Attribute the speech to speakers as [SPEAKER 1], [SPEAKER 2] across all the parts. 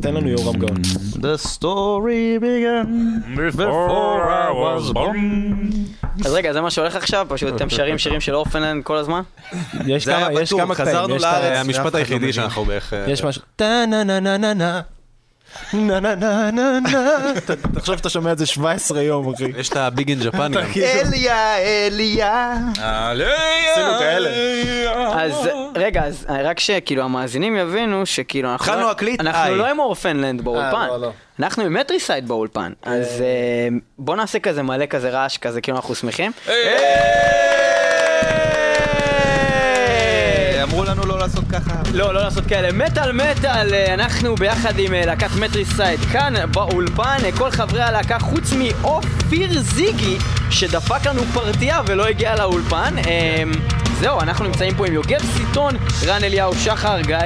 [SPEAKER 1] תן לנו יורם גאון.
[SPEAKER 2] The story began before I was born.
[SPEAKER 3] אז רגע, זה מה שהולך עכשיו? פשוט אתם שרים שירים של אורפנלנד כל הזמן?
[SPEAKER 1] יש
[SPEAKER 4] זה
[SPEAKER 1] כמה,
[SPEAKER 3] אה,
[SPEAKER 4] היה
[SPEAKER 1] יש כמה
[SPEAKER 4] בטוח,
[SPEAKER 1] קטעים.
[SPEAKER 4] חזרנו
[SPEAKER 1] יש את ה-
[SPEAKER 4] לארץ.
[SPEAKER 2] אה, אף
[SPEAKER 4] המשפט
[SPEAKER 2] אחד לא
[SPEAKER 4] היחידי
[SPEAKER 2] מבין.
[SPEAKER 4] שאנחנו בערך... אה,
[SPEAKER 1] יש משהו, טה נה נה נה נה נה. נה נה נה נה נה. אתה- תחשוב שאתה שומע את זה 17 יום, אחי. כאילו,
[SPEAKER 4] יש את הביג אין ג'פן גם.
[SPEAKER 2] כן, אליה, אליה.
[SPEAKER 1] כאילו,
[SPEAKER 4] עשינו
[SPEAKER 2] כאלה.
[SPEAKER 3] אז רגע, אז רק שכאילו המאזינים יבינו שכאילו אנחנו...
[SPEAKER 4] התחלנו
[SPEAKER 3] לא-
[SPEAKER 4] להקליט,
[SPEAKER 3] אנחנו
[SPEAKER 4] איי.
[SPEAKER 3] לא עם אורפנלנד באולפן.
[SPEAKER 2] לא, לא.
[SPEAKER 3] אנחנו עם מטריסייד באולפן. אז אה, בוא נעשה כזה מלא כזה רעש כזה, כאילו אנחנו שמחים.
[SPEAKER 2] אה, אמרו לנו לא לעשות ככה.
[SPEAKER 3] לא, לא לעשות כאלה. מטאל מטאל, אה, אנחנו ביחד עם אה, להקת מטריסייד כאן באולפן. אה, כל חברי הלהקה חוץ מאופיר זיגי, שדפק לנו פרטייה ולא הגיע לאולפן. אה, זהו, אנחנו נמצאים פה עם יוגב סיטון, רן אליהו שחר, גיא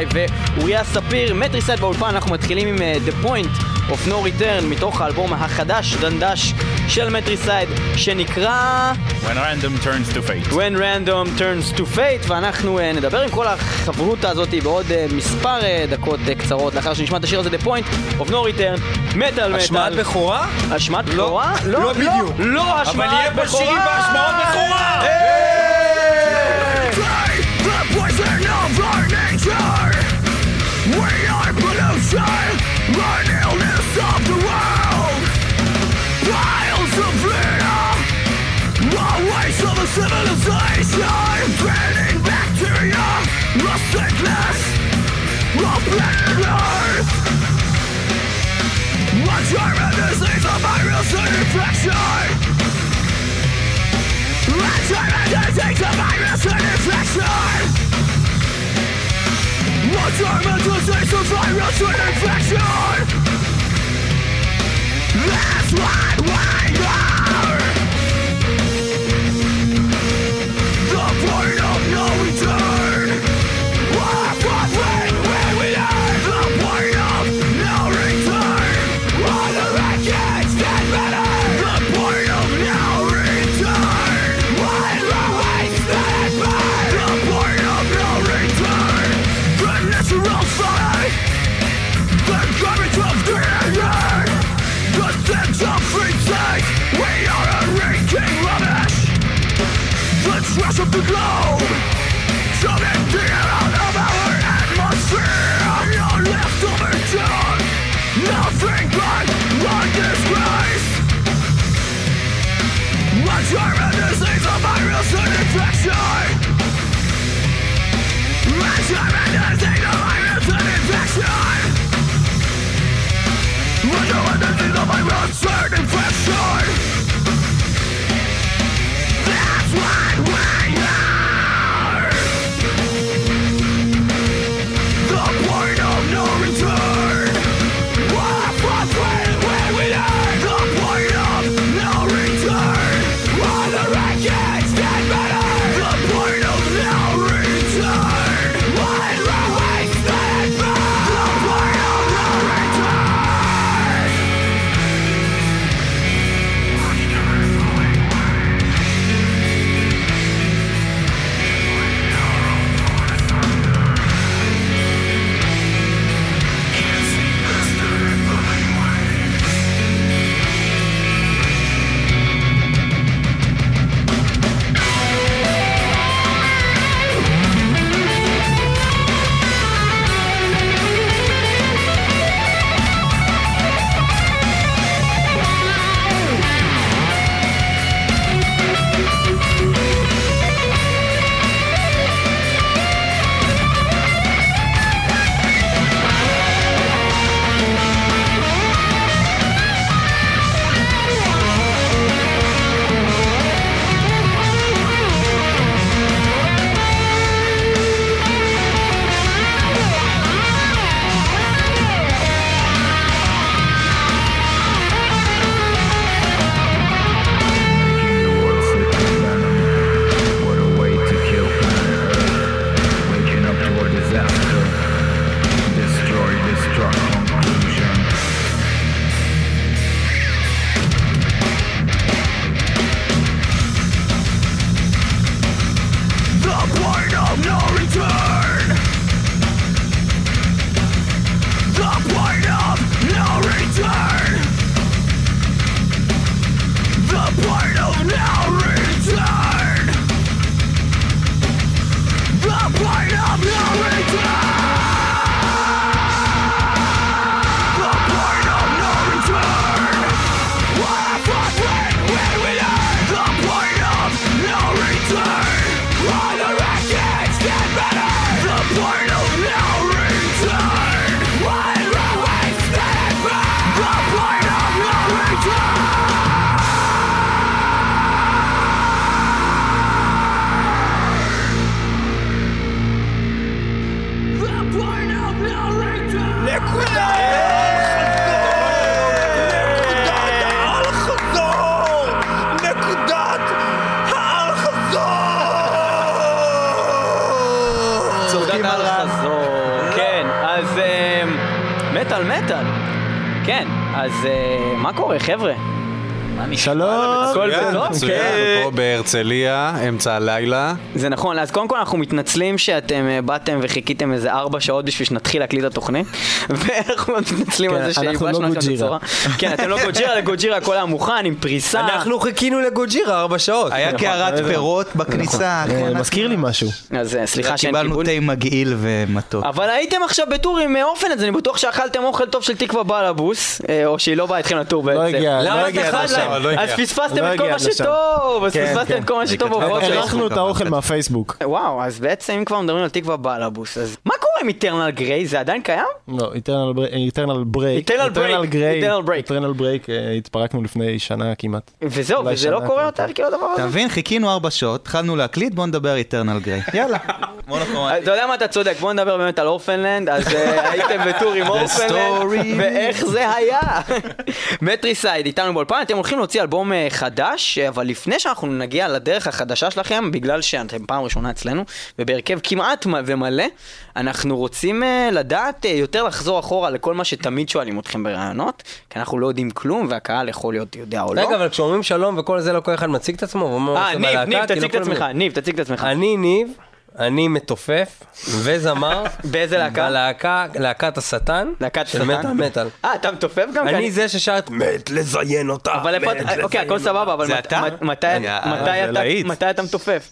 [SPEAKER 3] ואוריה ספיר. מטריסייד באולפן, אנחנו מתחילים עם אה, The Point of No Return, מתוך האלבום החדש, דנדש, של מטריסייד, שנקרא...
[SPEAKER 5] When random turns to fate.
[SPEAKER 3] When Random Turns to Fate, ואנחנו אה, נדבר עם כל החברותה הזאת בעוד אה, מספר אה, דקות אה, קצרות, לאחר שנשמע את השיר הזה, The Point of No Return, מטאל מטאל.
[SPEAKER 4] השמעת בכורה?
[SPEAKER 3] השמעת בכורה? לא, לא,
[SPEAKER 4] בדיוק.
[SPEAKER 3] לא השמעת בכורה. אבל יהיה פה שירים בהשמעות בכורה.
[SPEAKER 6] The
[SPEAKER 3] אה, כן, כן, אז אה, מה קורה, חבר'ה?
[SPEAKER 1] שלום.
[SPEAKER 3] הכל
[SPEAKER 4] מצוין,
[SPEAKER 3] בטוב?
[SPEAKER 4] מצוין,
[SPEAKER 3] כן.
[SPEAKER 4] אנחנו פה בהרצליה, אמצע הלילה.
[SPEAKER 3] זה נכון, אז קודם כל אנחנו מתנצלים שאתם אה, באתם וחיכיתם איזה ארבע שעות בשביל שנתחיל להקליט את התוכנית, ואנחנו מתנצלים
[SPEAKER 1] כן,
[SPEAKER 3] על זה
[SPEAKER 1] אנחנו לא
[SPEAKER 3] שהלבשנו לכם את
[SPEAKER 1] גוג'ירה.
[SPEAKER 3] הצורה. כן, אתם לא גוג'ירה, לגוג'ירה הכל היה מוכן עם פריסה.
[SPEAKER 7] אנחנו חיכינו לגוג'ירה ארבע שעות.
[SPEAKER 2] היה
[SPEAKER 3] אוקיי,
[SPEAKER 2] קערת פירות בכניסה. אחי,
[SPEAKER 1] אה,
[SPEAKER 2] אנחנו-
[SPEAKER 1] מזכיר לי משהו.
[SPEAKER 3] אז אה, סליחה שאין
[SPEAKER 2] קיבלנו
[SPEAKER 3] כיבוד.
[SPEAKER 2] תה מגעיל ומתוק.
[SPEAKER 3] אבל הייתם עכשיו בטור עם אה, אופן, אז אני בטוח שאכלתם אוכל טוב של תקווה בלבוס, אה, או שהיא לא באה איתכם לטור בעצם.
[SPEAKER 1] הגיעה, לא
[SPEAKER 3] למה
[SPEAKER 1] הגיעה
[SPEAKER 3] אתה
[SPEAKER 1] עד
[SPEAKER 3] חד
[SPEAKER 1] לשם,
[SPEAKER 3] להם?
[SPEAKER 4] לא
[SPEAKER 3] אז
[SPEAKER 4] הגיעה.
[SPEAKER 1] לא
[SPEAKER 3] פספסתם את כל
[SPEAKER 1] הגיעה
[SPEAKER 3] מה
[SPEAKER 1] עד לשם.
[SPEAKER 3] שטוב, אז
[SPEAKER 1] כן,
[SPEAKER 3] פספסתם
[SPEAKER 1] כן.
[SPEAKER 3] את כל מה שטוב
[SPEAKER 4] כתבה
[SPEAKER 3] בבוקר.
[SPEAKER 4] בפייסבוק.
[SPEAKER 1] הארכנו את האוכל מהפייסבוק.
[SPEAKER 3] וואו, אז בעצם אם כבר מדברים על תקווה בלבוס, אז מה קורה עם איטרנל גריי? זה עדיין קיים?
[SPEAKER 1] לא, איטרנל ברייק.
[SPEAKER 3] Eternal Break,
[SPEAKER 1] איטרנל
[SPEAKER 3] Eternal
[SPEAKER 1] ברייק.
[SPEAKER 3] Break.
[SPEAKER 1] איטרנל ברייק, אה, התפרקנו לפני שנה כמעט.
[SPEAKER 3] וזהו,
[SPEAKER 1] אולי
[SPEAKER 3] וזה לא
[SPEAKER 1] שנה,
[SPEAKER 3] קורה
[SPEAKER 1] כן,
[SPEAKER 3] יותר כאילו הדבר הזה?
[SPEAKER 2] אתה מבין? חיכינו ארבע שעות, התחלנו להקליט, בוא נדבר איטרנל גריי. יאללה.
[SPEAKER 3] אז אה, אתה יודע מה, אתה צודק, בוא נדבר באמת על אורפנלנד, אז אה, הייתם בטור עם אורפנלנד,
[SPEAKER 2] story.
[SPEAKER 3] ואיך זה היה. מטריסייד איתנו באולפן, אתם הולכים להוציא אלבום אה, חדש, אה, אבל לפני שאנחנו נגיע לדרך החדשה שלכם, בגלל שאתם פעם ראשונה אצלנו, ובהרכב כמעט מ- ומלא, אנחנו רוצים אה, לדעת אה, יותר לחזור אחורה לכל מה שתמיד שואלים אתכם בראיונות, כי אנחנו לא יודעים כלום, והקהל יכול להיות יודע או לא.
[SPEAKER 7] רגע, אבל כשאומרים שלום וכל זה, לא כל אחד מציג את עצמו, ואומר
[SPEAKER 3] אה,
[SPEAKER 7] "עושה
[SPEAKER 3] ניב,
[SPEAKER 7] בלהקה",
[SPEAKER 3] ניב,
[SPEAKER 7] כי לא
[SPEAKER 3] תציג את
[SPEAKER 7] כולם
[SPEAKER 3] עצמך, ניב, תציג את עצמך.
[SPEAKER 7] אני ניב, אני מתופף וזמר.
[SPEAKER 3] באיזה להקה?
[SPEAKER 7] בלהקה, להקת השטן.
[SPEAKER 3] להקת
[SPEAKER 7] של
[SPEAKER 3] שטן?
[SPEAKER 7] מטאל מטאל.
[SPEAKER 3] אה, אתה מתופף גם? כי
[SPEAKER 7] אני זה ששר את מת לזיין אותה.
[SPEAKER 3] אבל איפה
[SPEAKER 7] מת
[SPEAKER 3] אתה, אוקיי, הכל סבבה, אבל מת- מת- מתי- מתי אתה- מתי אתה מתופף?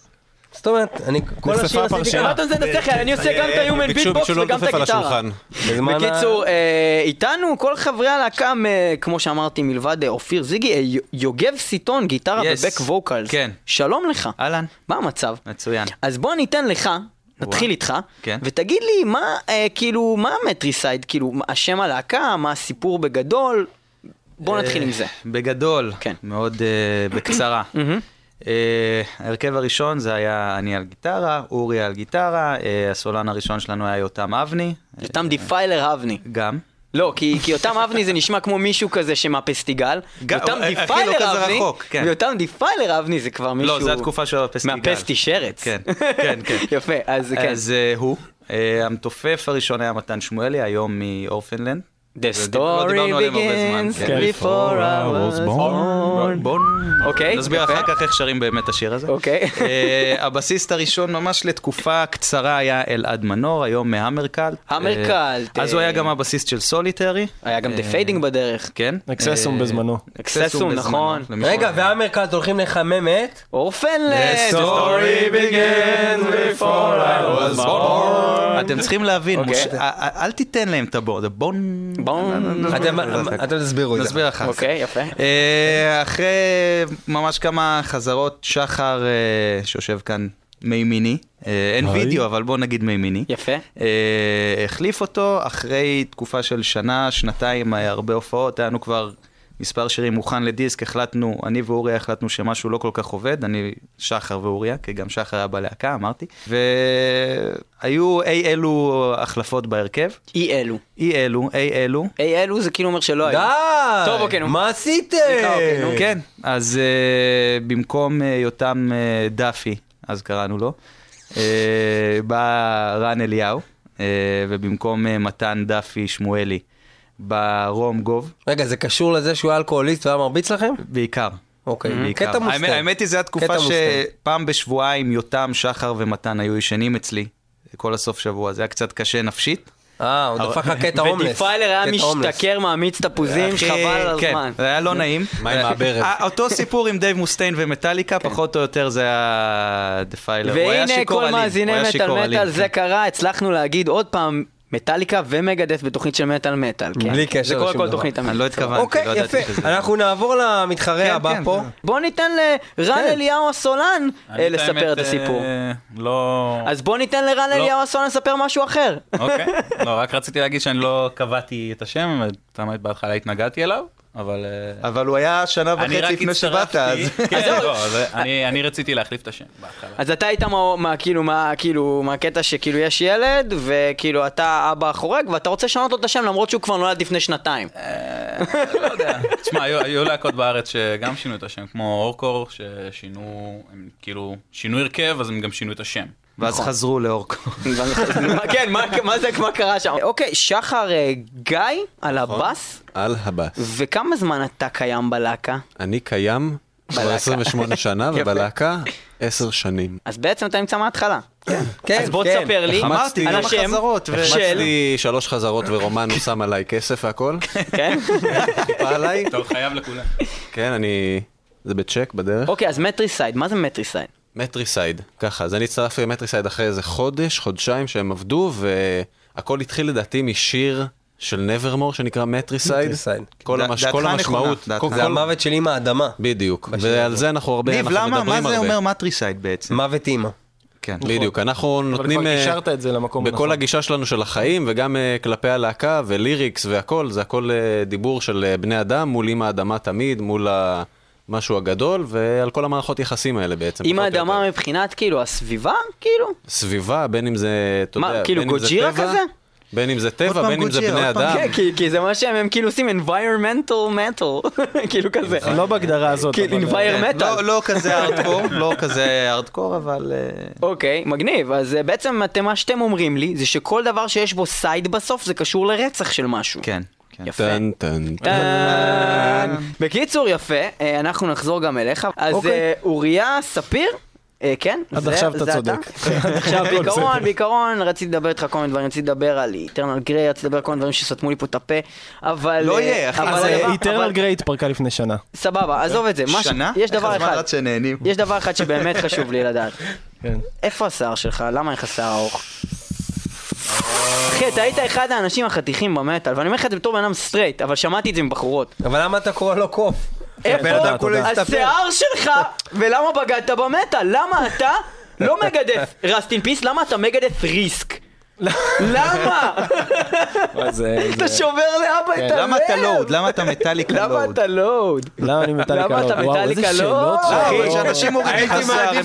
[SPEAKER 7] זאת אומרת, אני כל
[SPEAKER 1] נחשפה
[SPEAKER 7] השיר עשיתי
[SPEAKER 1] הפרשייה.
[SPEAKER 7] ככה.
[SPEAKER 3] אמרת זה את השכל, אני עושה גם את ה-Human
[SPEAKER 4] ביקשו
[SPEAKER 3] Beatbox
[SPEAKER 4] ביקשו לא
[SPEAKER 3] וגם
[SPEAKER 4] לטפף
[SPEAKER 3] את
[SPEAKER 4] על
[SPEAKER 3] הגיטרה.
[SPEAKER 4] השולחן.
[SPEAKER 7] בזמן ה-
[SPEAKER 3] בקיצור, אה, איתנו כל חברי הלהקה, מ- כמו שאמרתי, מלבד אה, אופיר זיגי, אה, י- יוגב סיטון, גיטרה
[SPEAKER 2] Yes.
[SPEAKER 3] ובק ווקלס.
[SPEAKER 2] כן.
[SPEAKER 3] שלום לך.
[SPEAKER 2] אהלן,
[SPEAKER 3] מה המצב?
[SPEAKER 2] מצוין.
[SPEAKER 3] אז בוא ניתן לך, נתחיל
[SPEAKER 2] וואו.
[SPEAKER 3] איתך,
[SPEAKER 2] כן.
[SPEAKER 3] ותגיד לי מה, אה, כאילו, מה המטריסייד, כאילו, מה- השם הלהקה, מה הסיפור בגדול,
[SPEAKER 2] אה.
[SPEAKER 3] בוא נתחיל עם זה.
[SPEAKER 2] בגדול,
[SPEAKER 3] כן.
[SPEAKER 2] מאוד אה, בקצרה.
[SPEAKER 3] מהמם.
[SPEAKER 2] אה, ההרכב הראשון זה היה אני על גיטרה, אורי על גיטרה, אה, הסולן הראשון שלנו היה יותם אבני, אה,
[SPEAKER 3] יותם דיפיילר אבני.
[SPEAKER 2] גם.
[SPEAKER 3] לא, כי, כי יותם אבני זה נשמע כמו מישהו כזה שמהפסטיגל.
[SPEAKER 2] גם-
[SPEAKER 3] יותם
[SPEAKER 2] אחי, לא
[SPEAKER 3] דיפיילר
[SPEAKER 2] כזה
[SPEAKER 3] אבני,
[SPEAKER 2] רחוק, כן.
[SPEAKER 3] ויותם דיפיילר אבני זה כבר מישהו...
[SPEAKER 2] לא, זה התקופה של הפסטיגל.
[SPEAKER 3] מהפסטי שרץ.
[SPEAKER 2] כן, כן, כן.
[SPEAKER 3] יפה, אז כן.
[SPEAKER 2] אז אה, הוא. אה, המתופף הראשון היה מתן שמואלי, היום מאורפנלנד.
[SPEAKER 3] The
[SPEAKER 2] לא
[SPEAKER 3] story
[SPEAKER 2] דיברנו עליהם הרבה זמן,
[SPEAKER 3] begins
[SPEAKER 2] כן.
[SPEAKER 3] before I was born.
[SPEAKER 2] בואו
[SPEAKER 3] אוקיי,
[SPEAKER 2] נסביר
[SPEAKER 3] יפה.
[SPEAKER 2] אחר כך איך שרים באמת השיר הזה.
[SPEAKER 3] אוקיי.
[SPEAKER 2] אה, הבסיסט הראשון ממש לתקופה קצרה היה אלעד מנור, היום מהמרקלט.
[SPEAKER 3] המרקלט,
[SPEAKER 2] אה, אז הוא
[SPEAKER 3] אה,
[SPEAKER 2] היה גם הבסיסט של סוליטרי.
[SPEAKER 3] היה גם
[SPEAKER 2] אה.
[SPEAKER 3] דה פיידינג בדרך.
[SPEAKER 2] כן.
[SPEAKER 1] אקססום
[SPEAKER 2] אה,
[SPEAKER 1] בזמנו.
[SPEAKER 3] אקססום,
[SPEAKER 2] בזמנו, אה,
[SPEAKER 3] נכון.
[SPEAKER 2] למי
[SPEAKER 7] רגע,
[SPEAKER 2] שלא-
[SPEAKER 7] והאמריקאית הולכים לחמם את?
[SPEAKER 3] אורפנלנד.
[SPEAKER 2] The story begins before I was born. אתם צריכים להבין,
[SPEAKER 3] אוקיי.
[SPEAKER 2] מוש- א- א- אל תיתן להם את הבון, בון. אה,
[SPEAKER 3] בום.
[SPEAKER 7] אתם אתם תסבירו את זה.
[SPEAKER 2] נסביר אחר כך.
[SPEAKER 3] אוקיי, יפה.
[SPEAKER 2] אה, אחרי ממש כמה חזרות, שחר אה, שיושב כאן מימיני, אה, אין
[SPEAKER 1] היי.
[SPEAKER 2] וידאו, אבל בוא נגיד מימיני.
[SPEAKER 3] יפה.
[SPEAKER 2] אה, החליף אותו אחרי תקופה של שנה, שנתיים, אה, הרבה הופעות, היה לנו כבר מספר שירים מוכן לדיסק, החלטנו, אני ואוריה החלטנו שמשהו לא כל כך עובד, אני, שחר ואוריה, כי גם שחר היה בלהקה, אמרתי, והיו אי אלו החלפות בהרכב,
[SPEAKER 3] אי אלו.
[SPEAKER 2] אי אלו, אי אלו.
[SPEAKER 3] אי אלו זה כאילו אומר שלא
[SPEAKER 7] די!
[SPEAKER 3] היה. טוב, אוקיי, נו.
[SPEAKER 7] מה עשיתם?
[SPEAKER 3] סליחה, אוקיי, נו.
[SPEAKER 2] כן, אז אה, במקום אה, יותם אה, דאפי, אז קראנו לו, אה, בא רן אליהו, אה, ובמקום אה, מתן דאפי שמואלי, בא רום גוב,
[SPEAKER 7] רגע, זה קשור לזה שהוא היה אלכוהוליסט והיה מרביץ לכם?
[SPEAKER 2] בעיקר.
[SPEAKER 7] אוקיי,
[SPEAKER 3] Mm-hmm.
[SPEAKER 2] בעיקר.
[SPEAKER 3] כן,
[SPEAKER 7] קטע
[SPEAKER 2] האמת-
[SPEAKER 7] מוסתר.
[SPEAKER 2] האמת היא, זו
[SPEAKER 7] קטע
[SPEAKER 2] התקופה
[SPEAKER 7] מוסתר.
[SPEAKER 2] שפעם בשבועיים יותם, שחר ומתן היו ישנים אצלי, כל הסוף שבוע, זה היה קצת קשה נפשית.
[SPEAKER 7] אה, הוא דפק לך קטע הומלס.
[SPEAKER 3] ודיפיילר היה
[SPEAKER 7] קטע הומלס.
[SPEAKER 3] משתכר מאמיץ תפוזים,
[SPEAKER 2] כן, אחי,
[SPEAKER 3] חבל על
[SPEAKER 2] כן,
[SPEAKER 3] הזמן.
[SPEAKER 2] זה היה לא נעים.
[SPEAKER 4] מים מהברז.
[SPEAKER 2] אה, אותו סיפור עם דייב מוסטיין ומטאליקה, פחות או יותר זה היה דפיילר. לא, הוא היה
[SPEAKER 3] והנה
[SPEAKER 2] שיכור
[SPEAKER 3] כל
[SPEAKER 2] אלים,
[SPEAKER 3] מאזיני
[SPEAKER 2] הוא היה
[SPEAKER 3] מטאל
[SPEAKER 2] שיכור
[SPEAKER 3] מטאל
[SPEAKER 2] אלים. כן.
[SPEAKER 3] זה קרה, הצלחנו להגיד עוד פעם מטאליקה ומגדף בתוכנית של מטאל מטאל. כן.
[SPEAKER 7] בלי קשר
[SPEAKER 3] זה קורה
[SPEAKER 7] לשום
[SPEAKER 3] כל
[SPEAKER 7] דבר.
[SPEAKER 3] תוכנית
[SPEAKER 2] אני לא
[SPEAKER 3] המטאל.
[SPEAKER 2] התכוונתי,
[SPEAKER 7] אוקיי,
[SPEAKER 2] לא
[SPEAKER 7] יפה.
[SPEAKER 2] ידעתי שזה.
[SPEAKER 7] אנחנו נעבור למתחרה הבא
[SPEAKER 2] כן,
[SPEAKER 7] פה.
[SPEAKER 3] בואו ניתן לרן
[SPEAKER 7] כן.
[SPEAKER 3] אליהו הסולן אה,
[SPEAKER 5] אני
[SPEAKER 3] לספר
[SPEAKER 5] האמת,
[SPEAKER 3] את הסיפור.
[SPEAKER 5] אה, לא...
[SPEAKER 3] אז בואו ניתן לרן אליהו הסולן לספר משהו אחר.
[SPEAKER 5] אוקיי. לא, רק רציתי להגיד שאני לא קבעתי את השם, אתה האמת בהתחלה התנגדתי אליו, אבל... אה,
[SPEAKER 2] אבל הוא היה שנה
[SPEAKER 5] אני רק
[SPEAKER 2] וחצי לפני שבאת,
[SPEAKER 5] הצטרפתי,
[SPEAKER 2] אז...
[SPEAKER 3] נכון.
[SPEAKER 5] כן, לא, זה- אני אני רציתי להחליף את השם בהתחלה.
[SPEAKER 3] אז אתה היית מה- מה- כאילו, מה- כאילו, מהקטע שכאילו יש ילד, וכאילו אתה אבא חורג, ואתה רוצה לשנות לו את השם למרות שהוא כבר נולד לפני שנתיים.
[SPEAKER 5] תשמע, היו היו להקות בארץ שגם שינו את השם, כמו אורקור, ששינו, הם כאילו, שינו הרכב, אז הם גם שינו את השם.
[SPEAKER 2] ואז חזרו לאורקו.
[SPEAKER 3] כן, מה- מה זה, מה קרה שם? אוקיי, שחר אה, גיא על הבאס,
[SPEAKER 4] על הבאס.
[SPEAKER 3] וכמה זמן אתה קיים בלהקה?
[SPEAKER 4] אני קיים כבר 28 שנה, ובלהקה 10 שנים.
[SPEAKER 3] אז בעצם אתה נמצא מההתחלה.
[SPEAKER 7] כן,
[SPEAKER 3] אז בוא
[SPEAKER 7] כן.
[SPEAKER 3] תספר לי
[SPEAKER 4] החמצתי
[SPEAKER 3] על
[SPEAKER 4] כמה
[SPEAKER 3] השם
[SPEAKER 2] חזרות ו-
[SPEAKER 3] של...
[SPEAKER 4] החמצתי שלוש חזרות ורומן, הוא שם עליי כסף והכל.
[SPEAKER 3] כן?
[SPEAKER 4] טיפה עליי.
[SPEAKER 5] טוב, חייב לכולם.
[SPEAKER 4] כן, אני... זה בצ'ק בדרך.
[SPEAKER 3] אוקיי, אז מטריסייד, מה זה מטריסייד?
[SPEAKER 4] מטריסייד, ככה. אז אני הצטרפתי למטריסייד אחרי איזה חודש, חודשיים שהם עבדו, והכל התחיל לדעתי משיר של נברמור שנקרא מטריסייד.
[SPEAKER 7] Matricide.
[SPEAKER 4] כל
[SPEAKER 2] דע-
[SPEAKER 4] המש-
[SPEAKER 2] דעתך
[SPEAKER 4] כל
[SPEAKER 2] נכונה,
[SPEAKER 4] המשמעות.
[SPEAKER 2] דעתך.
[SPEAKER 4] כל-
[SPEAKER 2] זה
[SPEAKER 4] כל-
[SPEAKER 7] זה המוות של אימא האדמה.
[SPEAKER 4] בדיוק.
[SPEAKER 7] בשיר
[SPEAKER 4] ועל
[SPEAKER 7] הזה.
[SPEAKER 4] זה אנחנו הרבה,
[SPEAKER 2] ניב,
[SPEAKER 4] אנחנו מדברים
[SPEAKER 2] למה?
[SPEAKER 4] הרבה.
[SPEAKER 2] מה זה אומר מטריסייד בעצם?
[SPEAKER 7] מוות אימא.
[SPEAKER 2] כן.
[SPEAKER 4] בדיוק, אנחנו
[SPEAKER 1] אבל
[SPEAKER 4] נותנים...
[SPEAKER 1] כבר
[SPEAKER 4] אה,
[SPEAKER 1] קישרת את זה למקום
[SPEAKER 4] בכל
[SPEAKER 1] הנכון.
[SPEAKER 4] הגישה שלנו של החיים, וגם אה, כלפי הלהקה וליריקס והכל, זה הכל אה, דיבור של אה, בני אדם מול אימא האדמה תמיד, מול המשהו הגדול, ועל כל המערכות יחסים האלה בעצם.
[SPEAKER 3] עם
[SPEAKER 4] פחות או יותר.
[SPEAKER 3] האדמה מבחינת כאילו הסביבה, כאילו?
[SPEAKER 4] סביבה, בין אם זה, אתה
[SPEAKER 3] מה,
[SPEAKER 4] יודע,
[SPEAKER 3] כאילו
[SPEAKER 4] בין אם זה
[SPEAKER 3] גוג'ירה
[SPEAKER 4] טבע,
[SPEAKER 3] כזה?
[SPEAKER 4] בין אם זה
[SPEAKER 2] עוד
[SPEAKER 4] טבע,
[SPEAKER 2] פעם
[SPEAKER 4] בין אם זה
[SPEAKER 2] גוג'ירה,
[SPEAKER 4] בני
[SPEAKER 2] עוד פעם-
[SPEAKER 4] אדם.
[SPEAKER 3] כן, כי- כי זה מה שהם הם כאילו עושים environmental metal, כאילו כזה.
[SPEAKER 1] לא בהגדרה הזאת.
[SPEAKER 3] כאילו
[SPEAKER 1] אבל- אה,
[SPEAKER 3] environmental.
[SPEAKER 2] כן, לא- לא כזה ארדקור, לא כזה ארדקור, אבל... אה,
[SPEAKER 3] אוקיי, מגניב. אז אה, בעצם אתם, מה שאתם אומרים לי, זה שכל דבר שיש בו סייד בסוף, זה קשור לרצח של משהו.
[SPEAKER 2] כן. כן.
[SPEAKER 3] יפה.
[SPEAKER 4] טן טן.
[SPEAKER 3] טאן. בקיצור, יפה, אה, אנחנו נחזור גם אליך.
[SPEAKER 2] אוקיי.
[SPEAKER 3] אז אה, אוריה ספיר? אה, כן,
[SPEAKER 1] עד
[SPEAKER 3] זה-
[SPEAKER 1] עכשיו אתה
[SPEAKER 3] זה
[SPEAKER 1] צודק.
[SPEAKER 3] עכשיו
[SPEAKER 1] הכל
[SPEAKER 3] בעיקרון,
[SPEAKER 1] בסדר.
[SPEAKER 3] בעיקרון רציתי לדבר איתך כל מיני דברים, רציתי לדבר על איטרנל גריי, רציתי לדבר על כל מיני דברים שסתמו לי פה את הפה, אבל...
[SPEAKER 2] לא
[SPEAKER 3] אה,
[SPEAKER 2] יהיה, אחי.
[SPEAKER 3] אבל
[SPEAKER 1] אז
[SPEAKER 3] הדבר- אבל-
[SPEAKER 1] איטרנל גריי התפרקה לפני שנה.
[SPEAKER 3] סבבה, עזוב את זה. מה ש-
[SPEAKER 2] שנה?
[SPEAKER 3] יש דבר
[SPEAKER 2] איך הזמן
[SPEAKER 3] אחד.
[SPEAKER 2] רץ שנהנים.
[SPEAKER 3] יש דבר אחד שבאמת חשוב לי לדעת.
[SPEAKER 1] כן.
[SPEAKER 3] איפה השיער שלך? למה אין לך שיער ארוך? אחי, אתה היית אחד האנשים החתיכים במטאל, ואני אומר לך את זה בתור בן אדם סטרייט, אבל שמעתי את זה מבחורות.
[SPEAKER 7] אבל למה אתה קורא לו קוף? הבן
[SPEAKER 3] איפה
[SPEAKER 7] אדם כולו הסתפר.
[SPEAKER 3] השיער שלך, ולמה בגדת במטאל? למה אתה לא מגדף רסטין פיס? למה אתה מגדף ריסק? למה? אתה שובר לאבא את הלב.
[SPEAKER 2] כן, למה אתה לואוד? למה אתה מטאליקה לואוד?
[SPEAKER 3] למה אתה לואוד?
[SPEAKER 1] למה אני מטאליקה
[SPEAKER 3] למה
[SPEAKER 1] לא?
[SPEAKER 3] אתה
[SPEAKER 1] וואו, איזה
[SPEAKER 3] מטאליקה לא?
[SPEAKER 1] שאלות.
[SPEAKER 3] אחי,
[SPEAKER 1] וואו.
[SPEAKER 2] שאנשים מורידים לך שיער, אני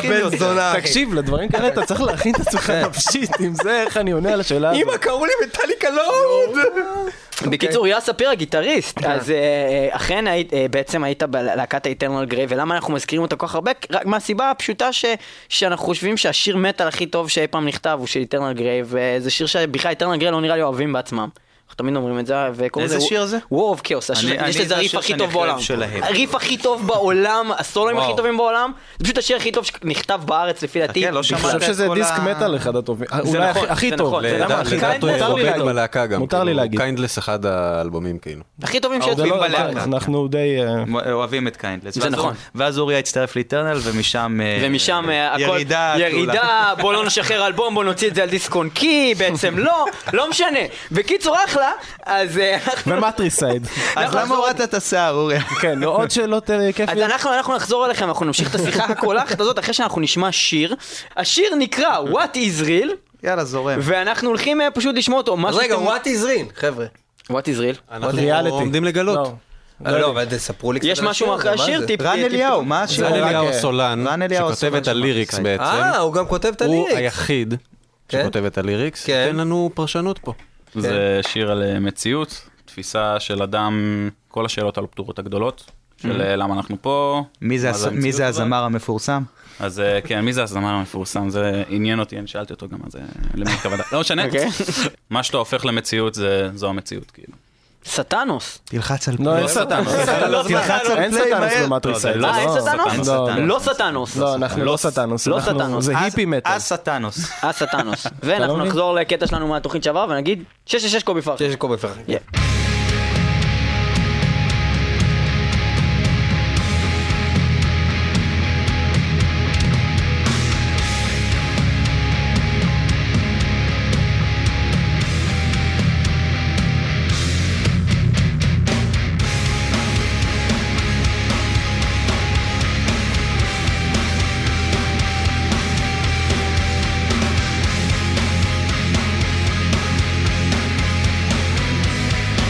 [SPEAKER 2] מחכה לו.
[SPEAKER 7] זונה.
[SPEAKER 1] תקשיב, לדברים כאלה אתה צריך להכין את עצמך
[SPEAKER 3] כן.
[SPEAKER 1] נפשית עם זה, איך אני עונה על השאלה הזאת.
[SPEAKER 7] קראו לי מטאליקה לואוד!
[SPEAKER 2] אוקיי.
[SPEAKER 3] בקיצור, יאס ספיר הגיטריסט,
[SPEAKER 2] כן.
[SPEAKER 3] אז אה, אה, אכן היית, אה, בעצם היית בלהקת ה-Eternal Grey, ולמה אנחנו מזכירים אותו כל כך הרבה? רק מהסיבה הפשוטה ש- שאנחנו חושבים שהשיר מטאל הכי טוב שאי פעם נכתב הוא של Eternal Grey, וזה שיר שבכלל Eternal Grey לא נראה לי אוהבים בעצמם. אנחנו תמיד אומרים את זה, וקוראים לזה...
[SPEAKER 2] איזה שיר זה?
[SPEAKER 3] War of Chaos,
[SPEAKER 2] אני-
[SPEAKER 3] השיר- יש
[SPEAKER 2] אני-
[SPEAKER 3] לזה
[SPEAKER 2] זה
[SPEAKER 3] הריף
[SPEAKER 2] השיר
[SPEAKER 3] הכי
[SPEAKER 2] שאני
[SPEAKER 3] טוב
[SPEAKER 2] הכי
[SPEAKER 3] בעולם.
[SPEAKER 2] אוהב שלהם.
[SPEAKER 3] הריף הכי טוב בעולם, הסולואים הכי
[SPEAKER 2] וואו.
[SPEAKER 3] טובים בעולם, זה פשוט השיר הכי טוב שנכתב בארץ לפי דעתי.
[SPEAKER 2] לא
[SPEAKER 3] בכלל.
[SPEAKER 1] אני חושב
[SPEAKER 2] שמעת את
[SPEAKER 1] שזה
[SPEAKER 2] כל
[SPEAKER 1] דיסק
[SPEAKER 2] ה-
[SPEAKER 1] מטאל אחד הטובים. אולי
[SPEAKER 3] נכון,
[SPEAKER 1] הכי- הכי
[SPEAKER 3] זה
[SPEAKER 1] טוב.
[SPEAKER 3] נכון, זה
[SPEAKER 1] למה?
[SPEAKER 3] נכון.
[SPEAKER 1] הכי
[SPEAKER 3] לדעת
[SPEAKER 1] טוב. לא-
[SPEAKER 4] לדעתו הוא
[SPEAKER 1] מותר לי
[SPEAKER 4] חוגג
[SPEAKER 1] להגיד.
[SPEAKER 4] בלהקה גם.
[SPEAKER 1] מותר לי
[SPEAKER 4] כאילו,
[SPEAKER 1] להגיד.
[SPEAKER 4] קיינדלס אחד האלבומים כאילו.
[SPEAKER 3] הכי
[SPEAKER 2] אה,
[SPEAKER 3] טובים
[SPEAKER 1] זה
[SPEAKER 3] שיוצאים
[SPEAKER 1] לא-
[SPEAKER 3] בלהקה.
[SPEAKER 1] אנחנו די... אה,
[SPEAKER 2] אוהבים את קיינדלס.
[SPEAKER 3] זה
[SPEAKER 2] ואז
[SPEAKER 3] נכון.
[SPEAKER 2] אור- ואז אוריה הצטרף לאיטרנל, ומשם... אה,
[SPEAKER 3] ומשם אה, הכל...
[SPEAKER 2] ירידה. תלולה.
[SPEAKER 3] ירידה, בוא לא נשחרר אלבום, בוא נוציא את זה על דיסק און קי, בעצם לא, לא משנה. בקיצור, אחלה, אז אה, אנחנו-
[SPEAKER 1] ומטריסייד.
[SPEAKER 3] לא,
[SPEAKER 2] אז למה הורדת את השיער, אוריה?
[SPEAKER 1] כן, נו, עוד שאלות אה,
[SPEAKER 3] אז
[SPEAKER 1] כיפיות.
[SPEAKER 3] אנחנו, אנחנו נחזור אליכם, אנחנו נמשיך את השיחה הקולחת הזאת אחרי שאנחנו נשמע שיר. השיר נקרא What is real,
[SPEAKER 2] יאללה, זורם.
[SPEAKER 3] ואנחנו הולכים אה, פשוט לשמוע אותו. מה
[SPEAKER 7] רגע,
[SPEAKER 3] שאתם-
[SPEAKER 7] what is real, חבר'ה.
[SPEAKER 3] What is real?
[SPEAKER 4] אנחנו
[SPEAKER 1] ריאליטי.
[SPEAKER 4] עומדים לגלות.
[SPEAKER 1] לא.
[SPEAKER 7] לא, לא, אבל תספרו לי קצת
[SPEAKER 3] יש
[SPEAKER 7] על
[SPEAKER 3] משהו
[SPEAKER 7] השיר הזה,
[SPEAKER 3] אחרי
[SPEAKER 7] מה
[SPEAKER 3] השיר?
[SPEAKER 7] זה?
[SPEAKER 3] טיפ-
[SPEAKER 2] רן
[SPEAKER 3] טיפ-
[SPEAKER 2] אליהו, מה
[SPEAKER 4] רן
[SPEAKER 2] השיר?
[SPEAKER 4] אליהו
[SPEAKER 1] רק, אה,
[SPEAKER 4] סולן,
[SPEAKER 2] רן אליהו
[SPEAKER 4] שכותב
[SPEAKER 2] הסולן
[SPEAKER 4] את
[SPEAKER 2] של
[SPEAKER 4] הליריקס
[SPEAKER 2] מטריסייד.
[SPEAKER 4] בעצם,
[SPEAKER 7] אה, הוא גם כותב את
[SPEAKER 4] הוא
[SPEAKER 7] הליריקס.
[SPEAKER 4] היחיד
[SPEAKER 7] כן?
[SPEAKER 4] שכותב את הליריקס,
[SPEAKER 7] כן.
[SPEAKER 4] תן לנו פרשנות פה.
[SPEAKER 5] זה שיר על אה, מציאות, תפיסה של אדם, כל השאלות על הפטורות הגדולות, של אה, למה אנחנו פה.
[SPEAKER 2] Mm-hmm. מי זה
[SPEAKER 5] מה
[SPEAKER 2] הס- מי
[SPEAKER 5] המציאות
[SPEAKER 2] זה
[SPEAKER 5] הזאת.
[SPEAKER 2] הזמר המפורסם?
[SPEAKER 5] אז אה, כן, מי זה הזמר המפורסם? זה עניין אותי, אני שאלתי אותו גם, אז אה, למי הכוונה? לא משנה.
[SPEAKER 3] אוקיי.
[SPEAKER 5] מה שאתה הופך למציאות, זה- זו המציאות, כאילו.
[SPEAKER 3] סטנוס.
[SPEAKER 2] תלחץ על
[SPEAKER 1] לא, אין
[SPEAKER 2] פלוס.
[SPEAKER 1] סטאנוס.
[SPEAKER 3] לא
[SPEAKER 2] תלחץ על
[SPEAKER 1] אין
[SPEAKER 2] פליי
[SPEAKER 1] סטאנוס
[SPEAKER 2] מהר.
[SPEAKER 1] במטריסייד.
[SPEAKER 5] לא,
[SPEAKER 3] אה, אין
[SPEAKER 5] אין
[SPEAKER 3] סטנוס?
[SPEAKER 1] סטנוס.
[SPEAKER 3] לא סטנוס.
[SPEAKER 1] לא, אנחנו לא סטאנוס.
[SPEAKER 3] לא
[SPEAKER 1] אנחנו-
[SPEAKER 3] סטאנוס.
[SPEAKER 1] זה היפי מטאל.
[SPEAKER 2] אז סטאנוס.
[SPEAKER 3] אה, סטנוס. ואנחנו
[SPEAKER 1] מבין?
[SPEAKER 3] נחזור לקטע שלנו מהתוכנית שעברה ונגיד 666 קובי פרח.
[SPEAKER 7] שיש קובי פרח.
[SPEAKER 3] Yeah.
[SPEAKER 6] Thank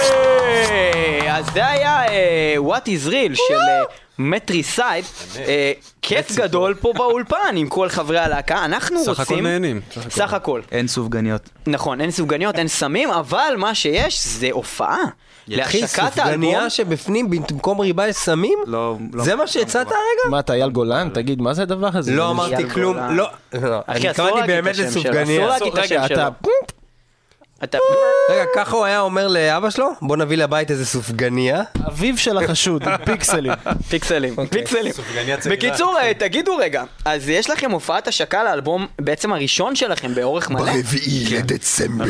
[SPEAKER 3] היי! אז זה היה אה, What is real של אה, מטריסייד. אה, כיף גדול פה באולפן עם כל חברי הלהקה. אנחנו רוצים...
[SPEAKER 4] סך הכל נהנים.
[SPEAKER 3] סך הכל.
[SPEAKER 2] אין סופגניות.
[SPEAKER 3] נכון, אין סופגניות, אין סמים, אבל מה שיש זה הופעה.
[SPEAKER 7] אחי,
[SPEAKER 3] להשקת האלבום.
[SPEAKER 7] סופגניה שבפנים במקום ריבה יש סמים?
[SPEAKER 2] לא... לא-
[SPEAKER 7] זה מה שהצעת הרגע?
[SPEAKER 1] מה, אתה אייל
[SPEAKER 5] אה.
[SPEAKER 1] גולן? תגיד, מה זה הדבר הזה?
[SPEAKER 7] לא
[SPEAKER 1] זה-
[SPEAKER 7] אמרתי
[SPEAKER 3] אייל
[SPEAKER 7] כלום,
[SPEAKER 3] גולן.
[SPEAKER 7] לא. לא, אני
[SPEAKER 3] אחי, אסור
[SPEAKER 7] התכוונתי
[SPEAKER 3] להגיד
[SPEAKER 7] באמת
[SPEAKER 3] את השם שלו, אסור
[SPEAKER 7] לסופגניה.
[SPEAKER 3] להגיד את
[SPEAKER 1] רגע,
[SPEAKER 3] השם שלו.
[SPEAKER 1] אתה...
[SPEAKER 3] אתה...
[SPEAKER 7] רגע, ככה הוא היה אומר לאבא שלו? בוא נביא לבית איזה סופגניה.
[SPEAKER 1] אביו של החשוד, פיקסלים.
[SPEAKER 3] פיקסלים,
[SPEAKER 4] אוקיי,
[SPEAKER 3] פיקסלים. בקיצור, אה, תגידו רגע, אז יש לכם הופעת השקה לאלבום בעצם הראשון שלכם באורך מלא?
[SPEAKER 6] ברביעי לדצמבר.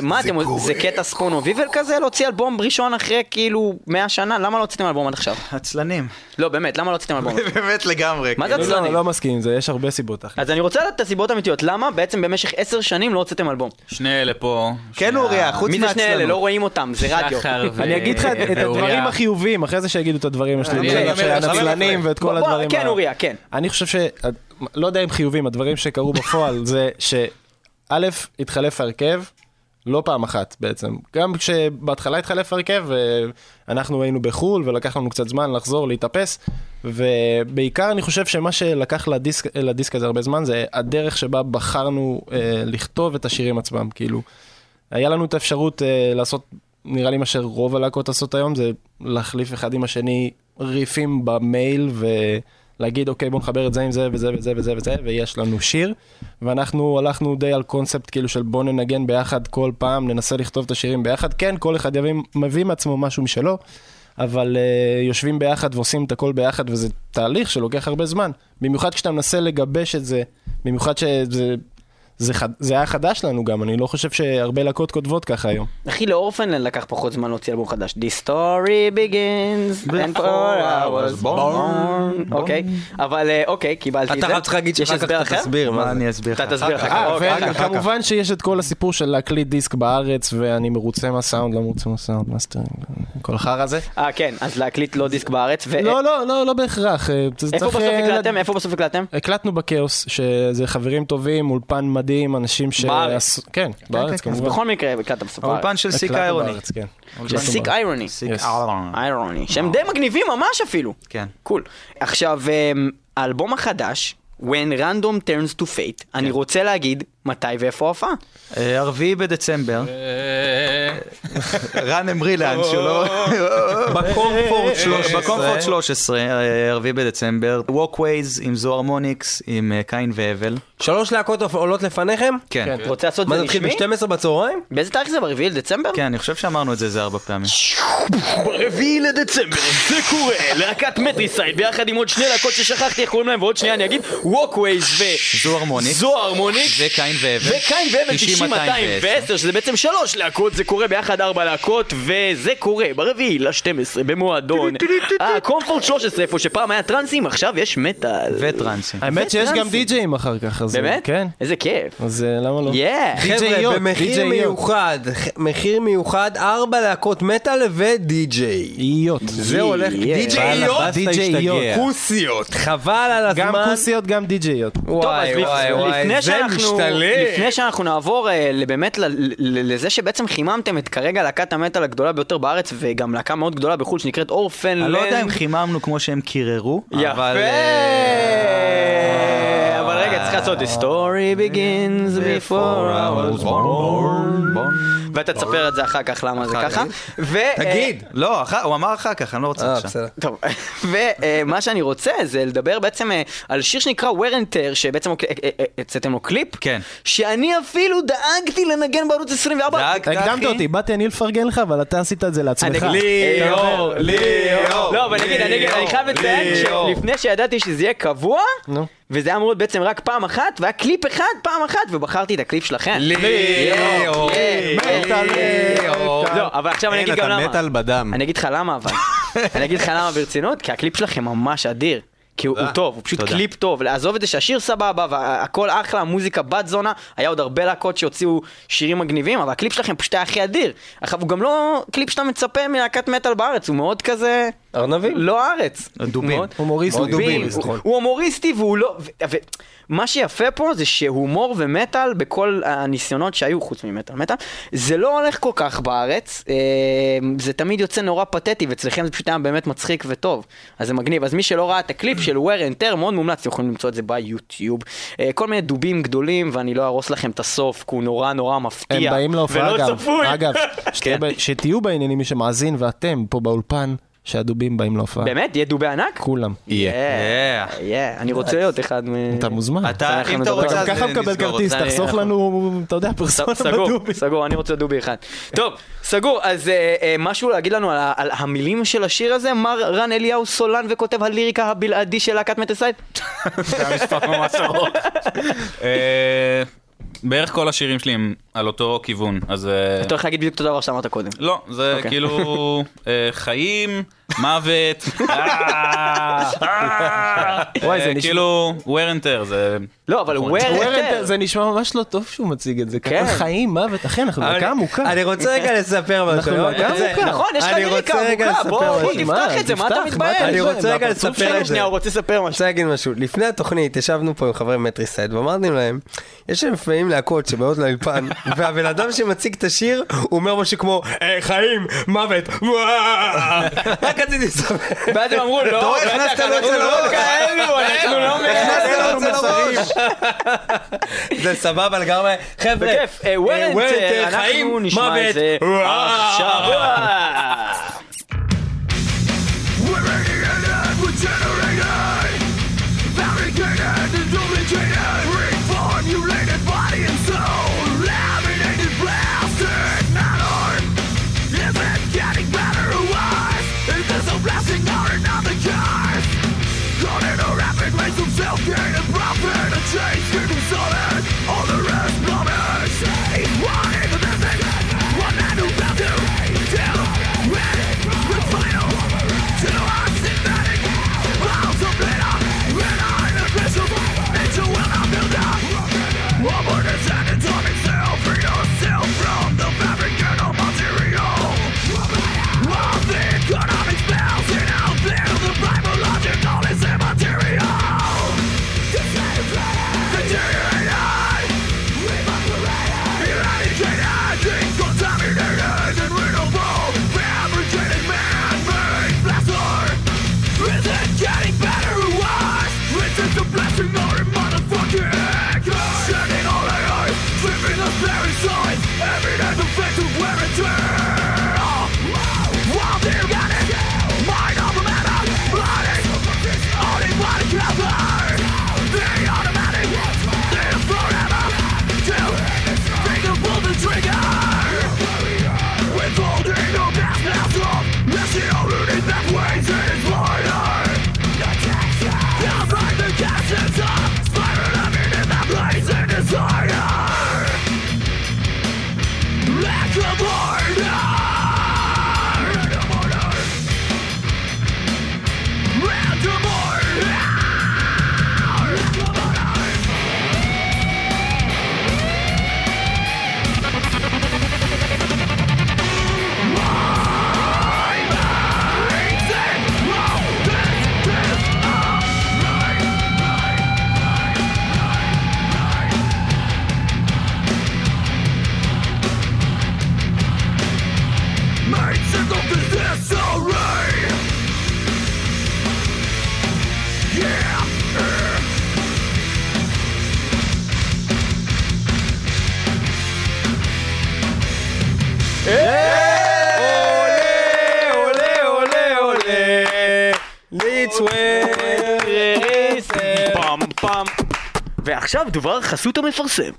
[SPEAKER 3] ומה אתם,
[SPEAKER 6] קורה.
[SPEAKER 3] זה קטע ספונו ויבל כזה? להוציא אלבום ראשון אחרי כאילו 100 שנה? למה לא הוצאתם אלבום עד עכשיו?
[SPEAKER 2] עצלנים.
[SPEAKER 3] לא, באמת, למה לא הוצאתם אלבום?
[SPEAKER 2] באמת לגמרי.
[SPEAKER 3] מה זה
[SPEAKER 2] כאילו.
[SPEAKER 1] לא,
[SPEAKER 3] עצלנים?
[SPEAKER 1] לא מסכים עם זה, יש הרבה סיבות, אחי.
[SPEAKER 3] אז אני רוצה לדעת את הסיבות האמיתיות, למה בעצם במשך 10 שנים לא הוצאתם אלבום?
[SPEAKER 5] שני אלה פה.
[SPEAKER 2] כן אוריה, חוץ
[SPEAKER 3] מי זה שני אלה? לא
[SPEAKER 2] מעצלנות.
[SPEAKER 3] רואים אותם, זה רדיו.
[SPEAKER 5] שחר ו-
[SPEAKER 1] אני אגיד לך את
[SPEAKER 5] ואוריה. אה,
[SPEAKER 1] הדברים החיוביים, אחרי זה שיגידו את הדברים השליליים,
[SPEAKER 5] אני-
[SPEAKER 1] של הנצלנים ואת כל
[SPEAKER 3] בוא, בוא,
[SPEAKER 1] הדברים
[SPEAKER 3] כן,
[SPEAKER 1] ה-
[SPEAKER 3] אוריה, כן.
[SPEAKER 1] אני חושב ש... לא יודע אם חיובים, הדברים שקרו בפועל זה שא', התחלף ההרכב, לא פעם אחת בעצם. גם כשבהתחלה התחלף ההרכב, אנחנו היינו בחו"ל ולקח לנו קצת זמן לחזור, להתאפס, ובעיקר אני חושב שמה שלקח לדיסק, לדיסק הזה הרבה זמן זה הדרך שבה בחרנו אה, לכתוב את השירים עצמם, כאילו. היה לנו את האפשרות אה, לעשות, נראה לי מה שרוב הלהקות עושות היום, זה להחליף אחד עם השני ריפים במייל ולהגיד, אוקיי, בוא נחבר את זה עם זה וזה וזה וזה וזה, ויש לנו שיר. ואנחנו הלכנו די על קונספט כאילו של בוא ננגן ביחד כל פעם, ננסה לכתוב את השירים ביחד. כן, כל אחד יביא, מביא מעצמו משהו משלו, אבל uh, יושבים ביחד ועושים את הכל ביחד, וזה תהליך שלוקח הרבה זמן. במיוחד כשאתה מנסה לגבש את זה, במיוחד שזה... זה, חד, זה היה חדש לנו גם, אני לא חושב שהרבה להקות כותבות ככה היום.
[SPEAKER 3] אחי, לאורפנלנד לקח פחות זמן להוציא אלבום חדש. The story begins and for I was born. אוקיי, אבל אה, אוקיי, קיבלתי את זה.
[SPEAKER 7] אתה רק צריך להגיד
[SPEAKER 3] יש
[SPEAKER 7] שאחר
[SPEAKER 3] הסבר
[SPEAKER 7] כך
[SPEAKER 3] אחר?
[SPEAKER 7] תסביר
[SPEAKER 2] מה
[SPEAKER 7] מה זה.
[SPEAKER 2] אני אסביר לך?
[SPEAKER 3] אתה תסביר אחר כך.
[SPEAKER 1] אה,
[SPEAKER 3] אוקיי.
[SPEAKER 1] וכמובן שיש את כל הסיפור של להקליט דיסק בארץ, ואני מרוצה מהסאונד, לא מרוצה מהסאונד, מאסטרינג, כל החרא הזה.
[SPEAKER 3] אה, כן, אז להקליט לא דיסק בארץ. ו-
[SPEAKER 1] לא, לא, לא, לא בהכרח. אה, זה
[SPEAKER 3] איפה
[SPEAKER 1] צריך,
[SPEAKER 3] בסוף
[SPEAKER 1] אה,
[SPEAKER 3] הקלטתם? איפה בסוף הקלטתם?
[SPEAKER 1] הקלטנו בכאוס, שזה חברים טובים, אולפן מדהים, אנשים ש...
[SPEAKER 3] בארץ. נכון,
[SPEAKER 1] כן, בארץ
[SPEAKER 3] אז
[SPEAKER 1] כמובן.
[SPEAKER 3] בכל מקרה הקלטת בסוף בארץ.
[SPEAKER 2] האולפן של סיק
[SPEAKER 1] הקלטנו
[SPEAKER 2] איירוני.
[SPEAKER 1] בארץ, כן.
[SPEAKER 3] של סיק איירוני.
[SPEAKER 2] סיק
[SPEAKER 1] Yes.
[SPEAKER 2] איירוני.
[SPEAKER 3] איירוני. שהם די מגניבים ממש אפילו.
[SPEAKER 2] כן.
[SPEAKER 3] קול. עכשיו, אמ, האלבום החדש, When Random Turns to Fate,
[SPEAKER 2] כן.
[SPEAKER 3] אני רוצה להגיד מתי ואיפה ההופעה.
[SPEAKER 2] אה, הרביעי בדצמבר. רן אמרי לאן
[SPEAKER 3] לא-
[SPEAKER 2] שלו. אה,
[SPEAKER 7] בקומפורט
[SPEAKER 2] בקומפורט
[SPEAKER 7] 13.
[SPEAKER 2] 13, אה, הרביעי בדצמבר. ווקווייז עם זוהר מוניקס, עם אה, קין והבל.
[SPEAKER 7] שלוש להקות עולות לפניכם?
[SPEAKER 2] כן.
[SPEAKER 1] כן.
[SPEAKER 3] רוצה לעשות את
[SPEAKER 7] מה
[SPEAKER 3] זה
[SPEAKER 7] זה התחיל
[SPEAKER 3] רשמי?
[SPEAKER 7] ב-12 בצהריים?
[SPEAKER 3] באיזה תאריך זה? ברביעי לדצמבר?
[SPEAKER 2] כן, אני חושב שאמרנו את זה איזה ארבע פעמים.
[SPEAKER 3] ברביעי לדצמבר, זה קורה, להקת מטריסייד ביחד עם עוד שני להקות ששכחתי איך קוראים להם ועוד שנייה אני אגיד ווקווייז ו...
[SPEAKER 2] זוהר מוניקס.
[SPEAKER 3] זוהר מוניק
[SPEAKER 2] וקין והבל.
[SPEAKER 3] וקין והבל 90, 210 שזה בעצם שלוש להקות, זה קורה ביחד ארבע להקות, וזה קורה ברביעי ל-12 במועדון. אה, קומפורט 13, איפה שפעם היה טרנסים, עכשיו יש מטאל.
[SPEAKER 2] וטרנסים.
[SPEAKER 1] האמת שיש גם
[SPEAKER 3] וטרנסים.
[SPEAKER 1] די-ג'אים אחר כך, אז...
[SPEAKER 3] באמת?
[SPEAKER 1] כן.
[SPEAKER 3] איזה כיף.
[SPEAKER 1] אז אה, למה לא?
[SPEAKER 3] Yeah.
[SPEAKER 7] חבר'ה,
[SPEAKER 1] די-ג'איות,
[SPEAKER 7] במחיר
[SPEAKER 1] די-ג'איות.
[SPEAKER 7] מיוחד, ח- מחיר מיוחד, ארבע להקות מטאל ודי-ג'יי.
[SPEAKER 1] איות.
[SPEAKER 7] זה הולך,
[SPEAKER 3] יהיה.
[SPEAKER 7] די-ג'איות,
[SPEAKER 1] וואלה, די-ג'איות.
[SPEAKER 7] כוסיות, חבל על הזמן.
[SPEAKER 1] גם כוסיות, גם די-ג'איות.
[SPEAKER 3] טוב, אז
[SPEAKER 7] וואי
[SPEAKER 3] לפ-
[SPEAKER 7] וואי
[SPEAKER 3] לפני
[SPEAKER 7] וואי, זה
[SPEAKER 3] שאנחנו-
[SPEAKER 7] משתלם.
[SPEAKER 3] לפני שאנחנו נעבור אה, ל- באמת ל- ל- לזה שבעצם חיממתם את כרגע להקת המטאל הגדולה ביותר בארץ, וגם להקה מאוד גדולה בחו"ל שנקראת אורפנלנד.
[SPEAKER 2] אני לא יודע אם חיממנו כמו שהם קיררו, אבל...
[SPEAKER 3] יפה! אה, אבל רגע, צריך לעשות The story begins before I was born. ואתה תספר את זה אחר כך למה זה ככה. ו... אה,
[SPEAKER 7] תגיד.
[SPEAKER 2] לא, אחר- הוא אמר אחר כך, אני לא רוצה
[SPEAKER 7] אה,
[SPEAKER 2] עכשיו.
[SPEAKER 7] בסדר.
[SPEAKER 3] טוב, ומה שאני רוצה זה לדבר בעצם אה, על שיר שנקרא Wear and Tear, שבעצם הוק- אה, אה, אה, הוצאתם לו קליפ,
[SPEAKER 2] כן.
[SPEAKER 3] שאני אפילו דאגתי לנגן בערוץ 24.
[SPEAKER 2] דאגת,
[SPEAKER 1] הקדמת
[SPEAKER 2] אחי?
[SPEAKER 1] אותי, באתי אני לפרגן לך, אבל אתה עשית את זה לעצמך.
[SPEAKER 3] אני-
[SPEAKER 7] ליאור, ליאור,
[SPEAKER 3] לא, אבל נגיד, אני אגיד, אני חייב לציין
[SPEAKER 7] ליאור.
[SPEAKER 3] שלפני שידעתי שזה יהיה קבוע,
[SPEAKER 1] נו.
[SPEAKER 3] וזה היה אמור להיות בעצם רק פעם אחת, והיה קליפ אחד, פעם אחת, ובחרתי את הקליפ כן, שלכם.
[SPEAKER 7] ליאור,
[SPEAKER 3] ליאור.
[SPEAKER 7] ליאור.
[SPEAKER 3] לא, אבל עכשיו אני
[SPEAKER 4] אין,
[SPEAKER 3] אגיד גם
[SPEAKER 4] אתה
[SPEAKER 3] למה.
[SPEAKER 4] מת על בדם.
[SPEAKER 3] אני אגיד לך למה אבל. אני אגיד לך למה ברצינות, כי הקליפ שלכם ממש אדיר. כי הוא הוא טוב, הוא פשוט
[SPEAKER 2] תודה.
[SPEAKER 3] קליפ טוב. לעזוב את זה שהשיר סבבה, והכל אחלה, המוזיקה בת זונה, היה עוד הרבה להקות שהוציאו שירים מגניבים, אבל הקליפ שלכם פשוט היה הכי אדיר. עכשיו, הוא גם לא קליפ שאתה מצפה מלהקת מטאל בארץ, הוא מאוד כזה...
[SPEAKER 7] ארנבים.
[SPEAKER 3] לא הארץ.
[SPEAKER 2] דובים.
[SPEAKER 3] מאוד.
[SPEAKER 1] הומוריסט
[SPEAKER 3] דובים.
[SPEAKER 1] דובים,
[SPEAKER 3] הוא-
[SPEAKER 1] נכון.
[SPEAKER 3] הוא הומוריסטי והוא לא... ו- ו- מה שיפה פה זה שהומור ומטאל בכל הניסיונות שהיו, חוץ ממטאל מטאל, זה לא הולך כל כך בארץ, אה, זה תמיד יוצא נורא פתטי, ואצלכם זה פשוט היה באמת מצחיק וטוב. אז זה מגניב. אז מי שלא ראה את הקליפ של wear and tear, מאוד מומלץ, אתם יכולים למצוא את זה ביוטיוב. אה, כל מיני דובים גדולים, ואני לא ארוס לכם את הסוף, כי הוא נורא נורא מפתיע.
[SPEAKER 1] הם באים להופעה
[SPEAKER 3] ולא
[SPEAKER 1] אגב,
[SPEAKER 3] צפוי.
[SPEAKER 1] אגב, שתהיה
[SPEAKER 3] כן.
[SPEAKER 1] ב- שתהיו בעניינים מי שמאזין ואתם פה באולפן, שהדובים באים להופעה.
[SPEAKER 3] באמת? יהיה דובי ענק?
[SPEAKER 1] כולם.
[SPEAKER 3] יהיה.
[SPEAKER 2] Yeah.
[SPEAKER 3] יהיה. אני רוצה להיות אחד מ...
[SPEAKER 1] אתה מוזמן.
[SPEAKER 2] אתה,
[SPEAKER 3] אנחנו
[SPEAKER 2] אם אתה
[SPEAKER 3] נדבר
[SPEAKER 2] רוצה,
[SPEAKER 3] גם
[SPEAKER 2] אז
[SPEAKER 1] ככה
[SPEAKER 2] נסגור
[SPEAKER 1] מקבל
[SPEAKER 2] אותה.
[SPEAKER 1] כרטיס,
[SPEAKER 3] אה, זה אני-
[SPEAKER 1] תחסוך לנו, אתה יודע, פרסונה
[SPEAKER 3] סגור,
[SPEAKER 1] בדובי.
[SPEAKER 3] סגור, אני רוצה דובי אחד. טוב, סגור, אז אה, אה, משהו להגיד לנו על ה- על המילים של השיר הזה? מר רן אליהו סולן וכותב הליריקה הבלעדי של להקת מטסייד?
[SPEAKER 5] זה המשפט ממש ארוך. אה, בערך כל השירים שלי הם על אותו כיוון, אז... אה,
[SPEAKER 3] אתה הולך להגיד בדיוק אותו דבר שאמרת קודם.
[SPEAKER 5] לא, זה
[SPEAKER 3] אוקיי.
[SPEAKER 5] כאילו אה, חיים, מוות, אה, אה,
[SPEAKER 1] וואי, זה
[SPEAKER 5] אה,
[SPEAKER 1] נשמע-
[SPEAKER 5] כאילו wear and tear, זה...
[SPEAKER 3] לא, אבל
[SPEAKER 5] נכון.
[SPEAKER 3] where
[SPEAKER 1] וורנטל,
[SPEAKER 3] and
[SPEAKER 1] זה נשמע ממש לא טוב שהוא מציג את זה.
[SPEAKER 3] כן.
[SPEAKER 1] ככה חיים, מוות, אחי, אנחנו דקה עמוקה.
[SPEAKER 7] אני רוצה רגע לספר משהו. לא?
[SPEAKER 1] אנחנו
[SPEAKER 7] אני רוצה-
[SPEAKER 1] מוכר.
[SPEAKER 3] נכון, יש לך
[SPEAKER 7] אני
[SPEAKER 3] לריקה
[SPEAKER 7] רוצה רגע
[SPEAKER 3] עמוקה, בוא,
[SPEAKER 7] לספר
[SPEAKER 3] בוא,
[SPEAKER 7] משהו.
[SPEAKER 3] תפתח את זה, מה אתה
[SPEAKER 1] תפתח,
[SPEAKER 3] מתבייש?
[SPEAKER 1] אתה
[SPEAKER 7] אני
[SPEAKER 1] מתבייש?
[SPEAKER 7] רוצה רגע
[SPEAKER 1] והפרצוף שלו
[SPEAKER 7] לספר את
[SPEAKER 3] שנייה,
[SPEAKER 7] זה.
[SPEAKER 3] שנייה, הוא רוצה לספר
[SPEAKER 7] אני
[SPEAKER 3] משהו.
[SPEAKER 7] רוצה להגיד משהו. לפני התוכנית ישבנו פה עם חברי מטריסייד ואמרנו להם, יש להם לפעמים להקות שבאות לאולפן, והבן אדם שמציג את השיר, הוא אומר משהו כמו, "אה, חיים, מוות, וואו." רק רציתי לספר.
[SPEAKER 3] ואז הם אמרו, לא,
[SPEAKER 2] טוב, הכנסת לו את זה
[SPEAKER 3] לא
[SPEAKER 2] לראש.
[SPEAKER 3] כאלו, אנחנו לא
[SPEAKER 2] הכנסת לו את זה לראש.
[SPEAKER 7] זה סבבה לגמרי. חבר'ה,
[SPEAKER 3] בכיף, אה, where and
[SPEAKER 7] אה,
[SPEAKER 3] tear,
[SPEAKER 7] tear,
[SPEAKER 3] אנחנו נשמע את
[SPEAKER 7] מוות,
[SPEAKER 3] זה
[SPEAKER 7] וואו.
[SPEAKER 3] עכשיו.
[SPEAKER 6] We're alienated, we're generated, barricaded and duplicated, reformulated body and soul, laminated plastic matter. Is it getting better or worse? Is this a blessing or another curse? Caught in a rapid race of self-gain and profit, a change getting solid, all the rest plummet. Say, what if this is it? One man who fell to till ready, the final, to our synthetic, miles of glitter, red eye and invisible, nature will not build up. Woman is an atomic cell, free yourself from the fabricate of material. All the economic spells in out there, the primal logic all is immaterial. Deteriorated, eradicated, decontaminated, and renewable, fabricated man-made blaster. Is it getting better or worse? Is it the blessing or a motherfucking curse? Shedding all our eyes, flipping us parasites, evident effect of wear and tear. While they're running, mind over matter, blooded, only one cover. The automatic, they're forever. Till they can pull the trigger. Withholding no past past off. That's the only that weighs in its minor. I'll find the gases up, spiraling into the blazing desire. Lack of order! Lack of order! Lack of order! Lack of order! My mind's in motion. This is a night, Mates in the business already. Yeah.
[SPEAKER 7] עולה, עולה, עולה, ליצוויר.
[SPEAKER 3] פעם פעם. ועכשיו דבר חסות המפרסם.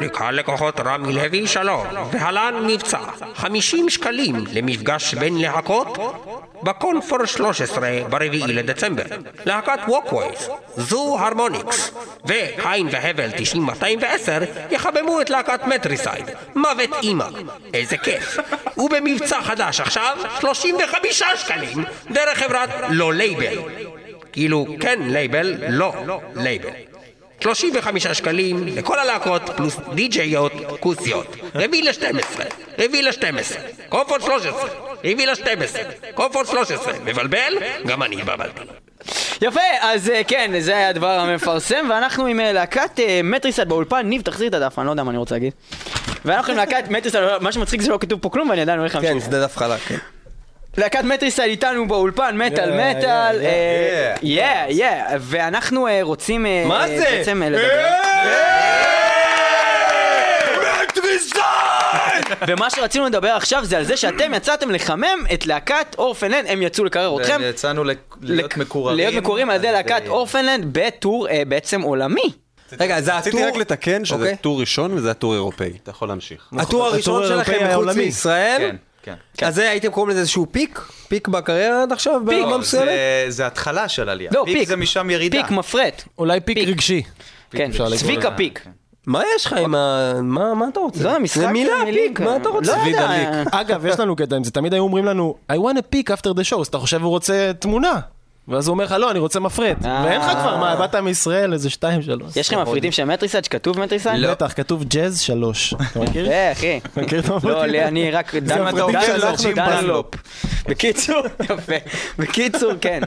[SPEAKER 8] לקהל לקוחות רמי לוי, שלום. והלן מבצע, 50 שקלים למפגש בין להקות בקונפור 13 ב-4 לדצמבר. להקת ווקווייז, זו הרמוניקס, והין והבל 9210 יחממו את להקת מטריסייד, מוות אימא. איזה כיף. ובמבצע חדש עכשיו, 35 שקלים דרך חברת לא לייבל. כאילו כן לייבל, לא לייבל. 35 שקלים לכל הלהקות פלוס די-ג'יות כוסיות. רביעי ל-12, רביעי ל-12, קופות 13. רביעי לשתים עשרה, קופור 13, מבלבל? גם אני התבלבלתי.
[SPEAKER 3] יפה, אז אה, כן, זה היה הדבר המפרסם, ואנחנו עם אה, להקת אה, מטריסד באולפן. ניב, תחזיר את הדף, אני לא יודע מה אני רוצה להגיד. ואנחנו עם להקת מטריסד, מה שמצחיק זה שלא כתוב פה כלום, ואני עדיין הולך להמשיך.
[SPEAKER 7] כן, זה דף חלק. כן.
[SPEAKER 3] להקת מטריסייד איתנו באולפן, מטאל
[SPEAKER 1] Yeah,
[SPEAKER 3] מטאל,
[SPEAKER 1] yeah,
[SPEAKER 3] יא, יא, ואנחנו אה, רוצים אה,
[SPEAKER 7] מה
[SPEAKER 3] אה,
[SPEAKER 7] זה?
[SPEAKER 3] בעצם אה, לדבר. ומה שרצינו לדבר עכשיו זה על זה שאתם יצאתם לחמם את להקת אורפנלנד, הם יצאו לקרר אתכם.
[SPEAKER 2] כן, יצאנו לק- להיות
[SPEAKER 3] לק-
[SPEAKER 2] מקוררים.
[SPEAKER 3] להיות מקוררים על ידי להקת אורפנלנד בטור אה, בעצם עולמי.
[SPEAKER 7] רגע, זה
[SPEAKER 4] רציתי רק
[SPEAKER 7] הטור-
[SPEAKER 4] לתקן שזה
[SPEAKER 7] אוקיי.
[SPEAKER 4] טור ראשון וזה הטור אירופאי. אתה יכול להמשיך.
[SPEAKER 7] הטור הראשון
[SPEAKER 1] האירופאי
[SPEAKER 7] שלכם מחוץ
[SPEAKER 1] העולמי.
[SPEAKER 7] מישראל?
[SPEAKER 2] כן, כן.
[SPEAKER 7] אז זה, הייתם קוראים לזה איזשהו פיק? פיק בקריירה עד עכשיו? ברמה
[SPEAKER 2] לא,
[SPEAKER 7] מסוימת?
[SPEAKER 2] זה- זה התחלה של עלייה.
[SPEAKER 3] לא, פיק.
[SPEAKER 2] זה משם ירידה.
[SPEAKER 3] פיק מפרט.
[SPEAKER 1] אולי פיק רגשי.
[SPEAKER 3] כן,
[SPEAKER 1] אפשר לקרוא
[SPEAKER 3] צביקה פיק.
[SPEAKER 7] מה יש לך עם ה... מה מה אתה רוצה?
[SPEAKER 1] לא,
[SPEAKER 3] זה המשחק
[SPEAKER 7] זה מילה,
[SPEAKER 3] של מילים
[SPEAKER 7] פיק,
[SPEAKER 3] כאן.
[SPEAKER 7] מה אתה רוצה?
[SPEAKER 3] לא יודע.
[SPEAKER 1] אגב, יש לנו קטע עם זה, תמיד היו אומרים לנו, I want a pick after the show, אז אתה חושב הוא רוצה תמונה. ואז הוא אומר לך, לא, אני רוצה מפרט.
[SPEAKER 3] אה.
[SPEAKER 1] ואין לך כבר, מה, באת מישראל איזה שתיים, שלוש.
[SPEAKER 3] יש לכם מפריטים של מטריסייד שכתוב מטריסייד?
[SPEAKER 1] בטח, כתוב ג'אז שלוש. אתה מכיר?
[SPEAKER 3] אה, אחי.
[SPEAKER 1] מכיר את המפריטים?
[SPEAKER 3] לא, לי- אני רק דן-
[SPEAKER 1] המפריטים
[SPEAKER 3] דן-
[SPEAKER 1] שלנו,
[SPEAKER 3] דנלופ. בקיצור, יפה. בקיצור, כן.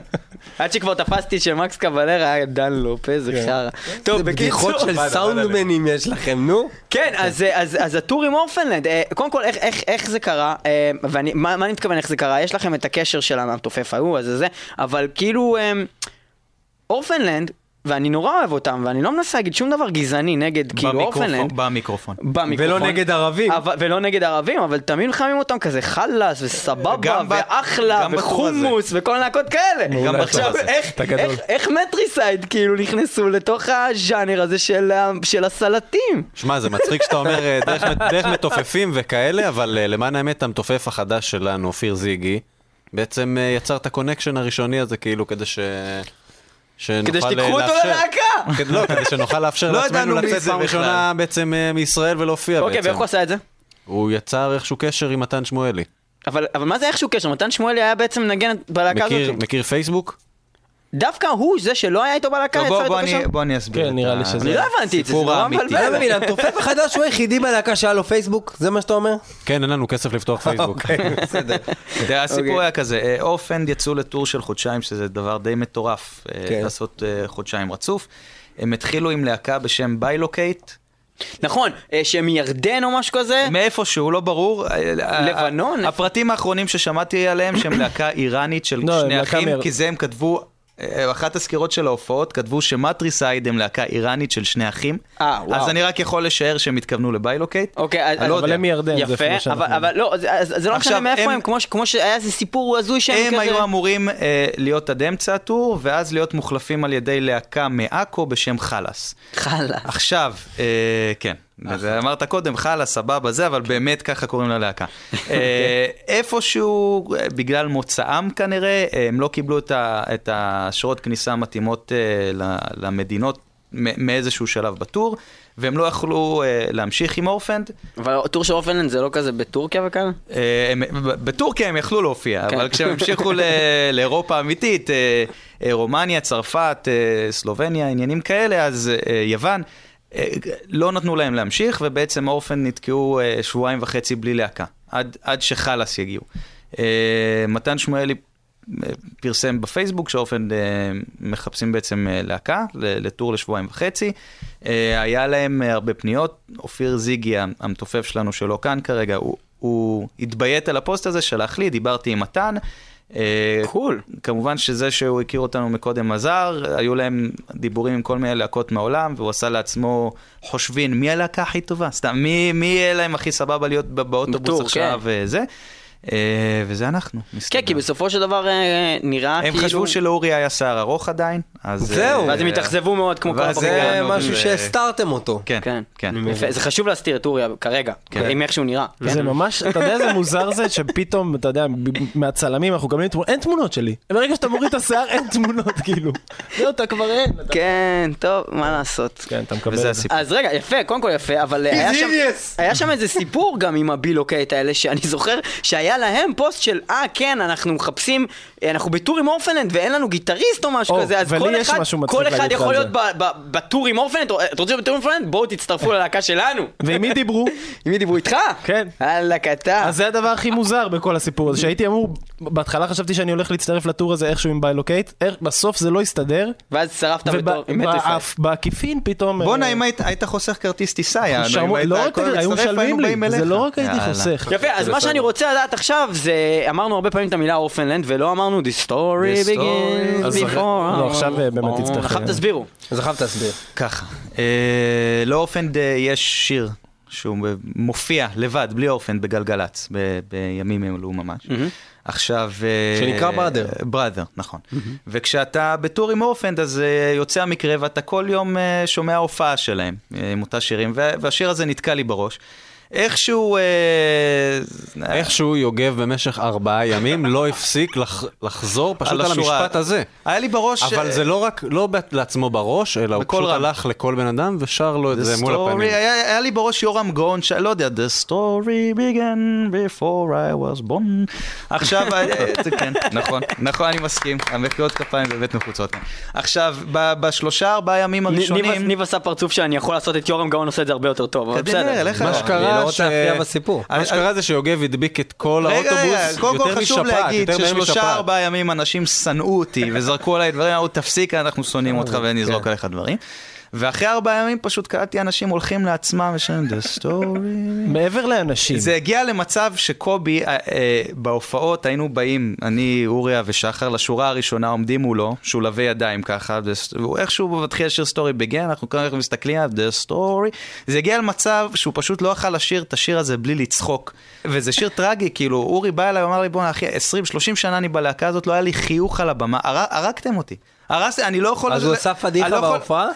[SPEAKER 3] עד שכבר תפסתי שמקס קבלר היה דנלופ, איזה חרא. טוב, בקיצור.
[SPEAKER 7] כן. בדיחות של סאונדמנים יש לכם, נו.
[SPEAKER 3] כן,
[SPEAKER 2] אוקיי.
[SPEAKER 3] אז, אה, אז, אז הטור עם אורפנלנד, אה, קודם כל, איך, איך, איך זה קרה, אה, ואני, מה, מה אני מתכוון איך זה קרה? יש לכם את הקשר של המתופף ההוא, אז זה זה, אבל כאילו, אה, אורפנלנד, ואני נורא אוהב אותם, ואני לא מנסה להגיד שום דבר גזעני נגד כאילו
[SPEAKER 2] במיקרופון-
[SPEAKER 3] אורפנלנד.
[SPEAKER 2] במיקרופון.
[SPEAKER 3] במיקרופון.
[SPEAKER 7] ולא נגד ערבים.
[SPEAKER 3] אבל, ולא נגד ערבים, אבל תמיד מחממים אותם כזה חלאס וסבבה
[SPEAKER 2] גם ב-
[SPEAKER 3] ואחלה
[SPEAKER 2] גם בטור הזה.
[SPEAKER 3] וחומוס וכל להקות כאלה.
[SPEAKER 2] גם בטור
[SPEAKER 3] עכשיו
[SPEAKER 2] הזה.
[SPEAKER 3] איך, איך, איך מטריסייד כאילו נכנסו לתוך הז'אנר הזה של, ה- של הסלטים?
[SPEAKER 4] שמע, זה מצחיק שאתה אומר אה, דרך, דרך מתופפים וכאלה, אבל אה, למען האמת, המתופף החדש שלנו, אופיר זיגי, בעצם אה, יצר את הקונקשן הראשוני הזה, כאילו, כדי ש... שנוכל,
[SPEAKER 3] כדי
[SPEAKER 4] אה,
[SPEAKER 3] שתיקחו אותו
[SPEAKER 4] לאפשר-
[SPEAKER 3] ללהקה.
[SPEAKER 4] כדי- לא, כדי שנוכל לאפשר
[SPEAKER 2] לא
[SPEAKER 4] לעצמנו
[SPEAKER 2] ידענו מי
[SPEAKER 4] לצאת
[SPEAKER 2] זה
[SPEAKER 4] פעם
[SPEAKER 2] בכלל.
[SPEAKER 4] ראשונה בעצם אה, מישראל ולהופיע
[SPEAKER 3] אוקיי,
[SPEAKER 4] בעצם.
[SPEAKER 3] ואיך הוא עשה את זה?
[SPEAKER 4] הוא יצר איכשהו קשר עם מתן שמואלי.
[SPEAKER 3] אבל, אבל מה זה איכשהו קשר? מתן שמואלי היה בעצם מנגן בלהקה
[SPEAKER 4] מכיר,
[SPEAKER 3] הזאת.
[SPEAKER 4] מכיר פייסבוק?
[SPEAKER 3] דווקא הוא זה שלא היה איתו בלהקה,
[SPEAKER 2] טוב, לא, בוא-
[SPEAKER 3] יצר
[SPEAKER 2] בוא
[SPEAKER 3] איתו
[SPEAKER 2] אני-
[SPEAKER 3] קשר?
[SPEAKER 2] בוא אני אסביר.
[SPEAKER 1] כן,
[SPEAKER 2] את
[SPEAKER 1] נראה לי
[SPEAKER 2] ה-
[SPEAKER 1] שזה-
[SPEAKER 3] אני לא הבנתי את זה, זה
[SPEAKER 2] הסיפור
[SPEAKER 3] נורא
[SPEAKER 2] האמיתי.
[SPEAKER 7] לא
[SPEAKER 3] מבלבל.
[SPEAKER 7] מבין, המתופף החדש הוא היחידי בלהקה שהיה לו פייסבוק? זה מה שאתה אומר?
[SPEAKER 4] כן, אין לנו כסף לפתוח פייסבוק.
[SPEAKER 7] בסדר.
[SPEAKER 2] תראה,
[SPEAKER 3] אוקיי.
[SPEAKER 2] הסיפור היה כזה, אה, אורפנד יצאו לטור של חודשיים, שזה דבר די מטורף, אה,
[SPEAKER 7] כן.
[SPEAKER 2] לעשות אה, חודשיים רצוף. הם התחילו עם להקה בשם ביילוקייט,
[SPEAKER 3] נכון, אה, שהם מירדן או משהו כזה?
[SPEAKER 2] מאיפשהו, לא ברור.
[SPEAKER 3] כן. לבנון?
[SPEAKER 2] הפרטים האחרונים ששמעתי עליהם שהם להקה איראנית של
[SPEAKER 1] לא, הם
[SPEAKER 2] שני
[SPEAKER 1] להקה מאיר-
[SPEAKER 2] אחים, כי זה הם כתבו, אה, אחת הסקירות של ההופעות כתבו שמטריסייד הם להקה איראנית של שני אחים.
[SPEAKER 3] אה, וואו.
[SPEAKER 2] אז אני רק יכול לשער שהם התכוונו לביילוקייט.
[SPEAKER 3] אוקיי, אז...
[SPEAKER 2] אני לא
[SPEAKER 3] אז-
[SPEAKER 2] יודע.
[SPEAKER 1] אבל הם מירדן, זה אפילו
[SPEAKER 3] יפה,
[SPEAKER 1] שאנחנו
[SPEAKER 3] אבל- אבל לא, אז- אז אז זה לא משנה
[SPEAKER 2] עכשיו,
[SPEAKER 3] מאיפה
[SPEAKER 2] הם-
[SPEAKER 3] הם, כמו ש- כמו שהיה איזה סיפור הזוי שהם
[SPEAKER 2] הם
[SPEAKER 3] כזה...
[SPEAKER 2] היו אמורים אה, להיות עד אמצע הטור, ואז להיות מוחלפים על ידי להקה מעכו בשם חלאס.
[SPEAKER 3] חלה.
[SPEAKER 2] עכשיו, אה, כן, וזה אמרת קודם, חלה, סבבה זה, אבל באמת ככה קוראים ללהקה. אה, איפשהו, אה, בגלל מוצאם כנראה, אה, הם לא קיבלו את ה- את האשרות כניסה המתאימות אה, ל- למדינות מ- מאיזשהו שלב בטור, והם לא יכלו אה, להמשיך עם אורפנד.
[SPEAKER 3] אבל הטור של אופנלנד זה לא כזה בטורקיה וכאלה?
[SPEAKER 2] אה, הם- ב- בטורקיה הם יכלו להופיע,
[SPEAKER 3] כן.
[SPEAKER 2] אבל כשהם המשיכו ל- לאירופה האמיתית, אה, אה, רומניה, צרפת, אה, סלובניה, עניינים כאלה, אז אה, יוון, אה, לא נתנו להם להמשיך, ובעצם אורפן נתקעו אה, שבועיים וחצי בלי להקה, עד, עד שחלאס יגיעו. אה, מתן שמואלי אה, פרסם בפייסבוק שאורפן אה, מחפשים בעצם אה, להקה ל- לטור לשבועיים וחצי. אה, היה להם אה, הרבה פניות, אופיר זיגי המתופף שלנו שלא כאן כרגע, הוא, הוא התביית על הפוסט הזה, שלח לי, דיברתי עם מתן. קול. כמובן שזה שהוא הכיר אותנו מקודם עזר, היו להם דיבורים עם כל מיני להקות מהעולם, והוא עשה לעצמו חושבים מי הלהקה הכי טובה, סתם, מי, מי יהיה להם הכי סבבה להיות בא- באוטובוס
[SPEAKER 3] בטור,
[SPEAKER 2] עכשיו
[SPEAKER 3] כן.
[SPEAKER 2] וזה. אה, וזה אנחנו,
[SPEAKER 3] כן,
[SPEAKER 2] מסתבר.
[SPEAKER 3] כי בסופו של דבר אה, נראה
[SPEAKER 2] הם
[SPEAKER 3] כאילו...
[SPEAKER 2] חשבו שלאורי היה שיער ארוך עדיין, אז... אה,
[SPEAKER 7] זהו.
[SPEAKER 3] ואז הם התאכזבו מאוד, כמו כל
[SPEAKER 2] ואז
[SPEAKER 3] הפרקטיקה.
[SPEAKER 7] זה
[SPEAKER 2] הגענו,
[SPEAKER 7] משהו
[SPEAKER 2] ו-
[SPEAKER 7] שהסתרתם אותו.
[SPEAKER 2] כן,
[SPEAKER 3] כן.
[SPEAKER 2] כן.
[SPEAKER 3] יפה, זה חשוב להסתיר את טוריה כרגע, עם איך שהוא נראה. כן.
[SPEAKER 1] זה ממש, אתה יודע איזה מוזר זה שפתאום, אתה יודע, ב- מהצלמים אנחנו מקבלים תמונות, אין תמונות שלי. ברגע שאתה מוריד את השיער אין תמונות, כאילו. זהו, אתה כבר אין. אתה-
[SPEAKER 3] כן, טוב, מה לעשות.
[SPEAKER 1] כן, אתה מקבל
[SPEAKER 2] וזה
[SPEAKER 1] את זה.
[SPEAKER 2] הסיפור.
[SPEAKER 3] אז רגע, יפה, קודם כל יפה, אבל אה, היה שם, היה שם איזה סיפור גם עם הבילוקייט האלה, שאני זוכר שהיה היה להם פוסט של, אה, כן, אנחנו מחפשים, אה, אנחנו בטור עם אורפנד ואין לנו גיטריסט או משהו
[SPEAKER 1] או,
[SPEAKER 3] כזה, אז
[SPEAKER 1] ולי
[SPEAKER 3] כל
[SPEAKER 1] יש
[SPEAKER 3] אחד,
[SPEAKER 1] משהו מצחיק
[SPEAKER 3] כל אחד
[SPEAKER 1] להגיד לך
[SPEAKER 3] יכול
[SPEAKER 1] על
[SPEAKER 3] להיות ב- ב- בטור עם אורפנד, או, אתם רוצים בטור עם אורפנד? בואו תצטרפו ללהקה שלנו.
[SPEAKER 1] ועם מי דיברו?
[SPEAKER 3] עם מי דיברו איתך?
[SPEAKER 1] כן.
[SPEAKER 3] וואלה, קטע.
[SPEAKER 1] אז זה הדבר הכי מוזר בכל הסיפור הזה, שהייתי אמור, בהתחלה חשבתי שאני הולך להצטרף לטור הזה איכשהו עם ביילוקייט, איך- בסוף זה לא הסתדר,
[SPEAKER 3] ואז הצטרפת בתור עם מטריסייד.
[SPEAKER 1] ובעקיפין פתאום... אה,
[SPEAKER 2] בואנה, אם היית- היית חוסך כרטיס טיסה, יענו,
[SPEAKER 1] שרמו-
[SPEAKER 2] אם היית
[SPEAKER 1] לא רק,
[SPEAKER 2] הכל
[SPEAKER 1] היו
[SPEAKER 2] מצטרף,
[SPEAKER 1] משלמים
[SPEAKER 2] היינו
[SPEAKER 1] לי,
[SPEAKER 2] באים
[SPEAKER 1] זה
[SPEAKER 2] אליך.
[SPEAKER 1] לא רק הייתי
[SPEAKER 2] יאללה.
[SPEAKER 1] חוסך.
[SPEAKER 3] יפה, אז מה שאני רוצה לדעת עכשיו זה, אמרנו הרבה פעמים את המילה אורפנלנד ולא אמרנו The story
[SPEAKER 2] The story
[SPEAKER 3] begins
[SPEAKER 1] אז
[SPEAKER 3] before. אוקיי.
[SPEAKER 1] לא, עכשיו אה, באמת תצטרך...
[SPEAKER 3] עכשיו תסבירו.
[SPEAKER 7] אז אחר תסביר.
[SPEAKER 2] ככה, אה, לאורפנד אה, יש שיר שהוא מופיע לבד, בלי אורפנד, בגלגלצ, ב- בימים אלו ממש. עכשיו... אה,
[SPEAKER 7] שנקרא בראדר.
[SPEAKER 2] אה, בראדר, נכון. וכשאתה בטור עם אורפנד, אז אה, יוצא המקרה ואתה כל יום אה, שומע הופעה שלהם, אה, עם אותה שירים, וה- והשיר הזה נתקע לי בראש. איכשהו... אה,
[SPEAKER 4] איכשהו יוגב במשך ארבעה ימים לא הפסיק לח- לחזור פשוט על
[SPEAKER 2] השורה.
[SPEAKER 4] המשפט הזה.
[SPEAKER 2] היה לי בראש... אה,
[SPEAKER 4] אבל זה לא רק, לא בת- לעצמו בראש, אלא הוא
[SPEAKER 2] בקול
[SPEAKER 4] פשוט
[SPEAKER 2] רם.
[SPEAKER 4] הלך לכל בן אדם ושר לו את
[SPEAKER 2] The
[SPEAKER 4] זה מול
[SPEAKER 2] story-
[SPEAKER 4] הפנים.
[SPEAKER 2] היה, היה לי בראש יורם גאון, ש... לא יודע, The story began before I was born. עכשיו, אה, זה כן, נכון, נכון, אני מסכים. המחיאות כפיים באמת מחוצות. כאן. עכשיו, ב- בשלושה ארבעה ימים
[SPEAKER 3] ניב-
[SPEAKER 2] הראשונים...
[SPEAKER 3] ניב עשה פרצוף שאני יכול לעשות את יורם גאון עושה את זה הרבה יותר טוב, אבל
[SPEAKER 2] קדימה,
[SPEAKER 3] בסדר.
[SPEAKER 2] לך.
[SPEAKER 4] מה
[SPEAKER 7] אני
[SPEAKER 4] שקרה
[SPEAKER 7] לא
[SPEAKER 4] ש...
[SPEAKER 7] רוצה להפריע בסיפור.
[SPEAKER 4] מה שקרה זה שיוגב הדביק את כל
[SPEAKER 2] רגע,
[SPEAKER 4] האוטובוס
[SPEAKER 2] רגע, קודם כל
[SPEAKER 4] יותר
[SPEAKER 2] חשוב
[SPEAKER 4] משפעת,
[SPEAKER 2] להגיד
[SPEAKER 4] יותר מהר
[SPEAKER 2] ששלושה
[SPEAKER 4] משפעת.
[SPEAKER 2] ארבעה ימים אנשים שנאו אותי וזרקו עליי דברים, אמרו תפסיק, אנחנו
[SPEAKER 4] אה,
[SPEAKER 2] שונאים אותך
[SPEAKER 4] כן.
[SPEAKER 2] ונזרוק עליך דברים. ואחרי ארבעה ימים פשוט קלטתי אנשים הולכים לעצמם ושאומרים, The story
[SPEAKER 1] מעבר לאנשים.
[SPEAKER 2] זה הגיע למצב שקובי, אה, אה, בהופעות היינו באים, אני, אוריה ושחר, לשורה הראשונה עומדים מולו, שולבי ידיים ככה, וס- והוא איכשהו מתחיל לשיר סטורי בגן, אנחנו ככה מסתכלים עליו, the story. זה הגיע למצב שהוא פשוט לא יכל לשיר את השיר הזה בלי לצחוק. וזה שיר טרגי, כאילו, אורי בא אליי ואמר לי, בואנה אחי, 20-30 שנה אני בלהקה הזאת, לא היה לי חיוך על הבמה, הר- הרגתם אותי. הרס, אני לא יכול...
[SPEAKER 7] אז הוא עשה פדיחה
[SPEAKER 2] אני לא יכול-
[SPEAKER 7] בהופעה?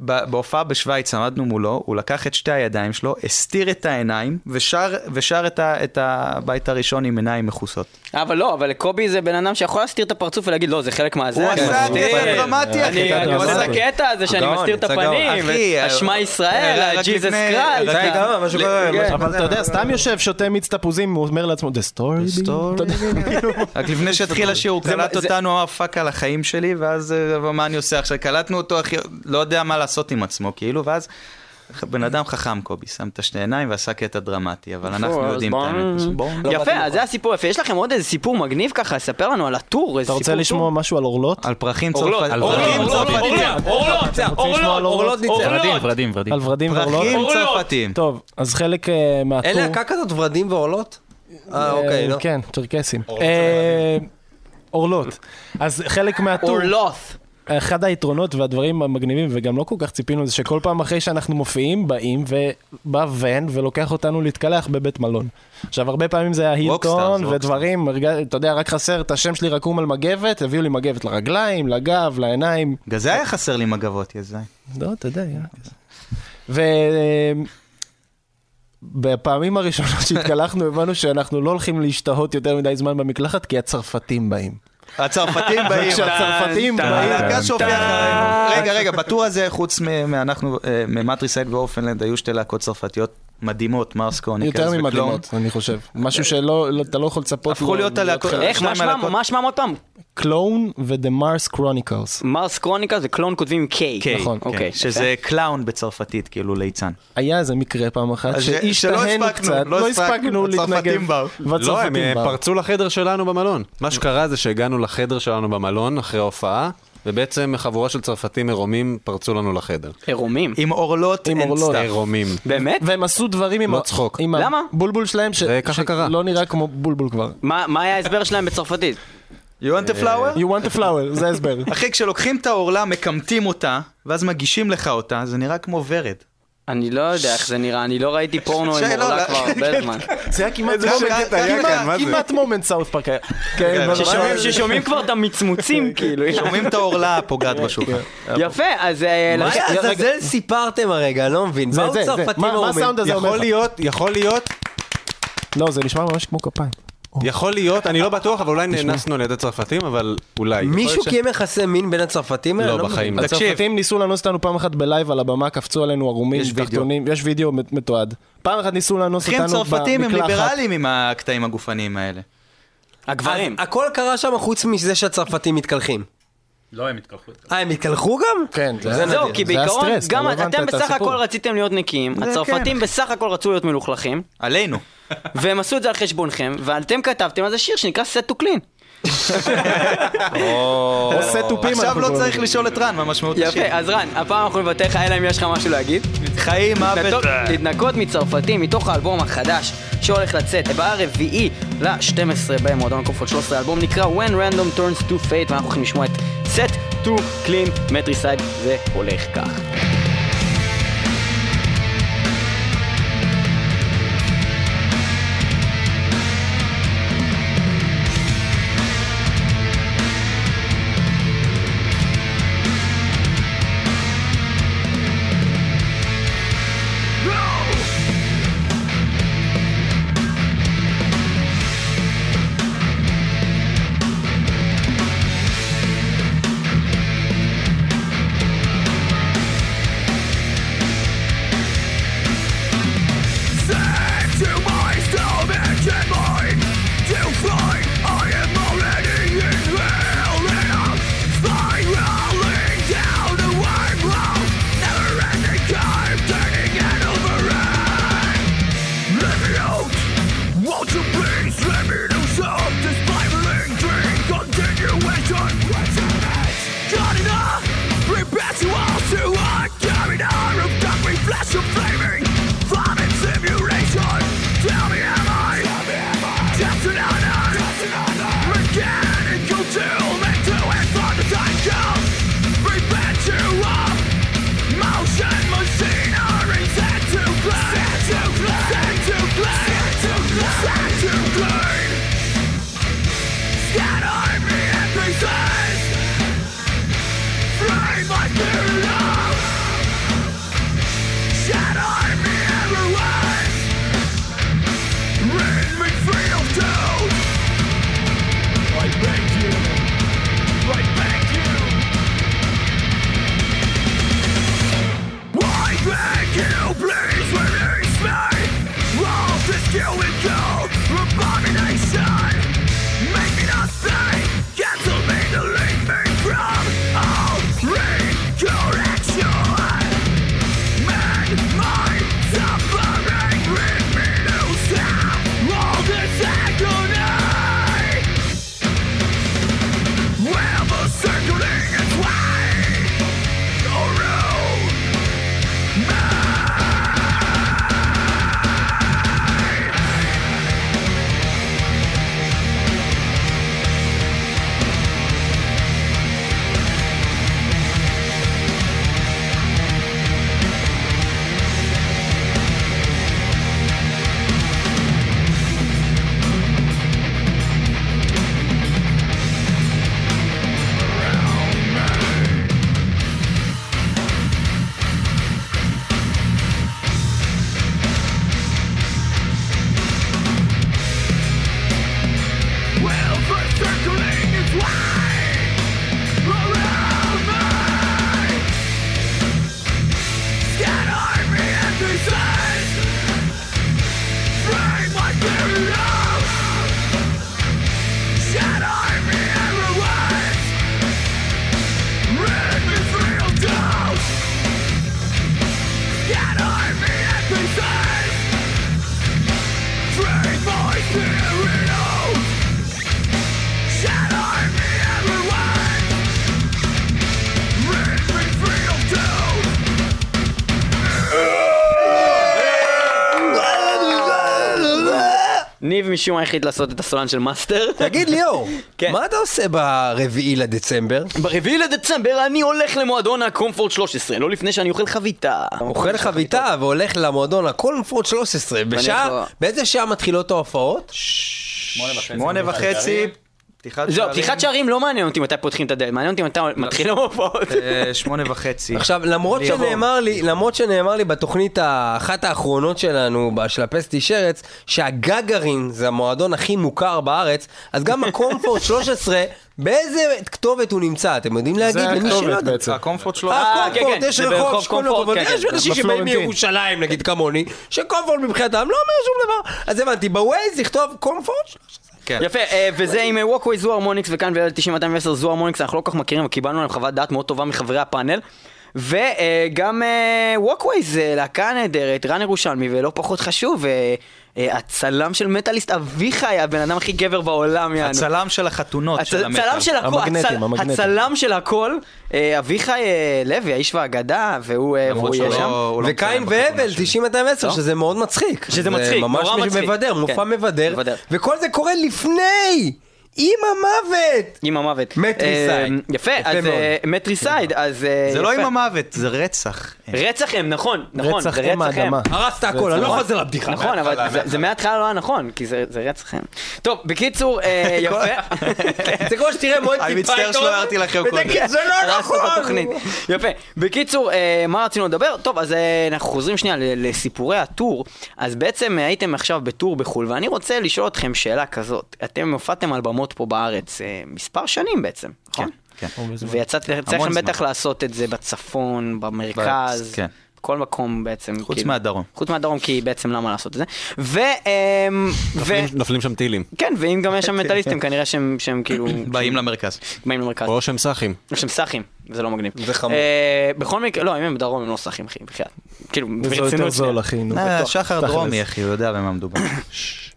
[SPEAKER 2] ב- בהופעה בשוויץ עמדנו מולו, הוא לקח את שתי הידיים שלו, הסתיר את העיניים, ושר, ושר את, ה, את הבית הראשון עם עיניים מכוסות.
[SPEAKER 3] אבל לא, אבל קובי זה בן אדם שיכול להסתיר את הפרצוף ולהגיד לא, זה חלק מהזה.
[SPEAKER 2] הוא
[SPEAKER 3] אני
[SPEAKER 2] עשה
[SPEAKER 3] מסתיר."
[SPEAKER 2] קטע דרמטי, אחי.
[SPEAKER 3] אני-
[SPEAKER 1] קטע
[SPEAKER 3] אני עושה את
[SPEAKER 1] דרמטי.
[SPEAKER 3] הקטע הזה שאני
[SPEAKER 7] גאון,
[SPEAKER 3] מסתיר את
[SPEAKER 7] יצא גאון.
[SPEAKER 3] הפנים,
[SPEAKER 2] אחי,
[SPEAKER 3] שמע
[SPEAKER 2] אה,
[SPEAKER 3] ישראל,
[SPEAKER 2] רק
[SPEAKER 3] ג'יזוס
[SPEAKER 2] לפני- רק-
[SPEAKER 3] קרייסט.
[SPEAKER 7] גם משהו כזה.
[SPEAKER 3] כן.
[SPEAKER 2] כן,
[SPEAKER 1] אבל אתה יודע, סתם יושב, שותה מיץ תפוזים, הוא אומר לעצמו, The story.
[SPEAKER 2] The story.
[SPEAKER 1] אתה יודע, כאילו,
[SPEAKER 2] רק לפני שהתחיל השיר, הוא קלט
[SPEAKER 3] זה-
[SPEAKER 2] אותנו, אמר פאק "אה, על החיים שלי, ואז אה, מה אני עושה עכשיו? קלטנו אותו, אחי, לא יודע מה לעשות עם עצמו, כאילו, ואז... בן אדם חכם קובי, שם את השתי עיניים ועשה קטע דרמטי, אבל אנחנו
[SPEAKER 3] נכון, אז
[SPEAKER 2] יודעים את
[SPEAKER 3] בואו-
[SPEAKER 2] האמת. בואו.
[SPEAKER 3] יפה, אז זה הסיפור יפה. יש לכם עוד איזה סיפור מגניב ככה? ספר לנו על הטור, איזה
[SPEAKER 1] אתה
[SPEAKER 3] סיפור
[SPEAKER 1] רוצה לשמוע משהו על אורלות?
[SPEAKER 2] על פרחים
[SPEAKER 3] אורלות,
[SPEAKER 2] צרפתיים.
[SPEAKER 3] אורלות,
[SPEAKER 2] פרחים
[SPEAKER 3] אורלות,
[SPEAKER 2] צרפתיים.
[SPEAKER 3] אורלות, אורלות,
[SPEAKER 1] לשמוע
[SPEAKER 3] אורלות,
[SPEAKER 1] על אורלות?
[SPEAKER 3] אורלות ניצח.
[SPEAKER 5] ורדים, ורדים, ורדים.
[SPEAKER 1] על ורדים ועורלות?
[SPEAKER 2] פרחים
[SPEAKER 3] אורלות.
[SPEAKER 2] צרפתיים.
[SPEAKER 1] טוב, אז חלק אה, מהטור...
[SPEAKER 7] אין להקה כזאת ורדים ועולות? אה,
[SPEAKER 1] אה,
[SPEAKER 7] אוקיי, לא.
[SPEAKER 1] כן, צ'רקסים. אה, אורלות. אז חלק מהטור...
[SPEAKER 3] אורלוס.
[SPEAKER 1] אחד היתרונות והדברים המגניבים, וגם לא כל כך ציפינו, זה שכל פעם אחרי שאנחנו מופיעים, באים ובא ון ולוקח אותנו להתקלח בבית מלון. עכשיו, הרבה פעמים זה היה
[SPEAKER 2] רוקסטאר,
[SPEAKER 1] הילטון
[SPEAKER 2] זה
[SPEAKER 1] ודברים, הרג- אתה יודע, רק חסר את השם שלי רקום על מגבת, הביאו לי מגבת לרגליים, לגב, לעיניים,
[SPEAKER 2] בגלל זה היה חסר לי מגבות, יא זין.
[SPEAKER 1] לא, אתה יודע, היה כזה. ו... בפעמים הראשונות שהתקלחנו הבנו שאנחנו לא הולכים להשתהות יותר מדי זמן במקלחת כי הצרפתים באים.
[SPEAKER 2] הצרפתים באים.
[SPEAKER 1] וכשהצרפתים באים...
[SPEAKER 2] הלהקה שהופיעה אחרינו. רגע, רגע, בטור הזה, חוץ מ- מאנחנו, אה, ממטריסייד ואורפנלנד, היו שתי להקות צרפתיות מדהימות, מרס קרוניקלס
[SPEAKER 1] יותר
[SPEAKER 2] וקלון.
[SPEAKER 1] ממדהימות, אני חושב. משהו שלא, לא- אתה לא יכול לצפות. לו
[SPEAKER 2] הפכו להיות הלהקות-
[SPEAKER 1] חלק.
[SPEAKER 3] איך, מה
[SPEAKER 2] שניים
[SPEAKER 3] שמם?
[SPEAKER 2] מהלהקות.
[SPEAKER 3] מה שמם עוד פעם?
[SPEAKER 1] קלון ו-The Mars Chronicles.
[SPEAKER 3] מרס קרוניקה זה קלון כותבים עם קיי.
[SPEAKER 2] קיי,
[SPEAKER 1] נכון,
[SPEAKER 2] כן,
[SPEAKER 3] אוקיי,
[SPEAKER 2] שזה קלאון בצרפתית, כאילו ליצן.
[SPEAKER 1] היה איזה מקרה פעם אחת
[SPEAKER 2] אז ש- שלא
[SPEAKER 1] שהשתהינו
[SPEAKER 2] הספקנו,
[SPEAKER 1] קצת,
[SPEAKER 2] לא
[SPEAKER 1] לא הספקנו
[SPEAKER 2] הספקנו,
[SPEAKER 1] להתנגב.
[SPEAKER 2] הצרפתים באו.
[SPEAKER 4] לא, הם
[SPEAKER 1] והצרפתים
[SPEAKER 4] אה,
[SPEAKER 1] באו.
[SPEAKER 4] פרצו לחדר שלנו במלון. מה שקרה זה שהגענו לחדר שלנו במלון אחרי ההופעה, ובעצם חבורה של צרפתים עירומים פרצו לנו לחדר.
[SPEAKER 3] עירומים.
[SPEAKER 2] עם אורלות
[SPEAKER 1] עם
[SPEAKER 2] אין
[SPEAKER 1] אורלות.
[SPEAKER 2] סטאפ.
[SPEAKER 4] עירומים.
[SPEAKER 3] באמת?
[SPEAKER 1] והם עשו דברים עם
[SPEAKER 4] לא
[SPEAKER 1] ה-
[SPEAKER 4] צחוק.
[SPEAKER 1] עם
[SPEAKER 3] למה?
[SPEAKER 1] הבולבול שלהם, ש-
[SPEAKER 4] זה ככה קרה.
[SPEAKER 1] שלא נראה כמו בולבול כבר.
[SPEAKER 3] מה מה היה ההסבר שלהם בצרפתית?
[SPEAKER 2] You want a flower?
[SPEAKER 1] אה, You want a flower, זה ההסבר.
[SPEAKER 2] אחי, כשלוקחים את האורלה, מקמטים אותה, ואז מגישים לך אותה, זה נראה כמו ורד.
[SPEAKER 3] אני לא יודע איך זה נראה, אני לא ראיתי פורנו עם
[SPEAKER 2] שאלה,
[SPEAKER 3] אורלה
[SPEAKER 2] לא,
[SPEAKER 3] כבר הרבה זמן.
[SPEAKER 1] זה היה כמעט
[SPEAKER 2] איזה
[SPEAKER 1] מומנט-
[SPEAKER 2] שקט לא היה
[SPEAKER 1] כמעט-
[SPEAKER 2] כאן, מה זה?
[SPEAKER 1] כמעט מומנט סאוט פארק היה. כן, אבל-
[SPEAKER 3] ששומעים- ששומעים כבר את המצמוצים, כאילו.
[SPEAKER 2] שומעים את האורלה
[SPEAKER 1] כן,
[SPEAKER 2] הפוגעת בשולחן.
[SPEAKER 3] יפה, אז... אה,
[SPEAKER 7] מה
[SPEAKER 3] לכן-
[SPEAKER 1] רגע.
[SPEAKER 7] לעזאזל סיפרתם הרגע? אני לא מבין.
[SPEAKER 1] זה-
[SPEAKER 7] באו
[SPEAKER 1] זה- זה.
[SPEAKER 7] צרפתים
[SPEAKER 1] מה- מה
[SPEAKER 7] ערומים.
[SPEAKER 1] הסאונד הזה אומר?
[SPEAKER 4] יכול
[SPEAKER 1] לך?
[SPEAKER 4] להיות, יכול להיות,
[SPEAKER 1] לא, זה נשמע ממש כמו כפיים.
[SPEAKER 4] יכול להיות, אני לא בטוח, אבל אולי נאנסנו על ידי צרפתים, אבל אולי.
[SPEAKER 7] מישהו קיים יחסי מין בין הצרפתים האלה?
[SPEAKER 4] לא,
[SPEAKER 7] אני מבין.
[SPEAKER 4] בחיים לא.
[SPEAKER 1] הצרפתים ניסו לאנוס אותנו פעם אחת בלייב על הבמה, קפצו עלינו ערומים
[SPEAKER 2] יש וידאו.
[SPEAKER 1] ותחתונים, יש וידאו מתועד. פעם אחת ניסו לאנוס
[SPEAKER 2] צריכים
[SPEAKER 1] אותנו
[SPEAKER 2] צרפתים הם
[SPEAKER 1] במקלחת.
[SPEAKER 2] ליברלים עם הקטעים הגופניים האלה. הגברים.
[SPEAKER 7] אז הכל קרה שם חוץ מזה שהצרפתים מתקלחים.
[SPEAKER 5] לא, הם התקלחו.
[SPEAKER 7] אה, הם התקלחו גם?
[SPEAKER 1] כן, זה
[SPEAKER 7] זה
[SPEAKER 1] היה
[SPEAKER 7] נדיר.
[SPEAKER 3] זהו,
[SPEAKER 1] נדיר.
[SPEAKER 3] כי
[SPEAKER 1] זה היה
[SPEAKER 3] בעיקרון,
[SPEAKER 1] סטרס, אתה
[SPEAKER 3] גם
[SPEAKER 1] לא הבנת
[SPEAKER 3] אתם
[SPEAKER 1] את
[SPEAKER 3] בסך
[SPEAKER 1] הסיפור.
[SPEAKER 3] הכל רציתם להיות נקיים, הצרפתים בסך הכל רצו להיות מלוכלכים,
[SPEAKER 2] עלינו.
[SPEAKER 3] והם עשו את זה על חשבונכם, ואתם כתבתם על זה שיר שנקרא set to clean.
[SPEAKER 1] עושה תופים.
[SPEAKER 2] עכשיו
[SPEAKER 1] אנחנו
[SPEAKER 2] לא
[SPEAKER 1] קוראים
[SPEAKER 2] צריך
[SPEAKER 1] לזה.
[SPEAKER 2] לשאול את רן מה משמעות השיר.
[SPEAKER 3] יפה, אז רן, הפעם אנחנו נוותר לך, אלא אם יש לך משהו להגיד.
[SPEAKER 2] חיים, מוות.
[SPEAKER 3] להתנקות- להתנקות מצרפתים מתוך האלבום החדש שהולך לצאת ברביעי ל-12 במועדון הכופות 13, האלבום נקרא When Random Turns to Fate, ואנחנו הולכים לשמוע את set to clean מטריסייד, זה הולך כך.
[SPEAKER 6] Flash of flaming, vomit simulation. Tell me, am I? Just another, mechanical tool to it for the time comes. Prevent you of motion machinery. Set to play, set to play, set to play, set to play, set to play. Scatter me in pieces. Free my fear of Shatter me everywhere. Rid me free of doubt. I beg you. I beg you. I beg you, please release me. All this guilt and guilt, abomination. Make me nothing. Cancel me, delete me from all recollection. Circling its way around Well, for circling its way around me. Scatter me in pieces. Frame my spirit up. Shatter me everywhere. Rid me free of doubt. Scatter me in pieces. Frame my spirit up. Shatter me everywhere. Rid me free of doubt.
[SPEAKER 3] ניב משום מה החליט לעשות את הסולן של מאסטר.
[SPEAKER 7] תגיד ליאור,
[SPEAKER 3] כן.
[SPEAKER 7] מה אתה עושה ברביעי לדצמבר?
[SPEAKER 3] ברביעי לדצמבר אני הולך למועדון הקומפורט 13, לא לפני שאני אוכל חביתה.
[SPEAKER 7] אוכל חביתה והולך למועדון הקולפורט 13, בשעה,
[SPEAKER 3] ואני-
[SPEAKER 7] באיזה שעה מתחילות ההופעות?
[SPEAKER 2] שמונה וחצי, פתיחת
[SPEAKER 3] זהו, פתיחת שערים לא מעניין אותי מתי פותחים את הדלת, מעניין אותי מתי מתחילים הופעות.
[SPEAKER 2] אה, שמונה וחצי.
[SPEAKER 7] עכשיו, למרות
[SPEAKER 2] ליאור.
[SPEAKER 7] שנאמר לי, למרות שנאמר לי בתוכנית האחת האחרונות שלנו, ב- של הפסטי שרץ, שהגגרין זה המועדון הכי מוכר בארץ, אז גם הקומפורט 13, באיזה כתובת הוא נמצא? אתם יודעים להגיד?
[SPEAKER 1] זה
[SPEAKER 7] למי שלא
[SPEAKER 1] הכתובת
[SPEAKER 7] יודע.
[SPEAKER 1] בעצם.
[SPEAKER 2] הקומפורט שלו.
[SPEAKER 7] אה,
[SPEAKER 3] אה, כן,
[SPEAKER 7] קומפורט,
[SPEAKER 3] כן,
[SPEAKER 7] יש
[SPEAKER 3] זה ברחוב
[SPEAKER 7] רחוב שקוראים לו
[SPEAKER 3] קומפורט,
[SPEAKER 7] קומפורט,
[SPEAKER 3] כן,
[SPEAKER 7] יש
[SPEAKER 3] כן,
[SPEAKER 7] אנשים שבאים
[SPEAKER 1] בפלורנטין.
[SPEAKER 7] מירושלים, נגיד כמוני, שקומפורט מבחינתם לא אומר שום דבר. אז הבנתי, בווייז לכתוב קומפורט?
[SPEAKER 2] כן.
[SPEAKER 3] יפה, אה, וזה עם ווקווי זו הרמוניקס וכאן ואל 9210 זו הרמוניקס, אנחנו לא כל כך מכירים, אבל קיבלנו עליהם חוות דעת מאוד טובה מחברי הפאנל. אה, וגם ווקווי זה להקה נהדרת, רן ירושלמי, ולא פחות חשוב, אה, אה, הצלם של מטאליסט אביחי, הבן אדם הכי גבר בעולם, יענו.
[SPEAKER 2] הצלם של החתונות
[SPEAKER 3] הצ-
[SPEAKER 2] של המטר.
[SPEAKER 3] הצלם של הכל,
[SPEAKER 1] המגנטים,
[SPEAKER 3] הצל-
[SPEAKER 1] המגנטים.
[SPEAKER 3] הצלם של הכל, אה, אביחי אה, לוי, האיש והאגדה, והוא אה, והוא יהיה
[SPEAKER 2] שהוא
[SPEAKER 3] שם.
[SPEAKER 2] לא- הוא לא
[SPEAKER 7] וקין
[SPEAKER 2] מצלם
[SPEAKER 7] והבל,
[SPEAKER 2] בחתונה שלי.
[SPEAKER 7] 9210, שזה מאוד מצחיק.
[SPEAKER 3] לא? שזה מצחיק,
[SPEAKER 7] ממש
[SPEAKER 3] נורא
[SPEAKER 7] מש-
[SPEAKER 3] מצחיק.
[SPEAKER 7] מבדר, מופע
[SPEAKER 3] כן,
[SPEAKER 7] מבדר.
[SPEAKER 3] מבדר.
[SPEAKER 7] וכל זה קורה לפני! עם המוות!
[SPEAKER 3] עם המוות.
[SPEAKER 7] מטריסייד.
[SPEAKER 3] אה, יפה,
[SPEAKER 7] יפה
[SPEAKER 3] אז אה,
[SPEAKER 7] מאוד.
[SPEAKER 3] מטריסייד, אז... אה,
[SPEAKER 2] זה לא
[SPEAKER 3] יפה.
[SPEAKER 2] עם המוות, זה רצח. כן.
[SPEAKER 3] רצח הם, נכון, נכון,
[SPEAKER 1] רצח
[SPEAKER 3] זה
[SPEAKER 1] אם
[SPEAKER 3] רצח הם.
[SPEAKER 1] האדמה.
[SPEAKER 7] הרסת הכל, אני לא חוזר לבדיחה.
[SPEAKER 3] נכון, אבל זה- זה מההתחלה לא היה נכון, כי זה זה רצח הם. טוב, בקיצור, אה, יפה.
[SPEAKER 7] זה כמו שתראה מועד
[SPEAKER 2] אני מצטער שלא הערתי לכם קודם.
[SPEAKER 7] ותגיד, זה לא
[SPEAKER 3] הרסנו
[SPEAKER 7] נכון!
[SPEAKER 3] את התוכנית. יפה. בקיצור, אה, מה רצינו לדבר? טוב, אז אה, אנחנו חוזרים שנייה ל- לסיפורי הטור. אז בעצם אה, הייתם עכשיו בטור בחו"ל, ואני רוצה לשאול אתכם שאלה כזאת. אתם הופעתם על במות פה בארץ אה, מספר שנים בעצם, נכון?
[SPEAKER 2] כן.
[SPEAKER 3] ויצאתי,
[SPEAKER 2] המון
[SPEAKER 3] צריכים
[SPEAKER 2] זמן.
[SPEAKER 3] בטח לעשות את זה בצפון, במרכז,
[SPEAKER 2] בארץ, כן.
[SPEAKER 3] בכל מקום בעצם.
[SPEAKER 2] חוץ
[SPEAKER 3] כאילו.
[SPEAKER 2] מהדרום.
[SPEAKER 3] חוץ מהדרום, כי בעצם למה לעשות את זה? ו... אה, ו...
[SPEAKER 4] נופלים- נופלים שם טילים,
[SPEAKER 3] כן, ואם גם יש שם מטאליסטים, כנראה שהם שהם כאילו...
[SPEAKER 2] באים למרכז.
[SPEAKER 3] באים למרכז.
[SPEAKER 4] או שהם סאחים.
[SPEAKER 3] יש שם סאחים, זה לא מגניב.
[SPEAKER 7] זה חמור.
[SPEAKER 3] אה, בכל מקרה, לא, אם הם בדרום הם לא סאחים, אחי, בחייאת. כאילו,
[SPEAKER 1] זה יותר
[SPEAKER 3] ברצינות.
[SPEAKER 1] זול, אחי, נו.
[SPEAKER 2] אה,
[SPEAKER 1] בטוח.
[SPEAKER 2] שחר
[SPEAKER 1] תכלס.
[SPEAKER 2] דרומי, אחי, הוא יודע במה מדובר.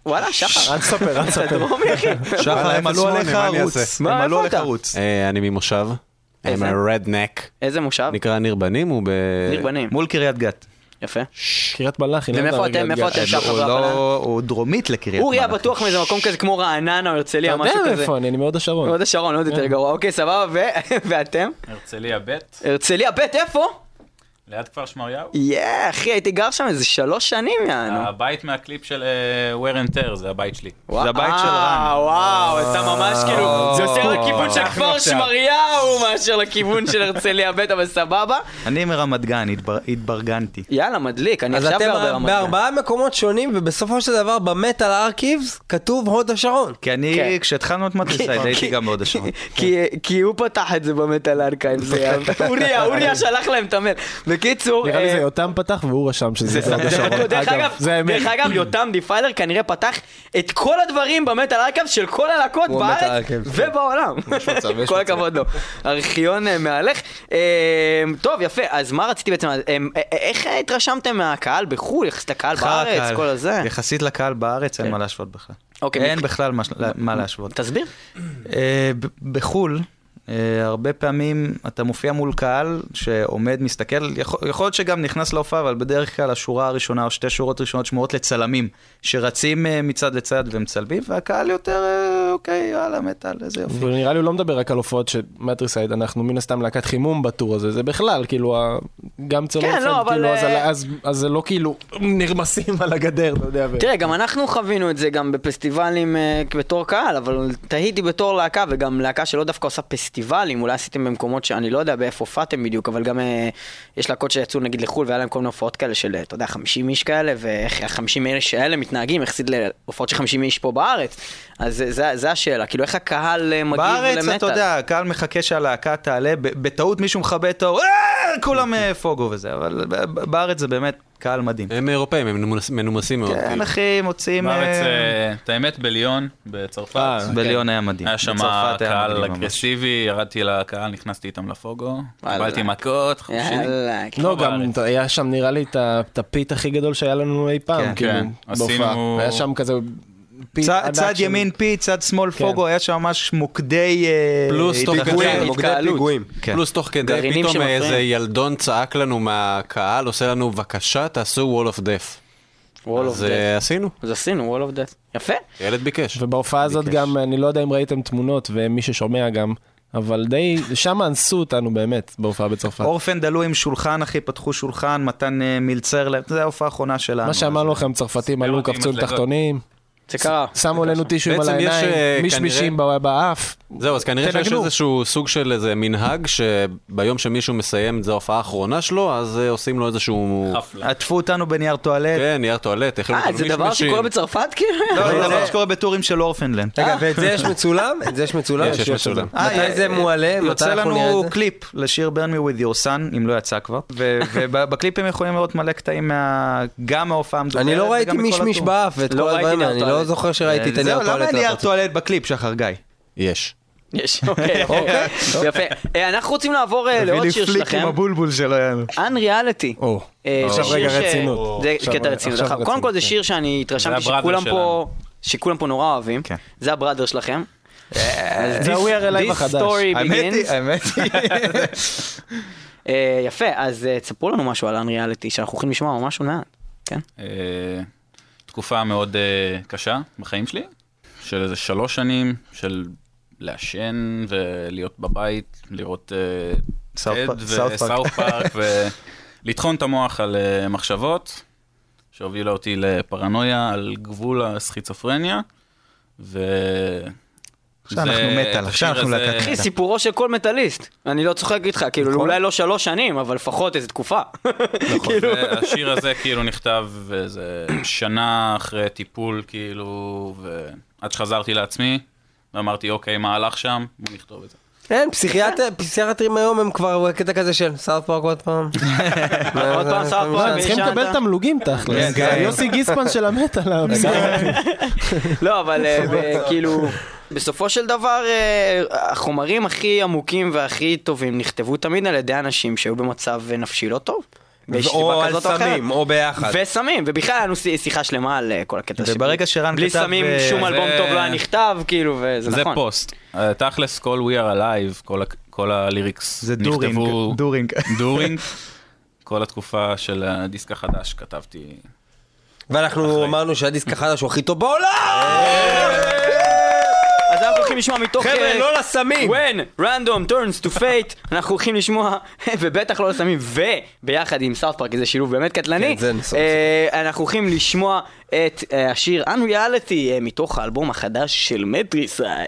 [SPEAKER 3] וואלה, שחר.
[SPEAKER 1] אל תספר, אל
[SPEAKER 3] אתה
[SPEAKER 1] תספר.
[SPEAKER 3] דרומי, אחי.
[SPEAKER 2] שחר, הם עלו עליך
[SPEAKER 4] מה אני
[SPEAKER 2] ערוץ.
[SPEAKER 4] אעשה?
[SPEAKER 2] הם
[SPEAKER 3] מה,
[SPEAKER 2] עלו
[SPEAKER 3] איפה
[SPEAKER 2] עליך
[SPEAKER 3] אתה?
[SPEAKER 2] ערוץ.
[SPEAKER 4] אה, אני ממושב,
[SPEAKER 3] איזה?
[SPEAKER 4] I'm a redneck,
[SPEAKER 3] איזה מושב?
[SPEAKER 4] נקרא ניר בנים, הוא ב...
[SPEAKER 2] אה,
[SPEAKER 3] ניר בנים.
[SPEAKER 2] מול קריית גת.
[SPEAKER 3] יפה.
[SPEAKER 1] קריית מלאכי, לא יודע,
[SPEAKER 3] ומאיפה
[SPEAKER 1] רגע,
[SPEAKER 3] אתם? מאיפה
[SPEAKER 1] רגע.
[SPEAKER 3] אתם? אה, שחר
[SPEAKER 2] הוא
[SPEAKER 3] והפנן?
[SPEAKER 2] כן, לא- הוא דרומית לקריית
[SPEAKER 3] אורי היה
[SPEAKER 2] מלאכי.
[SPEAKER 3] בטוח מאיזה מקום כזה כמו רעננה או הרצליה,
[SPEAKER 1] אתה יודע
[SPEAKER 3] משהו כזה.
[SPEAKER 1] מאיפה אה, כן. אני, אני מהוד השרון.
[SPEAKER 3] הוד השרון, עוד יותר גרוע. אוקיי, סבבה, ו- ואתם?
[SPEAKER 5] הרצליה ב',
[SPEAKER 3] הרצליה ב', איפה?
[SPEAKER 5] ליד כפר שמריהו.
[SPEAKER 3] יאה, אחי, הייתי גר שם איזה שלוש שנים, יענו.
[SPEAKER 5] הבית מהקליפ של אה, Wear and Tear, זה הבית שלי.
[SPEAKER 3] זה
[SPEAKER 2] הבית של רן.
[SPEAKER 3] אה, וואו, אתה ממש כאילו, זה יותר לכיוון של כפר שמריהו מאשר לכיוון של הרצליה ב', אבל סבבה.
[SPEAKER 2] אני מרמת גן, התבר- התברגנתי.
[SPEAKER 3] יאללה, מדליק, אני
[SPEAKER 7] אז
[SPEAKER 3] עכשיו
[SPEAKER 7] אתם
[SPEAKER 3] בהרבה רמת
[SPEAKER 7] בארבעה מקומות שונים, ובסופו של דבר במטאל ארכיבס כתוב הוד
[SPEAKER 2] כי
[SPEAKER 7] השרון.
[SPEAKER 3] כן. אוקיי.
[SPEAKER 2] אני, כשהתחלנו את מטריסייד, הייתי גם בהוד השרון.
[SPEAKER 3] כי- כי הוא פתח את זה במטאל ארכיים, זה היה- אוריה, אוריה שלח להם את המייל. בקיצור,
[SPEAKER 1] נראה לי
[SPEAKER 3] אה,
[SPEAKER 1] זה יותם פתח והוא רשם שזה
[SPEAKER 3] זה
[SPEAKER 1] הוד השרון.
[SPEAKER 3] בטוח. דרך אגב,
[SPEAKER 1] זה האמת.
[SPEAKER 3] דרך אגב, יותם דיפיילר כנראה פתח את כל הדברים במטאל ארכיבס של כל הלהקות
[SPEAKER 7] הוא המטאל
[SPEAKER 3] בארץ
[SPEAKER 7] ארכיבס, כן.
[SPEAKER 3] ובעולם.
[SPEAKER 7] מצב, יש
[SPEAKER 3] כל
[SPEAKER 7] מצב.
[SPEAKER 3] הכבוד לו. ארכיון אה, מהלך. אה, טוב, יפה, אז מה רציתי בעצם, אה, אה, איך התרשמתם מהקהל בחו"ל, יחסית לקהל בארץ,
[SPEAKER 2] הקהל.
[SPEAKER 3] כל הזה? כן.
[SPEAKER 2] יחסית לקהל בארץ, אין מה להשוות בכלל.
[SPEAKER 3] אוקיי,
[SPEAKER 2] אין
[SPEAKER 3] מק-
[SPEAKER 2] בכלל מה- מה להשוות.
[SPEAKER 3] תסביר.
[SPEAKER 2] אה, ב- בחו"ל, אה, הרבה פעמים אתה מופיע מול קהל שעומד, מסתכל, יכול יכול להיות שגם נכנס להופעה, אבל בדרך כלל השורה הראשונה או שתי שורות ראשונות שמורות לצלמים, שרצים אה, מצד לצד ומצלמים, והקהל יותר, אה, אוקיי, יאללה, מטאל, איזה יופי.
[SPEAKER 1] ונראה לי הוא לא מדבר רק על הופעות של מטריסייד, אנחנו מן הסתם להקת חימום בטור הזה, זה בכלל, כאילו, ה- גם צלופן,
[SPEAKER 3] כן, לא, אבל,
[SPEAKER 1] כאילו, אז,
[SPEAKER 3] אה,
[SPEAKER 1] אז, אז זה לא כאילו נרמסים על הגדר, אתה יודע, ו...
[SPEAKER 3] תראה, גם אנחנו חווינו את זה גם בפסטיבלים אה, בתור קהל, אבל תהיתי בתור להקה, וגם להקה שלא דווקא עושה פסטיבלים, אולי עשיתם במקומות שאני לא יודע באיפה הופעתם בדיוק, אבל גם אה, יש להקות שיצאו נגיד לחו"ל, והיה להם כל מיני הופעות כאלה של, אה, אתה יודע, 50 איש כאלה, ואיך ה-50 איש האלה מתנהגים יחסית להופעות של 50 איש פה בארץ. אז זה- זה- זה השאלה, כאילו איך הקהל אה, מגיב למטאל.
[SPEAKER 2] בארץ, אתה יודע, הקהל מחכה שהלהקה תעלה, ב- בטעות מישהו מכבה את האור, "אה, כולם אה, פוגו וזה, אבל ב- ב- בארץ זה באמת קהל מדהים.
[SPEAKER 4] הם אירופאים, הם מנומס- מנומסים מאוד.
[SPEAKER 2] כן,
[SPEAKER 4] כאילו.
[SPEAKER 2] אחי, מוצאים...
[SPEAKER 5] בארץ,
[SPEAKER 2] אה,
[SPEAKER 5] אה, את האמת, בליון, בצרפת. כן.
[SPEAKER 2] בליון היה מדהים.
[SPEAKER 5] היה שם
[SPEAKER 2] בצרפת היה
[SPEAKER 5] קהל
[SPEAKER 2] מדהים ממש.
[SPEAKER 5] אגרסיבי, ירדתי לקהל, נכנסתי איתם לפוגו,
[SPEAKER 3] וואלה.
[SPEAKER 5] קיבלתי מכות, חופשי.
[SPEAKER 3] יאללה, כן.
[SPEAKER 1] לא,
[SPEAKER 5] כמו
[SPEAKER 1] גם
[SPEAKER 5] בארץ.
[SPEAKER 1] היה שם נראה לי את ה- את הפיט הכי גדול שהיה לנו אי פעם,
[SPEAKER 2] כן,
[SPEAKER 1] כאילו,
[SPEAKER 5] כן. עשינו-
[SPEAKER 1] בהופעה. היה שם כזה פיט
[SPEAKER 2] צ-
[SPEAKER 1] ענק
[SPEAKER 2] צד
[SPEAKER 1] של-
[SPEAKER 2] ימין פי, צד שמאל פוגו, היה שם ממש מוקדי... אה,
[SPEAKER 4] פלוס תוך
[SPEAKER 2] התנגדות.
[SPEAKER 4] כדי-
[SPEAKER 7] מוקדי
[SPEAKER 3] התקהלות.
[SPEAKER 7] פיגועים.
[SPEAKER 2] כן.
[SPEAKER 4] פלוס תוך כדי,
[SPEAKER 3] גרעינים
[SPEAKER 4] פתאום
[SPEAKER 3] שמפריעים.
[SPEAKER 4] איזה ילדון צעק לנו מהקהל, עושה לנו בבקשה, תעשו wall of death.
[SPEAKER 3] וול אוף
[SPEAKER 4] אז
[SPEAKER 3] דאט.
[SPEAKER 4] אה, עשינו,
[SPEAKER 3] אז עשינו וול אוף דאט. יפה.
[SPEAKER 4] ילד ביקש.
[SPEAKER 1] ובהופעה הזאת גם, אני לא יודע אם ראיתם תמונות, ומי ששומע גם, אבל די, שם אנסו אותנו באמת, בהופעה בצרפת.
[SPEAKER 2] אורפן דלו עם שולחן, אחי, פתחו שולחן, מתן אה, מילצר, להם, זו ההופעה האחרונה שלנו.
[SPEAKER 1] מה שאמרנו לכם, צרפתים עלו,
[SPEAKER 5] אותי עם
[SPEAKER 1] קפצו עם
[SPEAKER 5] מדרגות.
[SPEAKER 1] תחתונים,
[SPEAKER 3] זה קרה.
[SPEAKER 1] שמו עלינו טישויים על
[SPEAKER 4] בעצם יש,
[SPEAKER 1] העיניים,
[SPEAKER 4] אה,
[SPEAKER 1] מישמישים באף.
[SPEAKER 4] זהו, אז כנראה שיש
[SPEAKER 1] תנגנו.
[SPEAKER 4] איזשהו סוג של איזה מנהג, שביום שמישהו מסיים את זה ההופעה האחרונה שלו, אז אה, עושים לו איזשהו...
[SPEAKER 5] חפלה.
[SPEAKER 2] עטפו אותנו בנייר טואלט.
[SPEAKER 4] כן, נייר טואלט, הכינו
[SPEAKER 3] אה,
[SPEAKER 4] אותנו
[SPEAKER 3] זה דבר
[SPEAKER 4] מישמישים.
[SPEAKER 3] שקורה בצרפת כאילו?
[SPEAKER 2] לא, זה דבר שקורה בטורים של אורפנלנד.
[SPEAKER 7] רגע, ואת זה יש מצולם? את זה יש מצולם?
[SPEAKER 4] יש, יש מצולם.
[SPEAKER 2] אה,
[SPEAKER 7] מתי
[SPEAKER 2] אה,
[SPEAKER 7] זה
[SPEAKER 2] אה,
[SPEAKER 7] מועלה? מתי
[SPEAKER 2] יוצא
[SPEAKER 7] אנחנו נראה
[SPEAKER 2] לנו
[SPEAKER 7] את זה?
[SPEAKER 2] קליפ לשיר Burn Me With Your Son, אם לא יצא כבר, ו- ובקליפ הם יכולים לראות מלא קטעים מה- גם מההופעה המדוברת.
[SPEAKER 7] אני לא ראיתי
[SPEAKER 2] וגם מכל
[SPEAKER 7] מישמיש
[SPEAKER 2] הטור.
[SPEAKER 7] באף ואת
[SPEAKER 3] לא
[SPEAKER 7] כל
[SPEAKER 3] ראיתי
[SPEAKER 7] הדברים האלה,
[SPEAKER 3] נאוטו,
[SPEAKER 7] אני לא לא זוכר שראיתי את הנייר
[SPEAKER 2] אה, זהו,
[SPEAKER 7] טואלט.
[SPEAKER 2] למה אין נייר
[SPEAKER 7] להפצה.
[SPEAKER 2] טואלט בקליפ, שחר גיא?
[SPEAKER 4] יש.
[SPEAKER 3] יש, אוקיי, אוקיי, יפה. אה, אנחנו רוצים לעבור אה, לעוד שיר שלכם,
[SPEAKER 2] הבולבול שלו, יענו.
[SPEAKER 3] Unreality.
[SPEAKER 1] או.
[SPEAKER 3] אה,
[SPEAKER 1] עכשיו
[SPEAKER 3] זה שיר
[SPEAKER 1] רגע
[SPEAKER 3] ש-
[SPEAKER 1] רצינות.
[SPEAKER 3] זה
[SPEAKER 1] עכשיו-
[SPEAKER 3] קטע רצינות.
[SPEAKER 1] עכשיו
[SPEAKER 3] נכון. קודם כל זה
[SPEAKER 1] רצינות, כן.
[SPEAKER 3] שיר שאני התרשמתי
[SPEAKER 5] זה הבראדר
[SPEAKER 3] שכולם פה,
[SPEAKER 5] שלנו.
[SPEAKER 3] שכולם פה נורא אוהבים.
[SPEAKER 2] כן.
[SPEAKER 3] זה הבראדר שלכם. אה,
[SPEAKER 1] זה ה-We כן. are Alive
[SPEAKER 3] This
[SPEAKER 1] החדש.
[SPEAKER 3] story
[SPEAKER 2] האמת היא,
[SPEAKER 3] begins.
[SPEAKER 2] האמת היא.
[SPEAKER 3] אה, יפה, אז אה, תספרו לנו משהו על Unreality שאנחנו הולכים לשמוע ממש עוד מעט. כן.
[SPEAKER 5] אה, תקופה מאוד אה, קשה בחיים שלי, של איזה שלוש שנים, של לעשן ולהיות בבית, לראות אה,
[SPEAKER 2] סאוף
[SPEAKER 5] טד
[SPEAKER 2] פארק- סאוף פארק.
[SPEAKER 5] וסאוף פארק, ולטחון את המוח על אה, מחשבות, שהובילה אותי לפרנויה על גבול הסכיצופרניה, ו...
[SPEAKER 2] עכשיו
[SPEAKER 5] זה-
[SPEAKER 2] אנחנו מטאל,
[SPEAKER 5] את
[SPEAKER 2] עכשיו
[SPEAKER 5] השיר
[SPEAKER 2] אנחנו
[SPEAKER 5] הזה-
[SPEAKER 2] להקת
[SPEAKER 3] אחי,
[SPEAKER 1] כן.
[SPEAKER 3] סיפורו של כל מטאליסט. אני לא צוחק איתך, כאילו,
[SPEAKER 1] נכון.
[SPEAKER 3] אולי לא שלוש שנים, אבל לפחות איזה תקופה. כאילו,
[SPEAKER 5] נכון. זה- השיר הזה כאילו נכתב איזה שנה אחרי טיפול כאילו, ועד שחזרתי לעצמי, ואמרתי אוקיי מה הלך שם, בוא נכתוב את זה.
[SPEAKER 7] אין, פסיכיאטר- פסיכיאטרים היום הם כבר קטע כזה של סארט פארק עוד פעם.
[SPEAKER 1] לא,
[SPEAKER 3] עוד פעם סארט
[SPEAKER 1] מה,
[SPEAKER 3] פארק,
[SPEAKER 1] הם צריכים
[SPEAKER 3] וישנת.
[SPEAKER 1] לקבל תמלוגים תכל'ס.
[SPEAKER 2] כן.
[SPEAKER 1] זה יוסי גיספן של המטאל. הפסיכיאטר.
[SPEAKER 3] לא, אבל אה, ב- כאילו, בסופו של דבר, אה, החומרים הכי עמוקים והכי טובים נכתבו תמיד על ידי אנשים שהיו במצב אה, נפשי לא טוב. באיזושהי
[SPEAKER 7] או
[SPEAKER 3] סיבה
[SPEAKER 7] על
[SPEAKER 3] כזאת או אחרת.
[SPEAKER 7] סמים, או ביחד.
[SPEAKER 3] וסמים, ובכלל היה לנו שי- שיחה שלמה על אה, כל הקטע
[SPEAKER 2] וברגע שרן
[SPEAKER 3] בלי
[SPEAKER 2] כתב,
[SPEAKER 3] סמים
[SPEAKER 2] אה,
[SPEAKER 3] שום
[SPEAKER 5] זה-
[SPEAKER 3] אלבום טוב לא היה נכתב, כאילו, וזה
[SPEAKER 5] זה
[SPEAKER 3] נכון.
[SPEAKER 5] פוסט. אה, תכלס כל We are Alive, כל ה- כל הליריקס
[SPEAKER 2] זה דורינג,
[SPEAKER 5] נכתבו-
[SPEAKER 2] דורינג.
[SPEAKER 5] דורינג. כל התקופה של הדיסק החדש כתבתי.
[SPEAKER 7] ואנחנו אמרנו שהדיסק החדש הוא הכי טוב בעולם!
[SPEAKER 3] אז אנחנו הולכים לשמוע מתוך...
[SPEAKER 7] חבר'ה,
[SPEAKER 3] אה,
[SPEAKER 7] לא לסמים!
[SPEAKER 3] When random turns to fate, אנחנו הולכים לשמוע, ובטח לא לסמים, וביחד עם סארט פארק, זה שילוב באמת קטלני,
[SPEAKER 7] כן, זה נסו-
[SPEAKER 3] אה, אנחנו הולכים לשמוע את אה, השיר Unreality אה, מתוך האלבום החדש של מטריסאי.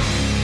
[SPEAKER 6] Unreality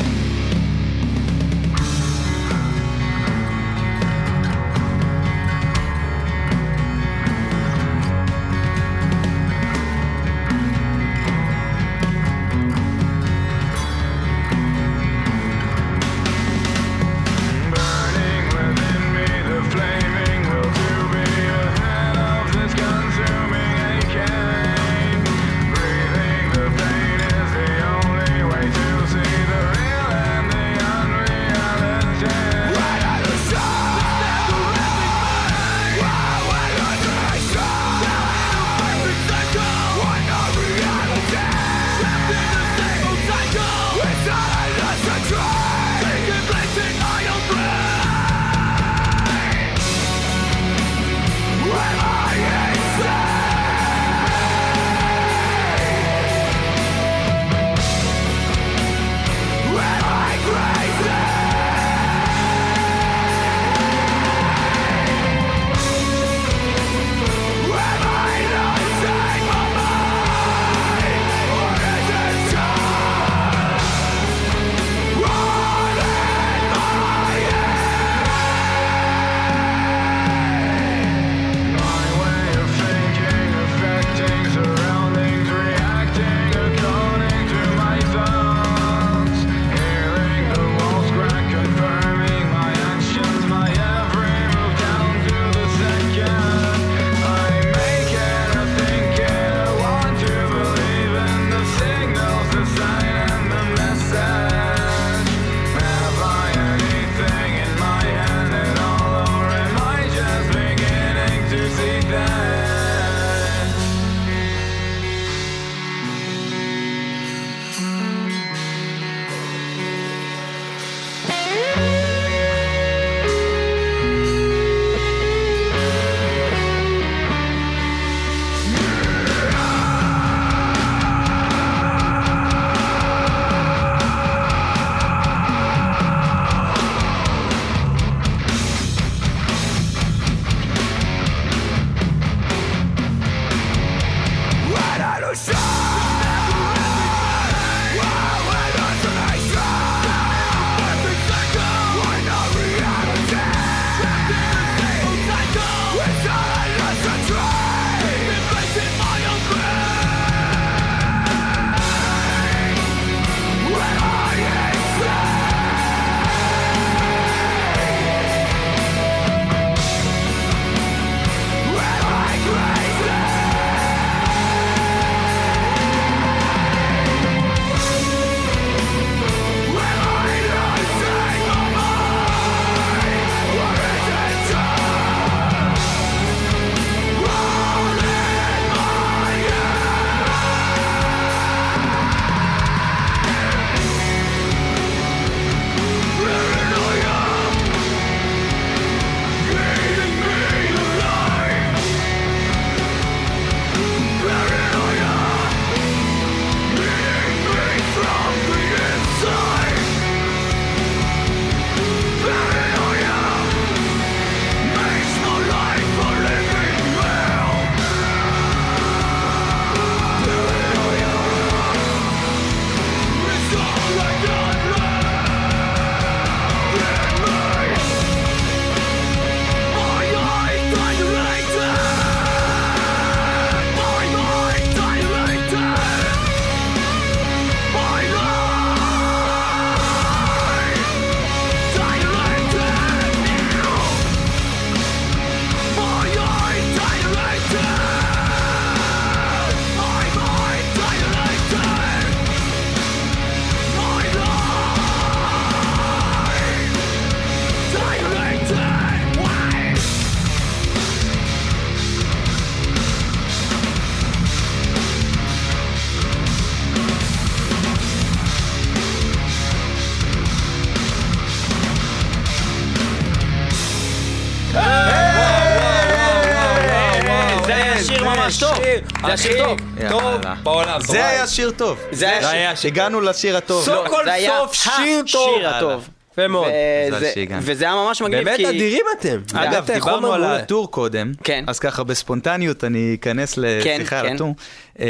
[SPEAKER 7] כן,
[SPEAKER 3] ממש טוב. זה היה שיר טוב.
[SPEAKER 7] הכי טוב
[SPEAKER 2] יאללה.
[SPEAKER 7] בעולם.
[SPEAKER 2] זה היה שיר טוב.
[SPEAKER 3] זה היה
[SPEAKER 7] זה
[SPEAKER 3] שיר-
[SPEAKER 7] היה שיר.
[SPEAKER 2] הגענו לשיר הטוב.
[SPEAKER 7] סוף
[SPEAKER 3] לא,
[SPEAKER 7] כל
[SPEAKER 3] זה היה
[SPEAKER 7] סוף שיר טוב.
[SPEAKER 3] השיר הטוב.
[SPEAKER 7] יפה מאוד.
[SPEAKER 3] וזה-
[SPEAKER 2] מזל שהגענו.
[SPEAKER 3] וזה היה ממש מגניב,
[SPEAKER 7] באמת
[SPEAKER 3] כי...
[SPEAKER 7] אדירים אתם.
[SPEAKER 2] אגב,
[SPEAKER 7] באמת, חומר
[SPEAKER 2] דיברנו על
[SPEAKER 7] מעולה.
[SPEAKER 2] הטור קודם,
[SPEAKER 3] כן.
[SPEAKER 2] אז ככה בספונטניות אני אכנס
[SPEAKER 3] כן,
[SPEAKER 2] לשיחה על
[SPEAKER 3] כן.
[SPEAKER 2] הטור. אה,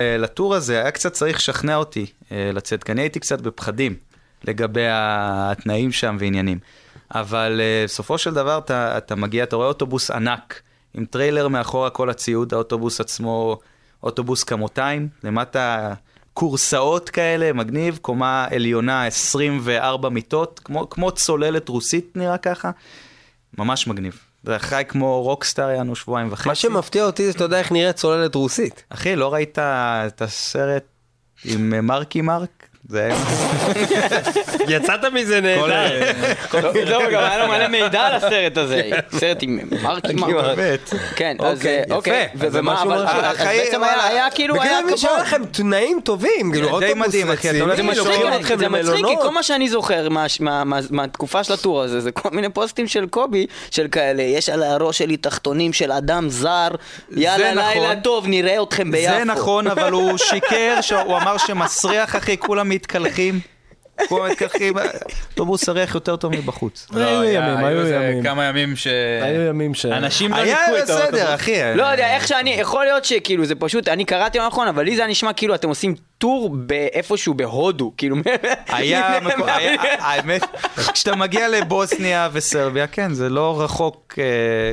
[SPEAKER 2] אה, לטור הזה היה קצת צריך לשכנע אותי אה, לצאת, כי אני הייתי קצת בפחדים לגבי התנאים שם ועניינים. אבל אה, בסופו של דבר אתה, אתה מגיע, אתה רואה אוטובוס ענק, עם טריילר מאחורה כל הציוד, האוטובוס עצמו, אוטובוס כמותיים, למטה כורסאות כאלה, מגניב, קומה עליונה 24 מיטות, כמו, כמו צוללת רוסית נראה ככה. ממש מגניב. זה חי כמו רוקסטאר, היה לנו שבועיים וחצי.
[SPEAKER 7] מה שמפתיע אותי זה שאתה יודע איך נראית צוללת רוסית.
[SPEAKER 2] אחי, לא ראית את הסרט עם אה, מרקי מרק? זה היה...
[SPEAKER 7] יצאת מזה נהדר.
[SPEAKER 3] לא, גם היה לו מלא מידע על הסרט הזה. סרט כן. עם מרקי מרק.
[SPEAKER 2] באמת.
[SPEAKER 3] כן, אז
[SPEAKER 7] אוקיי,
[SPEAKER 3] אה,
[SPEAKER 7] יפה.
[SPEAKER 3] אוקיי.
[SPEAKER 7] אז זה
[SPEAKER 3] ומה,
[SPEAKER 7] משהו
[SPEAKER 3] אבל...
[SPEAKER 7] מרשים.
[SPEAKER 3] אז
[SPEAKER 2] החיים,
[SPEAKER 3] בעצם
[SPEAKER 2] וואלה.
[SPEAKER 3] היה היה כאילו, היה
[SPEAKER 7] בגלל זה
[SPEAKER 3] כבוד.
[SPEAKER 7] שהיה לכם תנאים טובים, כאילו
[SPEAKER 2] די
[SPEAKER 7] אוטובוס
[SPEAKER 2] מדהים, אחי, אתה
[SPEAKER 7] רציני,
[SPEAKER 2] הולך
[SPEAKER 3] זה
[SPEAKER 2] עם
[SPEAKER 7] לוקחים
[SPEAKER 3] מצחיק,
[SPEAKER 7] אתכם
[SPEAKER 3] זה מצחיק, כי
[SPEAKER 7] למלונות.
[SPEAKER 3] כל מה שאני זוכר מה- מה- מה- מהתקופה של הטור הזה, זה כל מיני פוסטים של קובי, של כאלה, יש על הראש שלי תחתונים של אדם זר, יאללה
[SPEAKER 2] נכון.
[SPEAKER 3] לילה טוב, נראה אתכם ביפו.
[SPEAKER 2] זה נכון, אבל הוא שיקר, ש- הוא אמר שמסריח, אחי, כולם מתקלחים. כולם מתקלחים, אוטובוס הריח יותר טוב מבחוץ.
[SPEAKER 5] לא,
[SPEAKER 1] היו
[SPEAKER 5] היה-
[SPEAKER 1] ימים, היו
[SPEAKER 5] איזה
[SPEAKER 1] ימים.
[SPEAKER 5] כמה ימים ש...
[SPEAKER 1] היו ימים ש-
[SPEAKER 5] אנשים לא
[SPEAKER 2] היה
[SPEAKER 5] ניקו את האוטובוס.
[SPEAKER 2] בסדר, אחי.
[SPEAKER 3] לא יודע, איך שאני, יכול להיות שכאילו זה פשוט, אני קראתי לא נכון, אבל לי זה היה נשמע כאילו אתם עושים טור באיפשהו בהודו, כאילו,
[SPEAKER 2] היה, מקו- היה- האמת, כשאתה מגיע לבוסניה וסרביה, כן, זה לא רחוק. אה,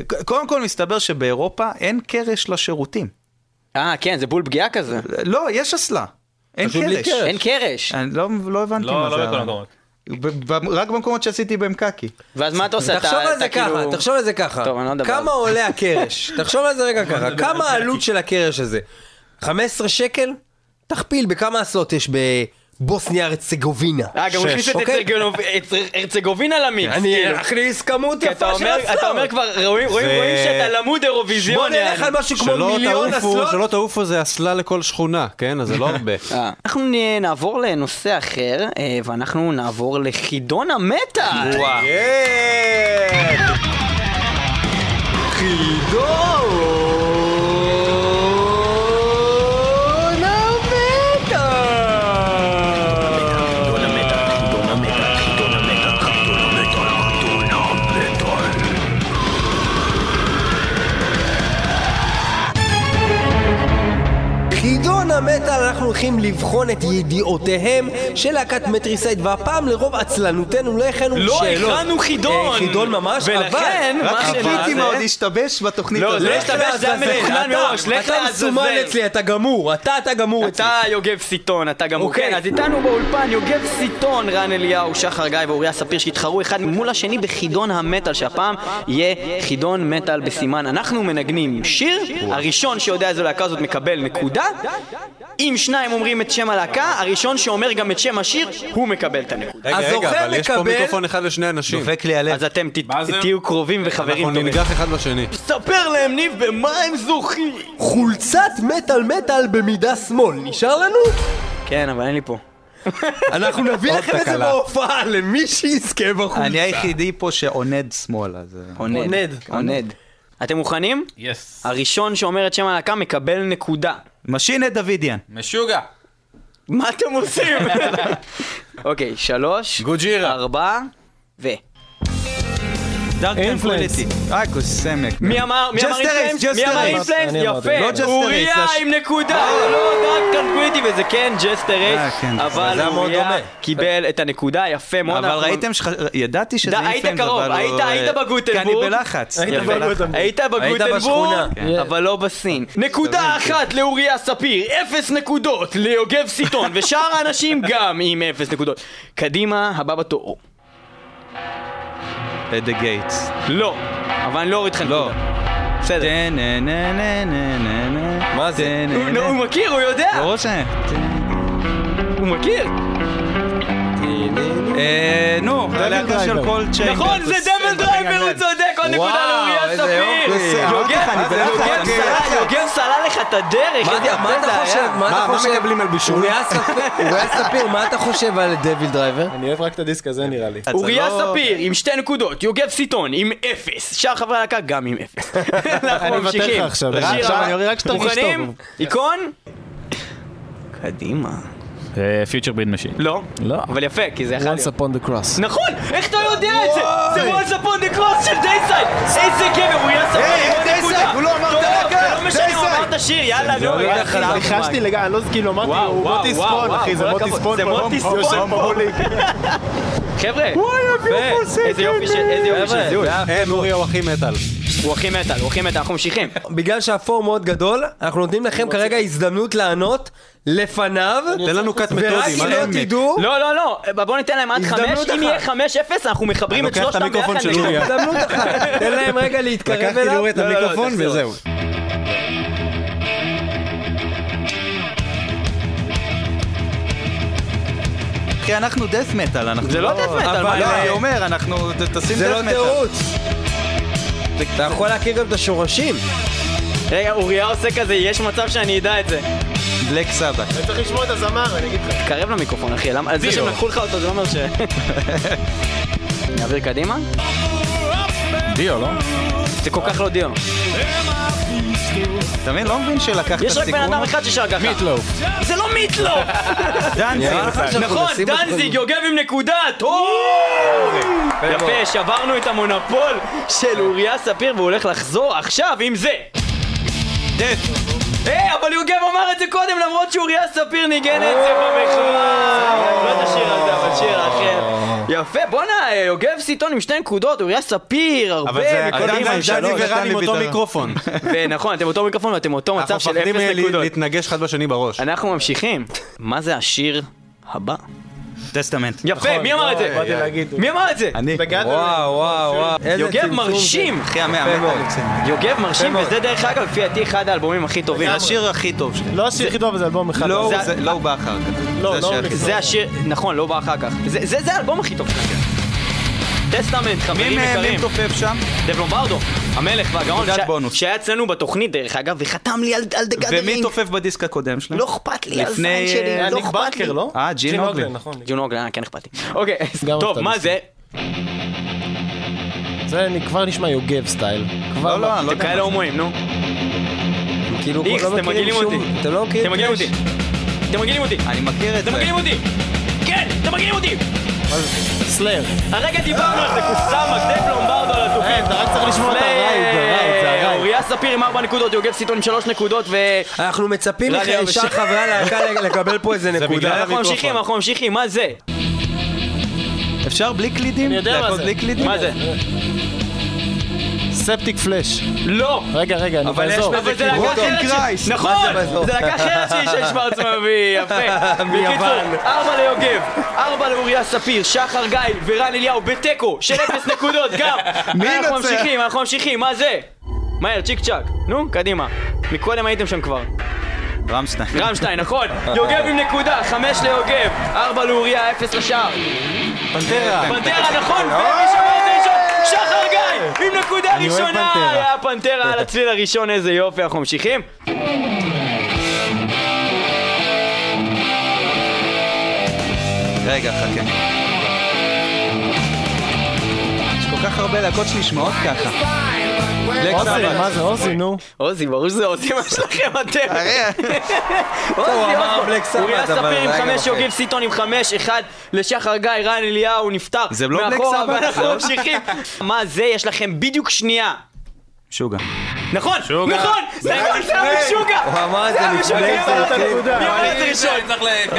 [SPEAKER 2] ק- קודם כל, מסתבר שבאירופה אין קרש לשירותים.
[SPEAKER 3] אה, כן, זה בול פגיעה כזה.
[SPEAKER 2] לא, יש אסלה. אין
[SPEAKER 1] פשוט בלי
[SPEAKER 2] קרש.
[SPEAKER 1] קרש.
[SPEAKER 3] אין קרש.
[SPEAKER 2] אני לא, לא הבנתי מה
[SPEAKER 5] לא,
[SPEAKER 2] זה.
[SPEAKER 5] לא בכל המקומות.
[SPEAKER 2] ב- ב- רק במקומות שעשיתי בהם קקי.
[SPEAKER 3] ואז מה אתה עושה? אתה-
[SPEAKER 7] תחשוב על
[SPEAKER 3] אתה
[SPEAKER 7] זה ככה,
[SPEAKER 3] כאילו-
[SPEAKER 7] תחשוב על זה ככה.
[SPEAKER 3] טוב, אני לא מדבר.
[SPEAKER 7] כמה עולה הקרש? תחשוב על זה רגע ככה, כמה העלות של הקרש הזה? 15 שקל? תכפיל בכמה אסלות יש בבוסניה הרצגובינה.
[SPEAKER 3] אה, גם הוא הכניס את
[SPEAKER 7] אוקיי?
[SPEAKER 3] הרצגונוב- הרצ- הרצגובינה למיקס.
[SPEAKER 7] אני
[SPEAKER 3] כאילו.
[SPEAKER 7] אכניס כמות
[SPEAKER 3] כי אתה
[SPEAKER 7] יפה של
[SPEAKER 3] אומר- אתה אומר
[SPEAKER 7] אסלות.
[SPEAKER 3] כבר, רואים רואים-
[SPEAKER 4] זה-
[SPEAKER 3] רואים שאתה למוד
[SPEAKER 7] בוא
[SPEAKER 3] אירוויזיון.
[SPEAKER 7] נלך
[SPEAKER 3] יעני.
[SPEAKER 7] על משהו כמו
[SPEAKER 4] שלא
[SPEAKER 7] מיליון
[SPEAKER 4] תעופו-
[SPEAKER 7] אסלות.
[SPEAKER 4] שלא תעופו זה אסלה לכל שכונה, כן? אז זה לא הרבה.
[SPEAKER 3] אה. אנחנו נ- נעבור לנושא אחר, אה, ואנחנו נעבור לחידון המטאל.
[SPEAKER 7] חידון המטאל אנחנו הולכים לבחון את ידיעותיהם של להקת מטריסייד והפעם לרוב עצלנותנו לא הכנו
[SPEAKER 3] לא
[SPEAKER 7] שאלות.
[SPEAKER 3] הכנו חידון.
[SPEAKER 7] אה, חידון ממש,
[SPEAKER 3] ולכן,
[SPEAKER 7] אבל-
[SPEAKER 3] מה
[SPEAKER 2] רק
[SPEAKER 3] ש-
[SPEAKER 2] חיכיתי
[SPEAKER 3] מה
[SPEAKER 2] מה עוד
[SPEAKER 3] זה?
[SPEAKER 2] השתבש בתוכנית
[SPEAKER 3] לא,
[SPEAKER 2] הזאת.
[SPEAKER 3] זה השתבש. זה היה
[SPEAKER 7] לעזאזל.
[SPEAKER 3] מתוכנן
[SPEAKER 7] אתה-
[SPEAKER 3] מראש, לך
[SPEAKER 7] אתה
[SPEAKER 3] לעזאזל.
[SPEAKER 7] מסומן אצלי, אתה גמור, אתה אתה גמור אצלי.
[SPEAKER 3] אתה יוגב סיטון, אתה גם...
[SPEAKER 7] אוקיי.
[SPEAKER 3] כן, אז איתנו באולפן יוגב סיטון, רן אליהו, שחר גיא ואוריה ספיר שהתחרו אחד מול השני בחידון המטאל, שהפעם יהיה חידון מטאל בסימן. אנחנו מנגנים שיר, הראשון שיודע איזו להקה זאת מקבל נקודה. אם שניים אומרים את שם הלהקה, הראשון שאומר גם את שם השיר, הוא מקבל את הנקודה.
[SPEAKER 4] רגע,
[SPEAKER 7] הזוכה
[SPEAKER 4] רגע, אבל יש פה
[SPEAKER 7] מקבל-
[SPEAKER 4] מיקרופון אחד לשני אנשים.
[SPEAKER 2] דופק לי הלב.
[SPEAKER 3] אז אתם ת-
[SPEAKER 5] מה זה?
[SPEAKER 3] תהיו קרובים וחברים
[SPEAKER 4] אנחנו
[SPEAKER 3] טובים.
[SPEAKER 4] ננגח אחד בשני.
[SPEAKER 3] ספר להם, ניב, במה הם זוכים?
[SPEAKER 7] חולצת מטאל מטאל במידה שמאל, נשאר לנו?
[SPEAKER 3] כן, אבל אין לי פה.
[SPEAKER 7] אנחנו נביא לכם את זה
[SPEAKER 2] תקלה.
[SPEAKER 7] בהופעה למי שיזכה בחולצה.
[SPEAKER 2] אני היחידי פה שעונד שמאלה. אה, זה-
[SPEAKER 3] עונד. עונד. אתם מוכנים?
[SPEAKER 5] יס.
[SPEAKER 3] הראשון שאומר את שם הלהקה מקבל נקודה.
[SPEAKER 2] משינה דוידיאן.
[SPEAKER 5] משוגע.
[SPEAKER 3] מה אתם עושים? אוקיי, שלוש,
[SPEAKER 5] גוג'ירה.
[SPEAKER 3] ארבע, ו...
[SPEAKER 2] דארק
[SPEAKER 1] Influence.
[SPEAKER 2] טמפוליטי. אה, כוסמק.
[SPEAKER 3] מי אמר מי אמר
[SPEAKER 2] Just Terrace,
[SPEAKER 3] אינפלאנס?
[SPEAKER 2] Just
[SPEAKER 3] מי אמר
[SPEAKER 2] Terrace.
[SPEAKER 3] אינפלאנס?
[SPEAKER 1] אני אמרתי.
[SPEAKER 2] לא
[SPEAKER 3] יפה.
[SPEAKER 2] Just Terrace,
[SPEAKER 3] אוריה
[SPEAKER 2] זה ש-
[SPEAKER 3] עם נקודה, לא דארק טנקוויטי, וזה כן
[SPEAKER 2] אה,
[SPEAKER 3] ג'סטרס,
[SPEAKER 2] כן,
[SPEAKER 3] אבל
[SPEAKER 7] זה היה מאוד
[SPEAKER 3] אוריה
[SPEAKER 7] דומה.
[SPEAKER 3] קיבל את הנקודה, יפה מאוד.
[SPEAKER 2] אבל
[SPEAKER 3] אנחנו-
[SPEAKER 2] ראיתם ש... ידעתי שזה
[SPEAKER 3] ד- היית
[SPEAKER 2] אינפלנס,
[SPEAKER 3] קרוב,
[SPEAKER 2] אבל
[SPEAKER 3] היית-
[SPEAKER 2] הוא, אה,
[SPEAKER 3] היית בגוטנבורג.
[SPEAKER 2] כי אני בלחץ.
[SPEAKER 1] היית
[SPEAKER 2] אני בלחץ.
[SPEAKER 1] בגוטנבורג.
[SPEAKER 3] היית בגוטנבורג,
[SPEAKER 7] בשכונה.
[SPEAKER 1] כן.
[SPEAKER 3] אבל לא בסין. נקודה אחת לאוריה ספיר, אפס נקודות ליוגב סיטון, ושאר האנשים גם עם אפס נקודות. קדימה, הבא בתור.
[SPEAKER 2] At אה, the gates.
[SPEAKER 3] לא, אבל אני לא כן, אוריד לך
[SPEAKER 2] לא.
[SPEAKER 3] נקודה. בסדר.
[SPEAKER 2] טה-נה-נה-נה-נה-נה.
[SPEAKER 7] מה זה?
[SPEAKER 2] טה-נה-נה.
[SPEAKER 3] הוא- הוא מכיר, הוא יודע,
[SPEAKER 2] ברור ש...
[SPEAKER 3] לא, הוא מכיר.
[SPEAKER 2] אה, נו, הלהקה של
[SPEAKER 1] Driver.
[SPEAKER 2] כל צ'יין.
[SPEAKER 3] נכון, זה דבל כן. דרייבר, הוא צודק, עוד נקודה לאוריה
[SPEAKER 2] איזה יופי.
[SPEAKER 3] ספיר.
[SPEAKER 2] אמרתי לך, אני
[SPEAKER 3] יוגב-
[SPEAKER 2] בלחץ,
[SPEAKER 3] יוגב
[SPEAKER 2] אני
[SPEAKER 3] סלל-
[SPEAKER 2] בלחץ.
[SPEAKER 3] יוגב סלל לך את הדרך,
[SPEAKER 7] מה
[SPEAKER 3] איזה
[SPEAKER 7] אתה- מה
[SPEAKER 3] יפה
[SPEAKER 7] אתה
[SPEAKER 3] לא זה היה.
[SPEAKER 7] חושב? מה אתה
[SPEAKER 4] מה
[SPEAKER 7] חושב?
[SPEAKER 4] מקבלים על בישול?
[SPEAKER 7] אוריה ספיר- אוריה ספיר, מה אתה חושב על דביל דרייבר?
[SPEAKER 1] אני אוהב רק את הדיסק הזה נראה לי.
[SPEAKER 3] אוריה
[SPEAKER 2] לא-
[SPEAKER 3] ספיר עם שתי נקודות, יוגב סיטון עם אפס, שאר חברי הלהקה גם עם אפס. אנחנו
[SPEAKER 1] אני מוותר
[SPEAKER 3] ממשיכים.
[SPEAKER 1] לך עכשיו,
[SPEAKER 3] לשיר
[SPEAKER 1] עכשיו
[SPEAKER 3] הבא.
[SPEAKER 1] אני אראה רק שאתה מרגיש טוב.
[SPEAKER 3] מוכנים? איקון? קדימה.
[SPEAKER 7] אה,
[SPEAKER 5] פיוטר ביד משין.
[SPEAKER 3] לא,
[SPEAKER 5] לא.
[SPEAKER 3] אבל יפה, כי זה יכול
[SPEAKER 1] Once
[SPEAKER 3] להיות.
[SPEAKER 1] upon the cross.
[SPEAKER 3] נכון, איך אתה יודע את זה? זה once upon the cross של דייסייד! איזה גבר, הוא יעשה
[SPEAKER 2] היי, דייסייד, הוא לא אמר את הלהקה,
[SPEAKER 3] זה לא משנה, הוא
[SPEAKER 2] דייסייד.
[SPEAKER 3] אמר את השיר, יאללה, נו,
[SPEAKER 1] לא,
[SPEAKER 3] יאללה,
[SPEAKER 1] אחי, ניחשתי לגמרי, אני לא כאילו אמרתי,
[SPEAKER 3] וואו,
[SPEAKER 1] הוא
[SPEAKER 3] וואו,
[SPEAKER 1] מוטי
[SPEAKER 3] וואו,
[SPEAKER 1] ספון,
[SPEAKER 3] וואו,
[SPEAKER 1] אחי, זה
[SPEAKER 3] כל
[SPEAKER 1] מוטי
[SPEAKER 3] הכבוד,
[SPEAKER 1] ספון,
[SPEAKER 3] זה
[SPEAKER 1] פה,
[SPEAKER 3] מוטי
[SPEAKER 1] יושב
[SPEAKER 3] ספון פה.
[SPEAKER 1] בליג.
[SPEAKER 3] חבר'ה, יפה, איזה יופי של- איזה יופי של זיהוי.
[SPEAKER 4] אין, אורי הוא הכי מטאל.
[SPEAKER 3] הוא הכי מטאל, הוא הכי מטאל, אנחנו ממשיכים.
[SPEAKER 7] בגלל שהפור מאוד גדול, אנחנו נותנים לכם כרגע הזדמנות לענות לפניו.
[SPEAKER 4] תן לנו קאט
[SPEAKER 7] ורק
[SPEAKER 4] מתודי,
[SPEAKER 7] אם
[SPEAKER 4] מה
[SPEAKER 7] לא
[SPEAKER 4] זה?
[SPEAKER 7] תדעו,
[SPEAKER 3] לא, לא, לא, בוא ניתן להם עד חמש,
[SPEAKER 7] הזדמנות
[SPEAKER 3] אם יהיה
[SPEAKER 7] אחת.
[SPEAKER 3] חמש אפס, אנחנו מחברים
[SPEAKER 4] אני
[SPEAKER 3] את
[SPEAKER 4] לוקח את
[SPEAKER 3] שלושתם ביחד.
[SPEAKER 4] המיקרופון של
[SPEAKER 3] לשם.
[SPEAKER 4] אוריה.
[SPEAKER 7] הזדמנות אחת. תן להם רגע להתקרב
[SPEAKER 4] לקחתי
[SPEAKER 7] אליו.
[SPEAKER 4] לאורי את
[SPEAKER 7] לא, לא, לא,
[SPEAKER 4] המיקרופון
[SPEAKER 7] תחזור.
[SPEAKER 4] וזהו.
[SPEAKER 2] כי אנחנו דף מטאל, אנחנו...
[SPEAKER 3] זה לא death metal,
[SPEAKER 2] אבל
[SPEAKER 3] מה,
[SPEAKER 2] לא,
[SPEAKER 3] זה-
[SPEAKER 2] אני אומר, אנחנו... ת- תשים
[SPEAKER 7] זה לא
[SPEAKER 2] death metal.
[SPEAKER 7] תירוץ. אתה יכול להכיר גם את השורשים.
[SPEAKER 3] רגע, אוריה עושה כזה, יש מצב שאני אדע את זה.
[SPEAKER 2] בלק סבת.
[SPEAKER 1] אני צריך לשמוע את הזמר, אני אגיד לך.
[SPEAKER 3] תתקרב למיקרופון, אחי, למה? זה שהם לקחו לך אותו, זה לא אומר ש... נעביר קדימה?
[SPEAKER 5] דיו, לא?
[SPEAKER 3] זה כל כך לא דיו.
[SPEAKER 2] אתה מבין? לא מבין שלקחת
[SPEAKER 3] יש רק בן
[SPEAKER 2] סיכון.
[SPEAKER 3] אדם אחד ששר ככה. מיטלוף. זה לא מיטלוף!
[SPEAKER 2] דנציג.
[SPEAKER 3] נכון, דנזיג יוגב עם נקודה, טוב! יפה, שברנו את המונופול של אוריה ספיר והוא הולך לחזור עכשיו עם זה! היי, אבל יוגב אמר את זה קודם למרות שאוריה ספיר ניגן את זה במחאה!
[SPEAKER 4] אה.
[SPEAKER 3] לא את השיר הזה, אבל שיר אחר. יפה, בואנה, אה, יוגב סיטון עם שתי נקודות, אוריה ספיר,
[SPEAKER 4] אבל
[SPEAKER 3] הרבה
[SPEAKER 4] זה אדם
[SPEAKER 3] מקדימה.
[SPEAKER 4] דני ורן עם אותו
[SPEAKER 2] פתרון.
[SPEAKER 4] מיקרופון.
[SPEAKER 3] ונכון, אתם אותו מיקרופון ואתם אותו מצב
[SPEAKER 4] אנחנו
[SPEAKER 3] של אפס
[SPEAKER 4] מפחדים אה, ל-
[SPEAKER 3] נקודות.
[SPEAKER 4] להתנגש אחד בשני בראש.
[SPEAKER 3] אנחנו ממשיכים. מה זה השיר הבא? נכון.
[SPEAKER 2] טסטמנט.
[SPEAKER 3] יפה, מי אמר את זה?
[SPEAKER 1] באתי להגיד.
[SPEAKER 3] מי אמר את זה?
[SPEAKER 2] אני.
[SPEAKER 1] בגדול,
[SPEAKER 7] וואו, וואו, וואו. איזה
[SPEAKER 3] יוגב
[SPEAKER 7] צמצום
[SPEAKER 3] מרשים!
[SPEAKER 2] אחי המאה.
[SPEAKER 7] יפה מאוד.
[SPEAKER 3] יוגב מרשים, וזה דרך אגב, לפי דעתי, אחד האלבומים הכי טובים.
[SPEAKER 2] השיר הכי טוב שלי.
[SPEAKER 1] לא השיר הכי טוב, אבל זה אלבום אחד.
[SPEAKER 2] לא,
[SPEAKER 1] זה-
[SPEAKER 2] זה- לא הוא בא אחר כך.
[SPEAKER 1] לא,
[SPEAKER 2] זה
[SPEAKER 1] לא,
[SPEAKER 2] השיר הכי
[SPEAKER 1] לא.
[SPEAKER 3] זה השיר, נכון, לא בא אחר כך. זה- זה זה האלבום הכי טוב שלכם. טסטמנט, חברים
[SPEAKER 2] מי-
[SPEAKER 3] יקרים.
[SPEAKER 2] מי מתופף שם?
[SPEAKER 3] דב לומברדו, המלך והגאון,
[SPEAKER 2] נקודת
[SPEAKER 3] שה-
[SPEAKER 2] בונוס.
[SPEAKER 3] שהיה אצלנו בתוכנית דרך אגב, וחתם לי על על The
[SPEAKER 2] ומי
[SPEAKER 3] Gathering.
[SPEAKER 2] תופף בדיסק הקודם שלהם?
[SPEAKER 3] לא אכפת לי, על
[SPEAKER 2] לפני,
[SPEAKER 3] זין שלי,
[SPEAKER 2] אה,
[SPEAKER 3] לא
[SPEAKER 1] ניק
[SPEAKER 3] אכפת לי.
[SPEAKER 1] ברקר, לא?
[SPEAKER 2] אה, ג'ין אוגלן.
[SPEAKER 1] נכון. ניק-
[SPEAKER 3] ג'ון אוגלן, כן אכפת לי. אוקיי,
[SPEAKER 1] גם
[SPEAKER 3] טוב,
[SPEAKER 1] אותה
[SPEAKER 3] מה
[SPEAKER 1] ניסה.
[SPEAKER 3] זה?
[SPEAKER 1] זה אני- כבר נשמע יוגב סטייל. כבר
[SPEAKER 2] לא, לא, אני לא
[SPEAKER 3] אתם
[SPEAKER 2] יודע.
[SPEAKER 3] כאלה הומואים, נו.
[SPEAKER 7] כאילו,
[SPEAKER 3] איקס,
[SPEAKER 7] לא
[SPEAKER 3] אתם
[SPEAKER 7] מכירים
[SPEAKER 3] מגעילים
[SPEAKER 7] שום-
[SPEAKER 3] אותי.
[SPEAKER 7] אתם לא מכירים
[SPEAKER 3] אתם מגעילים אותי. אתם מגעילים אותי.
[SPEAKER 2] כן, אני מכיר את זה.
[SPEAKER 3] אתם מגעילים אותי! כן, אתם מגעילים אותי!
[SPEAKER 1] סלאר.
[SPEAKER 3] הרגע דיברנו על זה, קוסאמה, דב לומברדו על התופים.
[SPEAKER 2] אה,
[SPEAKER 1] אתה רק צריך לשמוע את הרייד, הרייד, זה הרייד.
[SPEAKER 3] אוריה ספיר עם 4 נקודות, יוגב סיטון עם 3 נקודות, ו...
[SPEAKER 7] אנחנו מצפים
[SPEAKER 3] לא, אני לא
[SPEAKER 7] משאר
[SPEAKER 3] בשם.
[SPEAKER 7] חברי הלהקה לקבל פה איזה נקודה.
[SPEAKER 3] אנחנו ממשיכים, אנחנו ממשיכים, מה זה?
[SPEAKER 2] אפשר בלי קלידים?
[SPEAKER 1] אני יודע מה
[SPEAKER 2] להקות
[SPEAKER 1] זה.
[SPEAKER 2] בלי קלידים?
[SPEAKER 3] מה זה?
[SPEAKER 1] ספטיק פלאש.
[SPEAKER 3] לא!
[SPEAKER 1] רגע, רגע, אני
[SPEAKER 7] אבל יש
[SPEAKER 1] באזור.
[SPEAKER 3] אבל זה להקה
[SPEAKER 7] רוטון
[SPEAKER 3] אחרת
[SPEAKER 2] קרייסט.
[SPEAKER 3] שלי, נכון,
[SPEAKER 7] מה זה בזו?
[SPEAKER 3] זה להקה אחרת שלי של שוורצמבי, יפה.
[SPEAKER 7] מיוון.
[SPEAKER 3] בקיצור, ארבע ליוגב, ארבע לאוריה ספיר, שחר גיא ורן אליהו בתיקו של אפס נקודות גם.
[SPEAKER 2] מי
[SPEAKER 3] אנחנו
[SPEAKER 2] ינצח?
[SPEAKER 3] ממשיכים, אנחנו ממשיכים, מה זה? מהר, צ'יק צ'אק, נו, קדימה. מקודם הייתם שם כבר.
[SPEAKER 2] רמשטיין.
[SPEAKER 3] רמשטיין, נכון. יוגב עם נקודה, חמש ליוגב, ארבע לאוריה, אפס לשער.
[SPEAKER 2] פנטרה.
[SPEAKER 3] פנטרה, נכון, ומי שאמר את זה ראשון? שחר גיא, עם נקודה ראשונה, היה פנטרה על הצליל הראשון, איזה יופי, אנחנו ממשיכים.
[SPEAKER 2] רגע, חכה. יש כל כך הרבה להקות שנשמעות ככה. בלק
[SPEAKER 1] אוזי, מה זה אוזי, נו?
[SPEAKER 3] עוזי, ברור שזה עוזי מה שלכם אתם.
[SPEAKER 2] הרי-
[SPEAKER 7] הוא
[SPEAKER 3] עוזי,
[SPEAKER 7] אמר
[SPEAKER 3] עוזי.
[SPEAKER 7] בלק סבת,
[SPEAKER 3] אוריה
[SPEAKER 7] אבל
[SPEAKER 3] ספיר עם
[SPEAKER 7] רגע,
[SPEAKER 3] חמש,
[SPEAKER 7] אוקיי.
[SPEAKER 3] יוגב סיטון עם חמש, אחד לשחר גיא, רן אליהו נפטר.
[SPEAKER 2] זה לא בלק
[SPEAKER 3] מאחורה,
[SPEAKER 2] סבת,
[SPEAKER 3] ואנחנו
[SPEAKER 2] זה לא-
[SPEAKER 3] ממשיכים. מה זה, יש לכם בדיוק שנייה.
[SPEAKER 2] שוגה.
[SPEAKER 3] נכון, נכון, זה היה זה היה בשוגה.
[SPEAKER 7] הוא אמר את זה לפני
[SPEAKER 3] מי אמר את
[SPEAKER 7] זה,
[SPEAKER 3] זה?
[SPEAKER 1] הנקודה.
[SPEAKER 3] מי אמר את זה ראשון?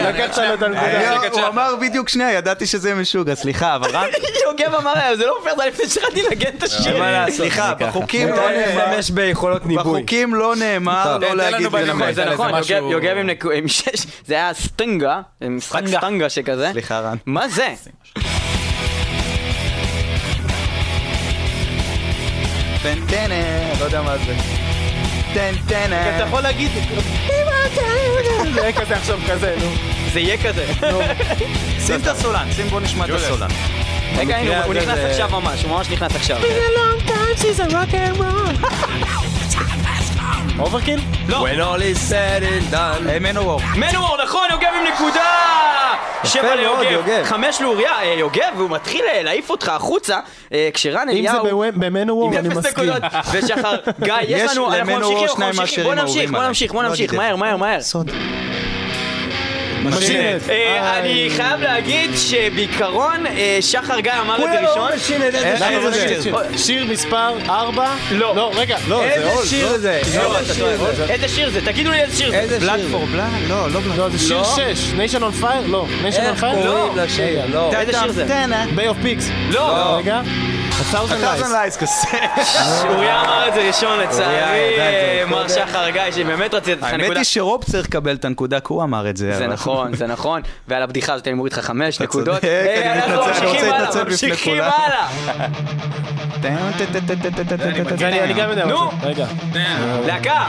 [SPEAKER 1] לקחת לו את הנקודה.
[SPEAKER 2] הוא אמר בדיוק שנייה, ידעתי שזה משוגה, סליחה, אבל רק...
[SPEAKER 3] יוגב אמר, זה לא פייר, זה היה לפני שהתחלתי לנגן את השיר.
[SPEAKER 2] סליחה, בחוקים לא
[SPEAKER 7] מותר
[SPEAKER 2] נאמר,
[SPEAKER 7] להשתמש ביכולות ניבוי.
[SPEAKER 2] בחוקים לא נאמר לא להגיד
[SPEAKER 3] נכון,
[SPEAKER 2] ולמד.
[SPEAKER 3] זה נכון, יוגב- יוגב עם נקו- עם שש, זה היה סטנגה, זה משחק סטנגה שכזה.
[SPEAKER 2] סליחה, רן.
[SPEAKER 3] מה זה?
[SPEAKER 2] פנטנה, לא יודע מה זה.
[SPEAKER 3] כן,
[SPEAKER 1] אתה
[SPEAKER 2] טנטנה.
[SPEAKER 1] יכול להגיד... זה יהיה כזה עכשיו כזה, נו.
[SPEAKER 3] זה יהיה כזה.
[SPEAKER 2] שים את הסולן, שים בוא נשמע את הסולן.
[SPEAKER 3] רגע, הנה, הוא- הוא נכנס עכשיו ממש, הוא ממש נכנס עכשיו.
[SPEAKER 9] a long time since I rock and roll. Time has come.
[SPEAKER 1] אוברקיל?
[SPEAKER 3] לא.
[SPEAKER 7] When all is said and done.
[SPEAKER 2] מנוור.
[SPEAKER 3] מנוור, נכון, יוגב עם נקודה! שבע
[SPEAKER 2] מאוד,
[SPEAKER 3] ליוגב,
[SPEAKER 2] יוגב.
[SPEAKER 3] חמש לאוריה, אה, יוגב, והוא מתחיל אה, להעיף אותך החוצה, אה, כשרן
[SPEAKER 1] אם
[SPEAKER 3] אליהו...
[SPEAKER 1] זה במנוור,
[SPEAKER 3] עם
[SPEAKER 1] אני
[SPEAKER 3] אפס
[SPEAKER 1] מסכים.
[SPEAKER 3] נקודות, ושחר, גיא, יש
[SPEAKER 2] יש
[SPEAKER 3] לנו, אנחנו
[SPEAKER 2] למנורו
[SPEAKER 3] ממשיכים, אנחנו
[SPEAKER 2] שניים
[SPEAKER 3] ממשיכים,
[SPEAKER 2] מהשירים
[SPEAKER 3] בוא
[SPEAKER 2] האהובים
[SPEAKER 3] נמשיך, בוא
[SPEAKER 2] עליי.
[SPEAKER 3] נמשיך, בוא
[SPEAKER 2] לא
[SPEAKER 3] נמשיך,
[SPEAKER 2] דיבר.
[SPEAKER 3] מהר, מהר, מהר.
[SPEAKER 2] סוד.
[SPEAKER 1] משינט.
[SPEAKER 3] אה, אני חייב להגיד שבעיקרון, אה, שחר גיא אמר את זה ראשון.
[SPEAKER 1] שיר
[SPEAKER 2] איזה
[SPEAKER 1] זה?
[SPEAKER 2] שיר?
[SPEAKER 1] שיר מספר 4?
[SPEAKER 3] לא.
[SPEAKER 1] לא, רגע, לא, זה עול.
[SPEAKER 2] איזה שיר זה?
[SPEAKER 3] לא, אתה טועה. איזה שיר זה? תגידו לי איזה שיר זה.
[SPEAKER 2] איזה שיר? בלאד פור בלאד? לא, לא בלאד.
[SPEAKER 1] לא, זה שיר 6. ניישן און פייר? לא. ניישן און
[SPEAKER 7] איך
[SPEAKER 1] פייר? לא.
[SPEAKER 7] קוראים לשיר? לא.
[SPEAKER 3] איזה שיר זה?
[SPEAKER 1] ביי אוף פיקס?
[SPEAKER 3] לא.
[SPEAKER 1] רגע. A thousand
[SPEAKER 2] Thousand
[SPEAKER 1] lights.
[SPEAKER 2] Lights, כזה.
[SPEAKER 3] אוריה אמר את זה ראשון לצערי,
[SPEAKER 2] ידע את זה
[SPEAKER 3] אה, מר
[SPEAKER 2] קודם.
[SPEAKER 3] שחר גיא, שבאמת רציתי את
[SPEAKER 2] האמת
[SPEAKER 3] הנקודה.
[SPEAKER 2] היא שרוב צריך לקבל את הנקודה, כי הוא אמר את זה.
[SPEAKER 3] זה
[SPEAKER 2] אבל-
[SPEAKER 3] נכון, זה נכון, ועל הבדיחה הזאת אני מוריד לך חמש נקודות.
[SPEAKER 2] צודק,
[SPEAKER 3] אה,
[SPEAKER 2] אני
[SPEAKER 3] אנחנו
[SPEAKER 2] מתנצל, אני
[SPEAKER 3] ממשיכים
[SPEAKER 2] רוצה
[SPEAKER 3] הלאה,
[SPEAKER 2] להתנצל בפני
[SPEAKER 3] ממשיכים
[SPEAKER 2] כולם.
[SPEAKER 3] הלאה.
[SPEAKER 1] ואני אני גם לא יודע מה
[SPEAKER 3] נו.
[SPEAKER 1] זה. רגע.
[SPEAKER 5] אה.
[SPEAKER 3] להקה,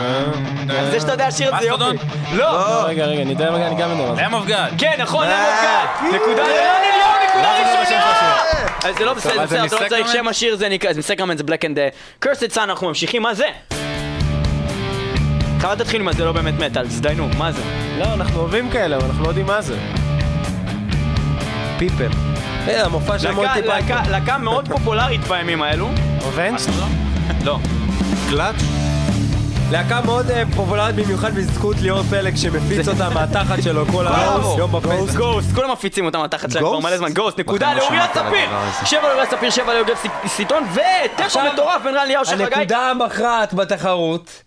[SPEAKER 3] אז זה שאתה יודע שיר את זה יופי.
[SPEAKER 5] מסטודון?
[SPEAKER 3] לא,
[SPEAKER 1] רגע, רגע, אני יודע מה אני גם יודע מה זה.
[SPEAKER 5] Lamb of God.
[SPEAKER 3] כן, נכון, למה כאן? נקודה לרן אליהו, נקודה ראשונה! אז זה לא בסדר,
[SPEAKER 5] מה זה,
[SPEAKER 3] בסדר, אתה לא צריך
[SPEAKER 5] מסקרמנט?
[SPEAKER 3] שם השיר, זה נקרא, זה מסקרמנט, זה black and cursed sun, אנחנו ממשיכים, מה זה? חבל תתחיל מה זה לא באמת מטאל, אז דיינו, מה זה?
[SPEAKER 1] לא, אנחנו אוהבים כאלה, אבל אנחנו לא יודעים מה זה.
[SPEAKER 7] פיפל. אה, המופע של
[SPEAKER 3] להקה-
[SPEAKER 7] מונטי פייתון.
[SPEAKER 3] להקה- להקה מאוד פופולרית בימים האלו.
[SPEAKER 1] אובנס?
[SPEAKER 3] לא.
[SPEAKER 4] קלאץ'?
[SPEAKER 7] להקה מאוד אה, פופולרית במיוחד בזכות ליאור פלג שמפיץ אותה מהתחת שלו כל היום בפייסבוק.
[SPEAKER 3] גוסט, כולם מפיצים אותם התחת שלהם כבר
[SPEAKER 2] גוסט?
[SPEAKER 3] מלא זמן, גוסט, נקודה
[SPEAKER 2] בחיים לא
[SPEAKER 3] לאוריה
[SPEAKER 2] שמעתי על
[SPEAKER 3] ספיר!
[SPEAKER 2] הדבר הזה.
[SPEAKER 3] שבע לאוריה ספיר, שבע ליוגב ס- סיטון, ותיקו מטורף בין רן אליהו שחר גיא.
[SPEAKER 7] הנקודה המכרעת בתחרות.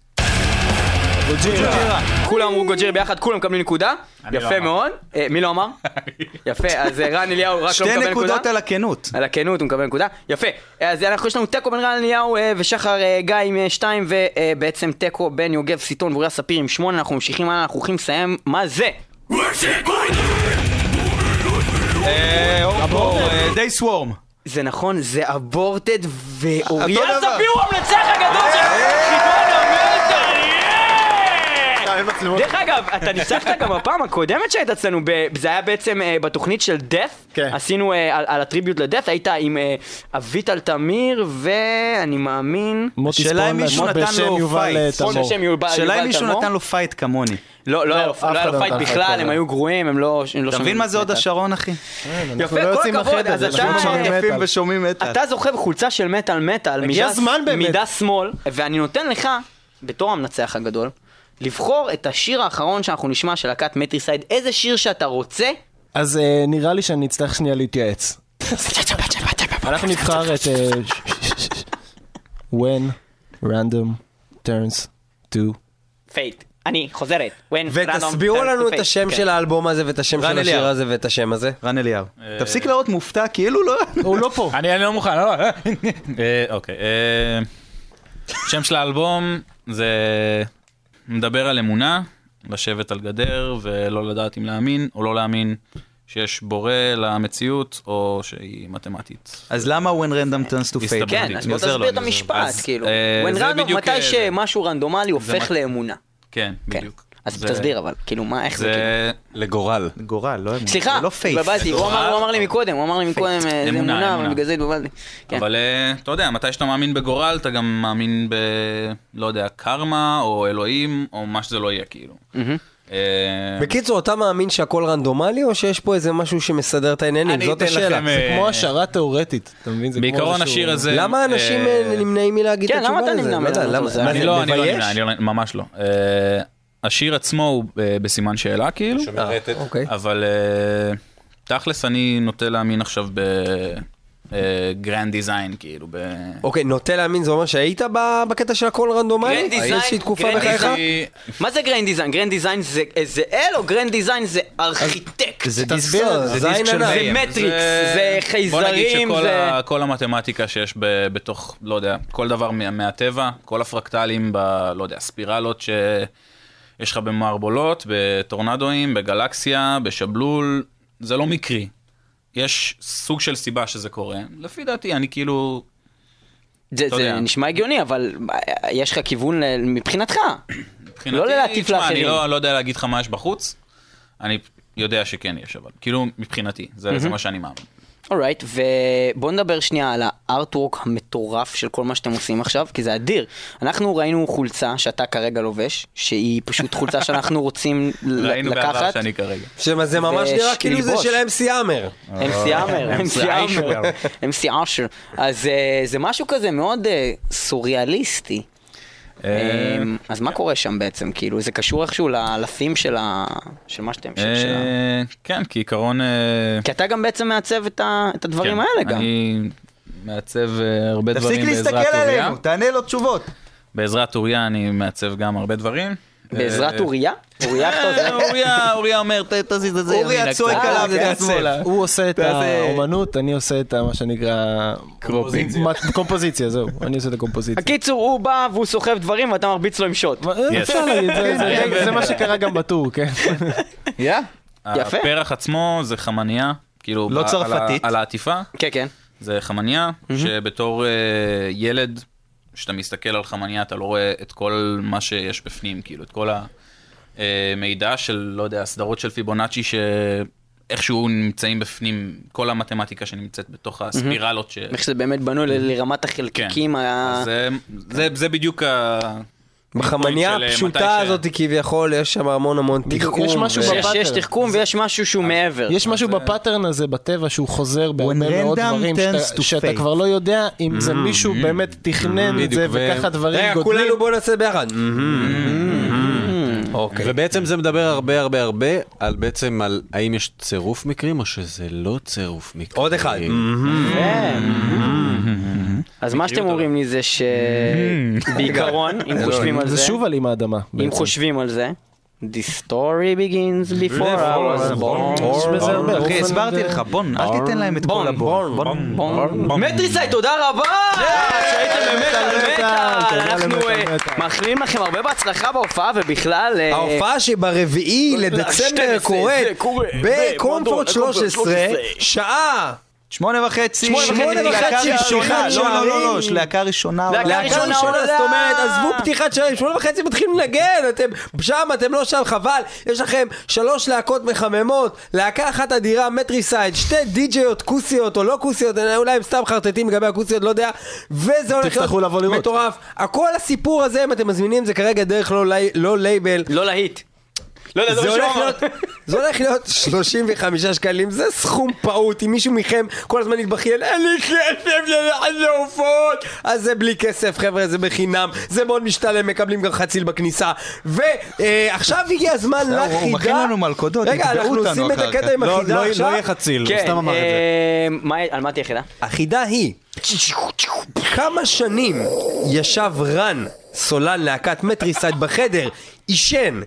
[SPEAKER 3] גוג'ירה. כולם אמרו גוג'ירה ביחד, כולם מקבלים נקודה.
[SPEAKER 5] לא
[SPEAKER 3] יפה
[SPEAKER 5] אמרתי.
[SPEAKER 3] מאוד. אה, מי לא אמר? יפה, אז אה, רן אליהו רק לא מקבל נקודה.
[SPEAKER 2] שתי נקודות על הכנות.
[SPEAKER 3] על הכנות הוא מקבל נקודה. יפה. אז אה, אנחנו יש לנו תיקו בין רן אליהו אה, ושחר אה, גיא עם אה, שתיים, ובעצם תיקו בין יוגב סיטון ואוריה ספיר עם שמונה, אנחנו ממשיכים הלאה, אנחנו הולכים לסיים, מה זה?
[SPEAKER 2] די סוורם.
[SPEAKER 3] זה נכון, זה אבורטד ואוריה
[SPEAKER 2] אותו דבר.
[SPEAKER 3] ספיר הוא המנצח הגדול של חידון המטר! דרך אגב, אתה ניצחת גם בפעם הקודמת שהיית אצלנו, ב- זה היה בעצם אה, בתוכנית של death,
[SPEAKER 1] כן.
[SPEAKER 3] עשינו אה, על- על הטריביוט לדף, היית עם אה, אביטל תמיר ואני מאמין...
[SPEAKER 1] מוטי
[SPEAKER 2] השאלה אם
[SPEAKER 1] ספורלנד,
[SPEAKER 2] מישהו נתן
[SPEAKER 1] בשם
[SPEAKER 2] לו
[SPEAKER 1] יובל אה,
[SPEAKER 2] פייט.
[SPEAKER 3] או
[SPEAKER 1] תמור.
[SPEAKER 3] שהשם יובל-
[SPEAKER 2] שאלה
[SPEAKER 3] יובל
[SPEAKER 2] אם מישהו
[SPEAKER 3] תמור.
[SPEAKER 2] נתן לו פייט כמוני.
[SPEAKER 3] לא, לא היה לו-
[SPEAKER 1] אף
[SPEAKER 3] לא היה
[SPEAKER 1] אחד
[SPEAKER 3] לו
[SPEAKER 1] לא
[SPEAKER 3] פייט
[SPEAKER 1] נתן פייט
[SPEAKER 3] בכלל,
[SPEAKER 1] כזה.
[SPEAKER 3] הם היו גרועים, הם לא... הם לא
[SPEAKER 2] אתה
[SPEAKER 3] שמעו
[SPEAKER 2] מבין מה זה הוד
[SPEAKER 3] מטאל.
[SPEAKER 2] השרון, אחי?
[SPEAKER 1] אנחנו
[SPEAKER 3] יפה,
[SPEAKER 1] לא
[SPEAKER 3] כל
[SPEAKER 1] יוצאים
[SPEAKER 3] הכבוד,
[SPEAKER 1] מהחדר,
[SPEAKER 3] אז
[SPEAKER 1] זה
[SPEAKER 3] אתה-
[SPEAKER 1] אנחנו שומעים
[SPEAKER 2] אה, יפים
[SPEAKER 1] מטאל.
[SPEAKER 2] ושומעים מטאל.
[SPEAKER 3] אתה זוכר חולצה של מטאל מטאל,
[SPEAKER 1] הגיע
[SPEAKER 3] מידה-
[SPEAKER 1] הזמן באמת.
[SPEAKER 3] מידה שמאל, ואני נותן לך, בתור המנצח הגדול, לבחור את השיר האחרון שאנחנו נשמע של להקת מטריסייד, איזה שיר שאתה רוצה.
[SPEAKER 1] אז אה, נראה לי שאני אצטרך שנייה להתייעץ. אנחנו נבחר את... אה, ש- ש- ש- ש- When random turns to...
[SPEAKER 3] פייט. אני חוזרת. When
[SPEAKER 7] ותסבירו
[SPEAKER 3] random
[SPEAKER 7] לנו
[SPEAKER 3] turns
[SPEAKER 7] את
[SPEAKER 3] to
[SPEAKER 7] השם
[SPEAKER 3] fate. כן.
[SPEAKER 7] של האלבום הזה ואת השם של
[SPEAKER 2] רן אליהו.
[SPEAKER 7] השיר הזה ואת השם הזה.
[SPEAKER 2] רן אליהו. תפסיק להראות מופתע, כאילו לא...
[SPEAKER 1] הוא לא פה.
[SPEAKER 5] אני אני לא מוכן, לא. אה, אוקיי. אה, שם של האלבום זה מדבר על אמונה, לשבת על גדר ולא לדעת אם להאמין או לא להאמין שיש בורא למציאות או שהיא מתמטית.
[SPEAKER 2] אז למה When Random Turns to
[SPEAKER 5] הסתבר.
[SPEAKER 2] Fate?
[SPEAKER 3] כן,
[SPEAKER 5] אני
[SPEAKER 3] אז בוא
[SPEAKER 5] עוזר לו,
[SPEAKER 3] תסביר
[SPEAKER 5] אני
[SPEAKER 3] את
[SPEAKER 5] עוזר.
[SPEAKER 3] המשפט,
[SPEAKER 5] אז,
[SPEAKER 3] כאילו.
[SPEAKER 5] אה,
[SPEAKER 3] When
[SPEAKER 5] זה
[SPEAKER 3] random,
[SPEAKER 5] בדיוק,
[SPEAKER 3] מתי
[SPEAKER 5] אה,
[SPEAKER 3] שמשהו רנדומלי הופך
[SPEAKER 5] מת-
[SPEAKER 3] לאמונה.
[SPEAKER 5] כן,
[SPEAKER 3] כן.
[SPEAKER 5] בדיוק.
[SPEAKER 3] אז
[SPEAKER 5] זה-
[SPEAKER 3] תסביר אבל, כאילו, מה, איך זה... כאילו.
[SPEAKER 5] זה
[SPEAKER 4] לגורל.
[SPEAKER 2] גורל, לא אמון.
[SPEAKER 3] סליחה,
[SPEAKER 2] זה לא פייט.
[SPEAKER 3] התבלבלתי, הוא אמר הוא אמר לי מקודם, הוא אמר לי מקודם, אה, זה
[SPEAKER 5] אמונה,
[SPEAKER 3] אמונה, אבל
[SPEAKER 5] אמונה.
[SPEAKER 3] בגלל זה התבלבלתי. כן.
[SPEAKER 5] אבל אה, אתה יודע, מתי שאתה מאמין בגורל, אתה גם מאמין ב... לא יודע, קרמה, או אלוהים, או מה שזה לא יהיה, כאילו. אה,
[SPEAKER 7] בקיצור, אתה מאמין שהכל רנדומלי או שיש פה איזה משהו שמסדר את העניינים?
[SPEAKER 5] אני
[SPEAKER 7] זאת
[SPEAKER 5] אתן
[SPEAKER 7] השאלה.
[SPEAKER 5] לכם, אה,
[SPEAKER 1] כמו השערה תיאורטית, אתה מבין? זה כמו
[SPEAKER 5] בעיקרון
[SPEAKER 1] איזשהו-
[SPEAKER 5] השיר הזה...
[SPEAKER 7] למה אנשים
[SPEAKER 5] אה,
[SPEAKER 7] אה, נמנעים מלהגיד את
[SPEAKER 3] כן,
[SPEAKER 7] התשובה
[SPEAKER 3] למה
[SPEAKER 7] לזה?
[SPEAKER 3] אתה נמנע
[SPEAKER 7] לא יודע,
[SPEAKER 3] מלענות על
[SPEAKER 7] למה-
[SPEAKER 3] זה?
[SPEAKER 7] מה
[SPEAKER 5] אני לא, אני לא
[SPEAKER 7] מבייש?
[SPEAKER 5] נמנע, אני לא, ממש לא. אה, השיר עצמו הוא אה, בסימן שאלה, כאילו,
[SPEAKER 4] שמרטט.
[SPEAKER 7] אוקיי.
[SPEAKER 5] אבל אה, תכלס אני נוטה להאמין עכשיו בגרנד דיזיין, כאילו, ב...
[SPEAKER 7] אוקיי, נוטה להאמין, זה אומר שהיית ב- בקטע של הכל רנדומלי?
[SPEAKER 5] כן,
[SPEAKER 3] גרנד דיזיין,
[SPEAKER 7] איזושהי תקופה
[SPEAKER 3] גרנד
[SPEAKER 7] בחייך?
[SPEAKER 3] דיזיין. מה זה גרנד דיזיין? גרנד דיזיין זה זה אל או גרנד דיזיין זה ארכיטקט?
[SPEAKER 2] זה דיסק
[SPEAKER 7] תסביר,
[SPEAKER 2] של- זה
[SPEAKER 7] זין
[SPEAKER 2] דיסק של
[SPEAKER 7] ענק.
[SPEAKER 2] מאיר.
[SPEAKER 3] זה מטריקס, זה
[SPEAKER 5] בוא נגיד
[SPEAKER 3] חייזרים,
[SPEAKER 5] שכל
[SPEAKER 3] זה...
[SPEAKER 5] ה- כל המתמטיקה שיש ב- בתוך, לא יודע, כל דבר מה- מהטבע, כל הפרקטלים, ב- לא יודע, ספירלות ש... יש לך במערבולות, בטורנדואים, בגלקסיה, בשבלול, זה לא מקרי. יש סוג של סיבה שזה קורה. לפי דעתי, אני כאילו...
[SPEAKER 3] זה
[SPEAKER 5] אתה
[SPEAKER 3] זה
[SPEAKER 5] יודע.
[SPEAKER 3] נשמע הגיוני, אבל אה, יש לך כיוון ל- מבחינתך.
[SPEAKER 5] מבחינתי,
[SPEAKER 3] לא להטיף
[SPEAKER 5] תשמע,
[SPEAKER 3] לאחרים.
[SPEAKER 5] אני לא, לא יודע להגיד לך מה יש בחוץ, אני יודע שכן יש, אבל כאילו מבחינתי, זה, זה מה שאני מאמין.
[SPEAKER 3] אורייט, ובואו נדבר שנייה על הארטוורק המטורף של כל מה שאתם עושים עכשיו, כי זה אדיר. אנחנו ראינו חולצה שאתה כרגע לובש, שהיא פשוט חולצה שאנחנו רוצים ל-
[SPEAKER 5] ראינו בעבר
[SPEAKER 3] לקחת.
[SPEAKER 5] שאני כרגע.
[SPEAKER 7] שמע, זה ממש נראה
[SPEAKER 3] וש-
[SPEAKER 7] כאילו זה
[SPEAKER 3] ללבוש.
[SPEAKER 7] של MC האמר.
[SPEAKER 5] אה,
[SPEAKER 3] אמסי עמר, אמסי עמר, אמסי עשר. אז אה, זה משהו כזה מאוד אה, סוריאליסטי.
[SPEAKER 5] אה,
[SPEAKER 3] אמ, אז מה קורה שם בעצם? כאילו, זה קשור איכשהו לאלפים של ה- של מה שאתם... של- של ה-
[SPEAKER 5] אה, כן, כעיקרון... אה,
[SPEAKER 3] כי אתה גם בעצם מעצב את ה- את הדברים
[SPEAKER 5] כן,
[SPEAKER 3] האלה גם.
[SPEAKER 5] אני מעצב אה, הרבה
[SPEAKER 2] תפסיק
[SPEAKER 5] דברים
[SPEAKER 2] להסתכל
[SPEAKER 5] בעזרת אוריה.
[SPEAKER 2] עלינו, תענה לו תשובות.
[SPEAKER 5] בעזרת אוריה אני מעצב גם הרבה דברים.
[SPEAKER 3] בעזרת
[SPEAKER 5] אה,
[SPEAKER 3] אוריה?
[SPEAKER 5] אה,
[SPEAKER 3] אוריה הכתובת?
[SPEAKER 5] אוריה, אוריה אומר, "ת- תזיז את זה
[SPEAKER 2] אוריה
[SPEAKER 5] ימינה
[SPEAKER 2] צועק
[SPEAKER 5] קצת,
[SPEAKER 2] עליו,
[SPEAKER 5] זה
[SPEAKER 2] זה
[SPEAKER 5] יעצב."
[SPEAKER 2] שמאלה.
[SPEAKER 1] הוא עושה את
[SPEAKER 2] ואז, אה,
[SPEAKER 1] האומנות, אני עושה את ה- מה שנקרא...
[SPEAKER 4] קומפוזיציה.
[SPEAKER 1] מה- קומפוזיציה, זהו. אני עושה את הקומפוזיציה.
[SPEAKER 3] הקיצור, הוא בא והוא סוחב דברים ואתה מרביץ לו עם שוט.
[SPEAKER 1] אה, אפשר להגיד, זה- זה-
[SPEAKER 5] כן,
[SPEAKER 1] זה
[SPEAKER 5] כן.
[SPEAKER 1] מה שקרה גם בטור, כן.
[SPEAKER 3] יפה.
[SPEAKER 5] הפרח עצמו זה חמניה, כאילו...
[SPEAKER 2] לא
[SPEAKER 5] ב- על ה-
[SPEAKER 2] צרפתית.
[SPEAKER 5] על העטיפה.
[SPEAKER 3] כן, כן.
[SPEAKER 5] זה חמניה, שבתור אה, ילד, כשאתה מסתכל על חמניה, אתה לא רואה את כל מה שיש בפנים, כאילו, את כל המידע של, לא יודע, הסדרות של פיבונאצ'י, שאיכשהו נמצאים בפנים, כל המתמטיקה שנמצאת בתוך הספירלות. ש...
[SPEAKER 3] איך שזה באמת בנוי ל- לרמת החלקיקים. ה-
[SPEAKER 5] כן. אז אה, זה, זה, זה בדיוק ה...
[SPEAKER 7] בחמניה
[SPEAKER 5] של, אה,
[SPEAKER 7] הפשוטה
[SPEAKER 5] מתי ש-
[SPEAKER 7] הזאת כביכול, יש שם המון המון
[SPEAKER 1] בדיוק,
[SPEAKER 7] תחכום.
[SPEAKER 1] יש משהו
[SPEAKER 7] ו-
[SPEAKER 3] שיש-
[SPEAKER 1] בפאטרן.
[SPEAKER 3] יש תחכום ויש משהו שהוא מעבר.
[SPEAKER 1] יש משהו בפאטרן הזה בטבע שהוא חוזר בהרבה מאוד
[SPEAKER 2] random
[SPEAKER 1] דברים,
[SPEAKER 2] turns
[SPEAKER 1] שאתה-
[SPEAKER 2] to
[SPEAKER 1] שאתה
[SPEAKER 2] fate. Mm.
[SPEAKER 1] כבר לא יודע אם זה מישהו באמת תכנן את זה
[SPEAKER 4] בדיוק, ו-
[SPEAKER 1] וככה דברים
[SPEAKER 7] רגע,
[SPEAKER 1] גודלים.
[SPEAKER 7] כולנו בואו נעשה ביחד. אוקיי.
[SPEAKER 4] ובעצם זה מדבר הרבה הרבה הרבה על בעצם על האם יש צירוף מקרים או שזה לא צירוף מקרים.
[SPEAKER 7] עוד אחד.
[SPEAKER 3] כן. אז מה שאתם אומרים לי זה שבעיקרון, אם חושבים על
[SPEAKER 1] זה
[SPEAKER 3] זה,
[SPEAKER 1] שוב עלים האדמה.
[SPEAKER 3] אם
[SPEAKER 1] בעצם.
[SPEAKER 3] חושבים על זה, The story begins before I was born.
[SPEAKER 1] יש בזה הרבה.
[SPEAKER 2] אחי,
[SPEAKER 1] אופן
[SPEAKER 2] הסברתי
[SPEAKER 1] זה-
[SPEAKER 2] לך, בון, אל תיתן להם את כל
[SPEAKER 3] בון,
[SPEAKER 2] הבון.
[SPEAKER 3] מטריסי, תודה רבה! שהייתם באמת על
[SPEAKER 1] למטאל,
[SPEAKER 3] מטאל!
[SPEAKER 1] תודה
[SPEAKER 3] אנחנו
[SPEAKER 1] למטאל,
[SPEAKER 3] אה,
[SPEAKER 1] מטאל.
[SPEAKER 3] מאחלים לכם הרבה בהצלחה בהופעה ובכלל... אה,
[SPEAKER 7] ההופעה שברביעי לדצמבר
[SPEAKER 3] 12,
[SPEAKER 7] קורית
[SPEAKER 3] זה קורה במועדון,
[SPEAKER 7] בקומפורט 13,
[SPEAKER 3] 13,
[SPEAKER 7] שעה.
[SPEAKER 2] שמונה וחצי.
[SPEAKER 7] שמונה וחצי,
[SPEAKER 2] להקה ראשונה.
[SPEAKER 7] פתיחת
[SPEAKER 2] לא, לא, לא, לא,
[SPEAKER 7] שערים.
[SPEAKER 2] להקה ראשונה.
[SPEAKER 3] להקה
[SPEAKER 2] עולה.
[SPEAKER 7] להקה
[SPEAKER 3] ראשונה
[SPEAKER 7] ראשונה,
[SPEAKER 3] עולה.
[SPEAKER 7] זאת אומרת, עזבו פתיחת שלהם, שמונה וחצי מתחילים לנגן, אתם שם, אתם לא שם, חבל. יש לכם שלוש להקות מחממות, להקה אחת אדירה, מטריסייד, שתי די-ג'יות, כוסיות או לא כוסיות, אני- אולי הם סתם חרטטים לגבי הכוסיות, לא יודע, וזה הולך
[SPEAKER 1] תצטרכו לבוא לראות.
[SPEAKER 7] מטורף. הכל הסיפור הזה, אם אתם מזמינים, זה כרגע דרך לא לי- לא לייבל,
[SPEAKER 3] לא להיט. לא, לא,
[SPEAKER 7] זה
[SPEAKER 3] לא,
[SPEAKER 7] הולך
[SPEAKER 3] שום
[SPEAKER 7] להיות- זה הולך להיות 35 שקלים, זה סכום פעוט, אם מישהו מכם כל הזמן יתבכיין, אין לי כסף ללכת לעופות, אז זה בלי כסף חבר'ה, זה בחינם, זה מאוד משתלם, מקבלים גם חציל בכניסה. ועכשיו הגיע הזמן
[SPEAKER 2] הוא- הוא
[SPEAKER 7] לחידה.
[SPEAKER 2] מכין לנו מלכודות,
[SPEAKER 7] רגע,
[SPEAKER 2] יתבעו
[SPEAKER 7] אנחנו
[SPEAKER 2] אותנו
[SPEAKER 7] עושים את
[SPEAKER 2] אחר
[SPEAKER 7] הקטע
[SPEAKER 2] כך.
[SPEAKER 7] עם
[SPEAKER 2] לא,
[SPEAKER 7] החידה
[SPEAKER 2] לא-
[SPEAKER 7] עכשיו.
[SPEAKER 2] לא יהיה חציל, הוא
[SPEAKER 3] כן,
[SPEAKER 2] סתם אמר את זה.
[SPEAKER 3] אה, מה- על מה תהיה יחידה?
[SPEAKER 7] החידה היא, כמה שנים ישב רן, סולן להקת מטריסייד בחדר, עישן,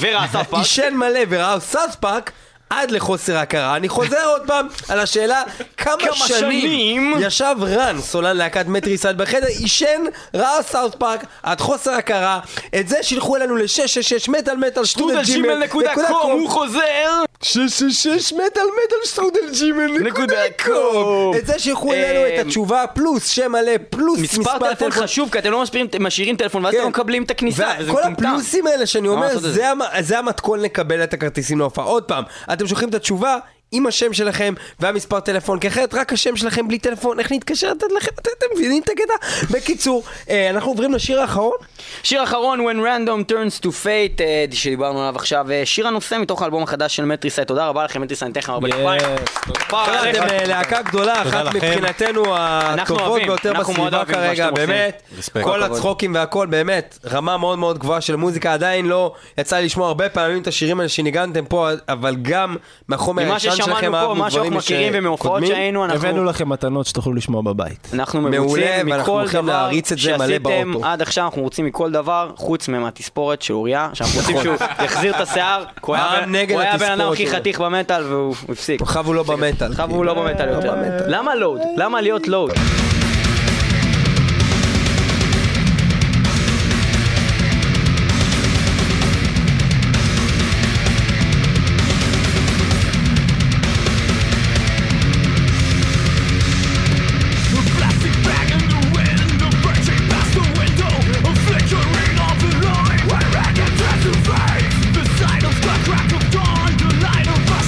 [SPEAKER 3] ורע אסף פארק.
[SPEAKER 7] עישן מלא וראה סאס פארק עד לחוסר הכרה. אני חוזר עוד פעם על השאלה כמה,
[SPEAKER 3] כמה שנים?
[SPEAKER 7] שנים ישב רן, סולן להקת מטריסד בחדר, עישן, ראה סאוט פארק עד חוסר הכרה. את זה שילכו אלינו ל-666 מטאל מטאל
[SPEAKER 3] טודל ג'ימל נקודה קום, הוא חוזר!
[SPEAKER 7] 666 מטאל מטאל שטרודל ג'ימל נקודה קום. את זה שילכו אלינו
[SPEAKER 3] אה,
[SPEAKER 7] את התשובה פלוס שם מלא פלוס כן.
[SPEAKER 3] מספר טלפון חשוב, כי אתם לא מספירים- משאירים טלפון ואז אתם לא מקבלים את הכניסה, וזה
[SPEAKER 7] כל
[SPEAKER 3] מטומטם.
[SPEAKER 7] הפלוסים האלה שאני אומר,
[SPEAKER 3] לעשות את
[SPEAKER 7] זה המ- זה המתכון לקבל את הכרטיסים להופעה. עוד פעם, אתם שולחים את התשובה. עם השם שלכם והמספר טלפון, כי אחרת רק השם שלכם בלי טלפון, איך נתקשר לתת לכם? אתם אתם מבינים את הקטע? בקיצור, אה, אנחנו עוברים לשיר האחרון.
[SPEAKER 3] שיר אחרון, When Random Turns to Fate, אה, שדיברנו עליו עכשיו, אה, שיר הנושא מתוך האלבום החדש של מטריסייד, תודה רבה לכם, מטריסייד, ניתן לכם הרבה כפיים. כפיים עליכם.
[SPEAKER 7] אתם אה, להקה גדולה, אחת
[SPEAKER 4] לכם.
[SPEAKER 7] מבחינתנו הטובות
[SPEAKER 3] אוהבים,
[SPEAKER 7] ביותר
[SPEAKER 3] אנחנו מאוד
[SPEAKER 7] בסביבה
[SPEAKER 3] אוהבים מה
[SPEAKER 7] כרגע,
[SPEAKER 3] שאתם עושים.
[SPEAKER 7] באמת.
[SPEAKER 4] רספקט.
[SPEAKER 7] כל
[SPEAKER 4] כל הכבוד.
[SPEAKER 7] הצחוקים והכל, באמת, רמה מאוד מאוד גבוהה של מוזיקה, עדיין לא יצא לי לשמוע הרבה פעמים את השירים האלה שניגנתם פה, אבל גם מהחומר
[SPEAKER 3] ממה
[SPEAKER 7] הישן
[SPEAKER 3] ששמענו
[SPEAKER 7] שלכם
[SPEAKER 3] פה,
[SPEAKER 7] אהבנו
[SPEAKER 3] מה שאנחנו
[SPEAKER 7] דברים
[SPEAKER 3] מכירים ומהופעות
[SPEAKER 7] שקודמים.
[SPEAKER 3] שהיינו,
[SPEAKER 1] הבאנו
[SPEAKER 3] אנחנו...
[SPEAKER 1] לכם מתנות שתוכלו לשמוע בבית.
[SPEAKER 3] אנחנו
[SPEAKER 7] מעולה,
[SPEAKER 3] מרוצים
[SPEAKER 7] ואנחנו
[SPEAKER 3] מכל
[SPEAKER 7] הולכים
[SPEAKER 3] דבר
[SPEAKER 7] להריץ את זה מלא
[SPEAKER 3] שעשיתם
[SPEAKER 7] באוטו.
[SPEAKER 3] עד עכשיו, אנחנו רוצים מכל דבר, חוץ מהתספורת של אוריה, שאנחנו רוצים שהוא יחזיר את השיער, כי הוא היה
[SPEAKER 7] העם
[SPEAKER 3] הבן-
[SPEAKER 7] נגד
[SPEAKER 3] הוא היה הבן
[SPEAKER 7] התספורת
[SPEAKER 3] אדם הכי
[SPEAKER 7] שלו.
[SPEAKER 3] חתיך במטאל והוא הפסיק.
[SPEAKER 7] עכשיו הוא לא במטאל.
[SPEAKER 3] עכשיו הוא לא במטאל יותר. למה לואוד? למה להיות לואוד?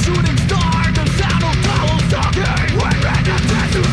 [SPEAKER 6] Shooting star, the sound of bowels talking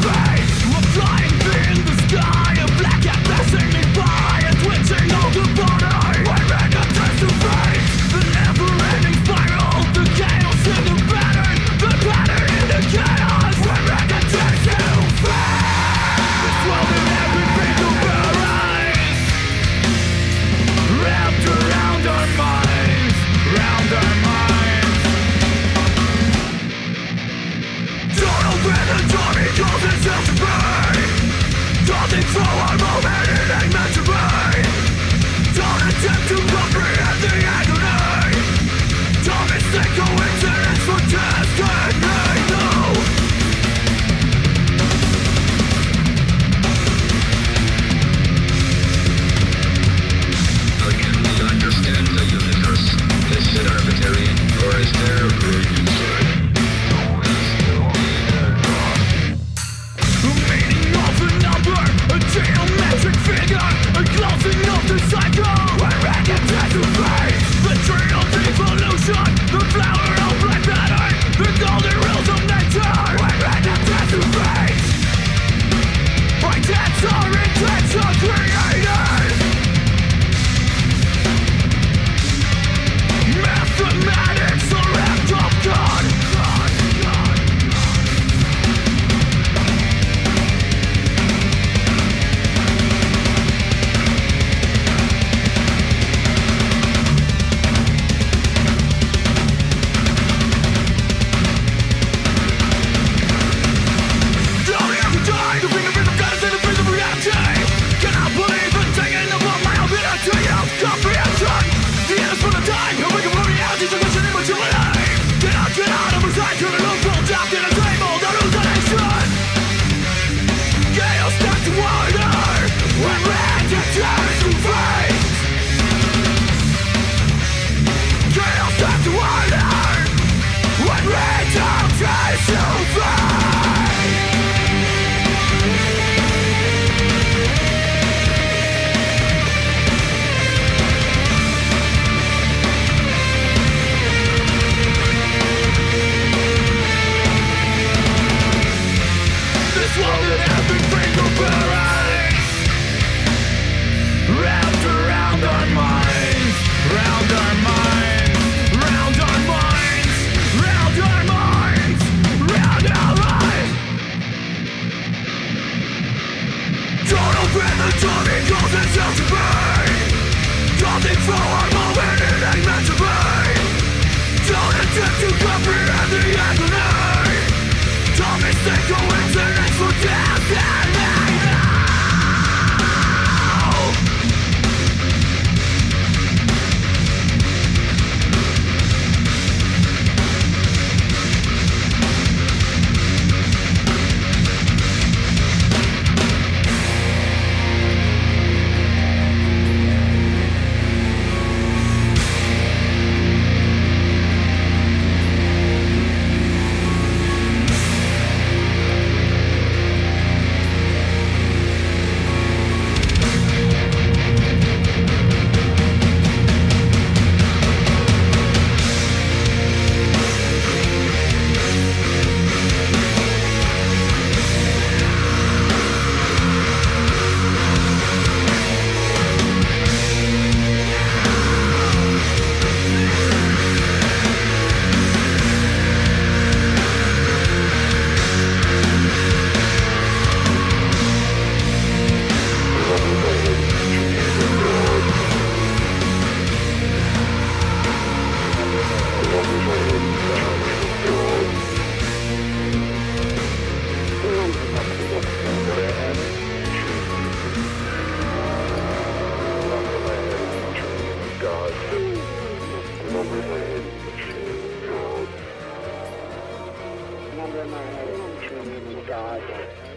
[SPEAKER 9] Number in my head is the tune in God.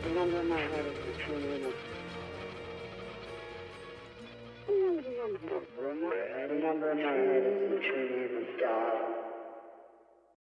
[SPEAKER 9] The number in my head is the tune in The number in my head is the tune in God.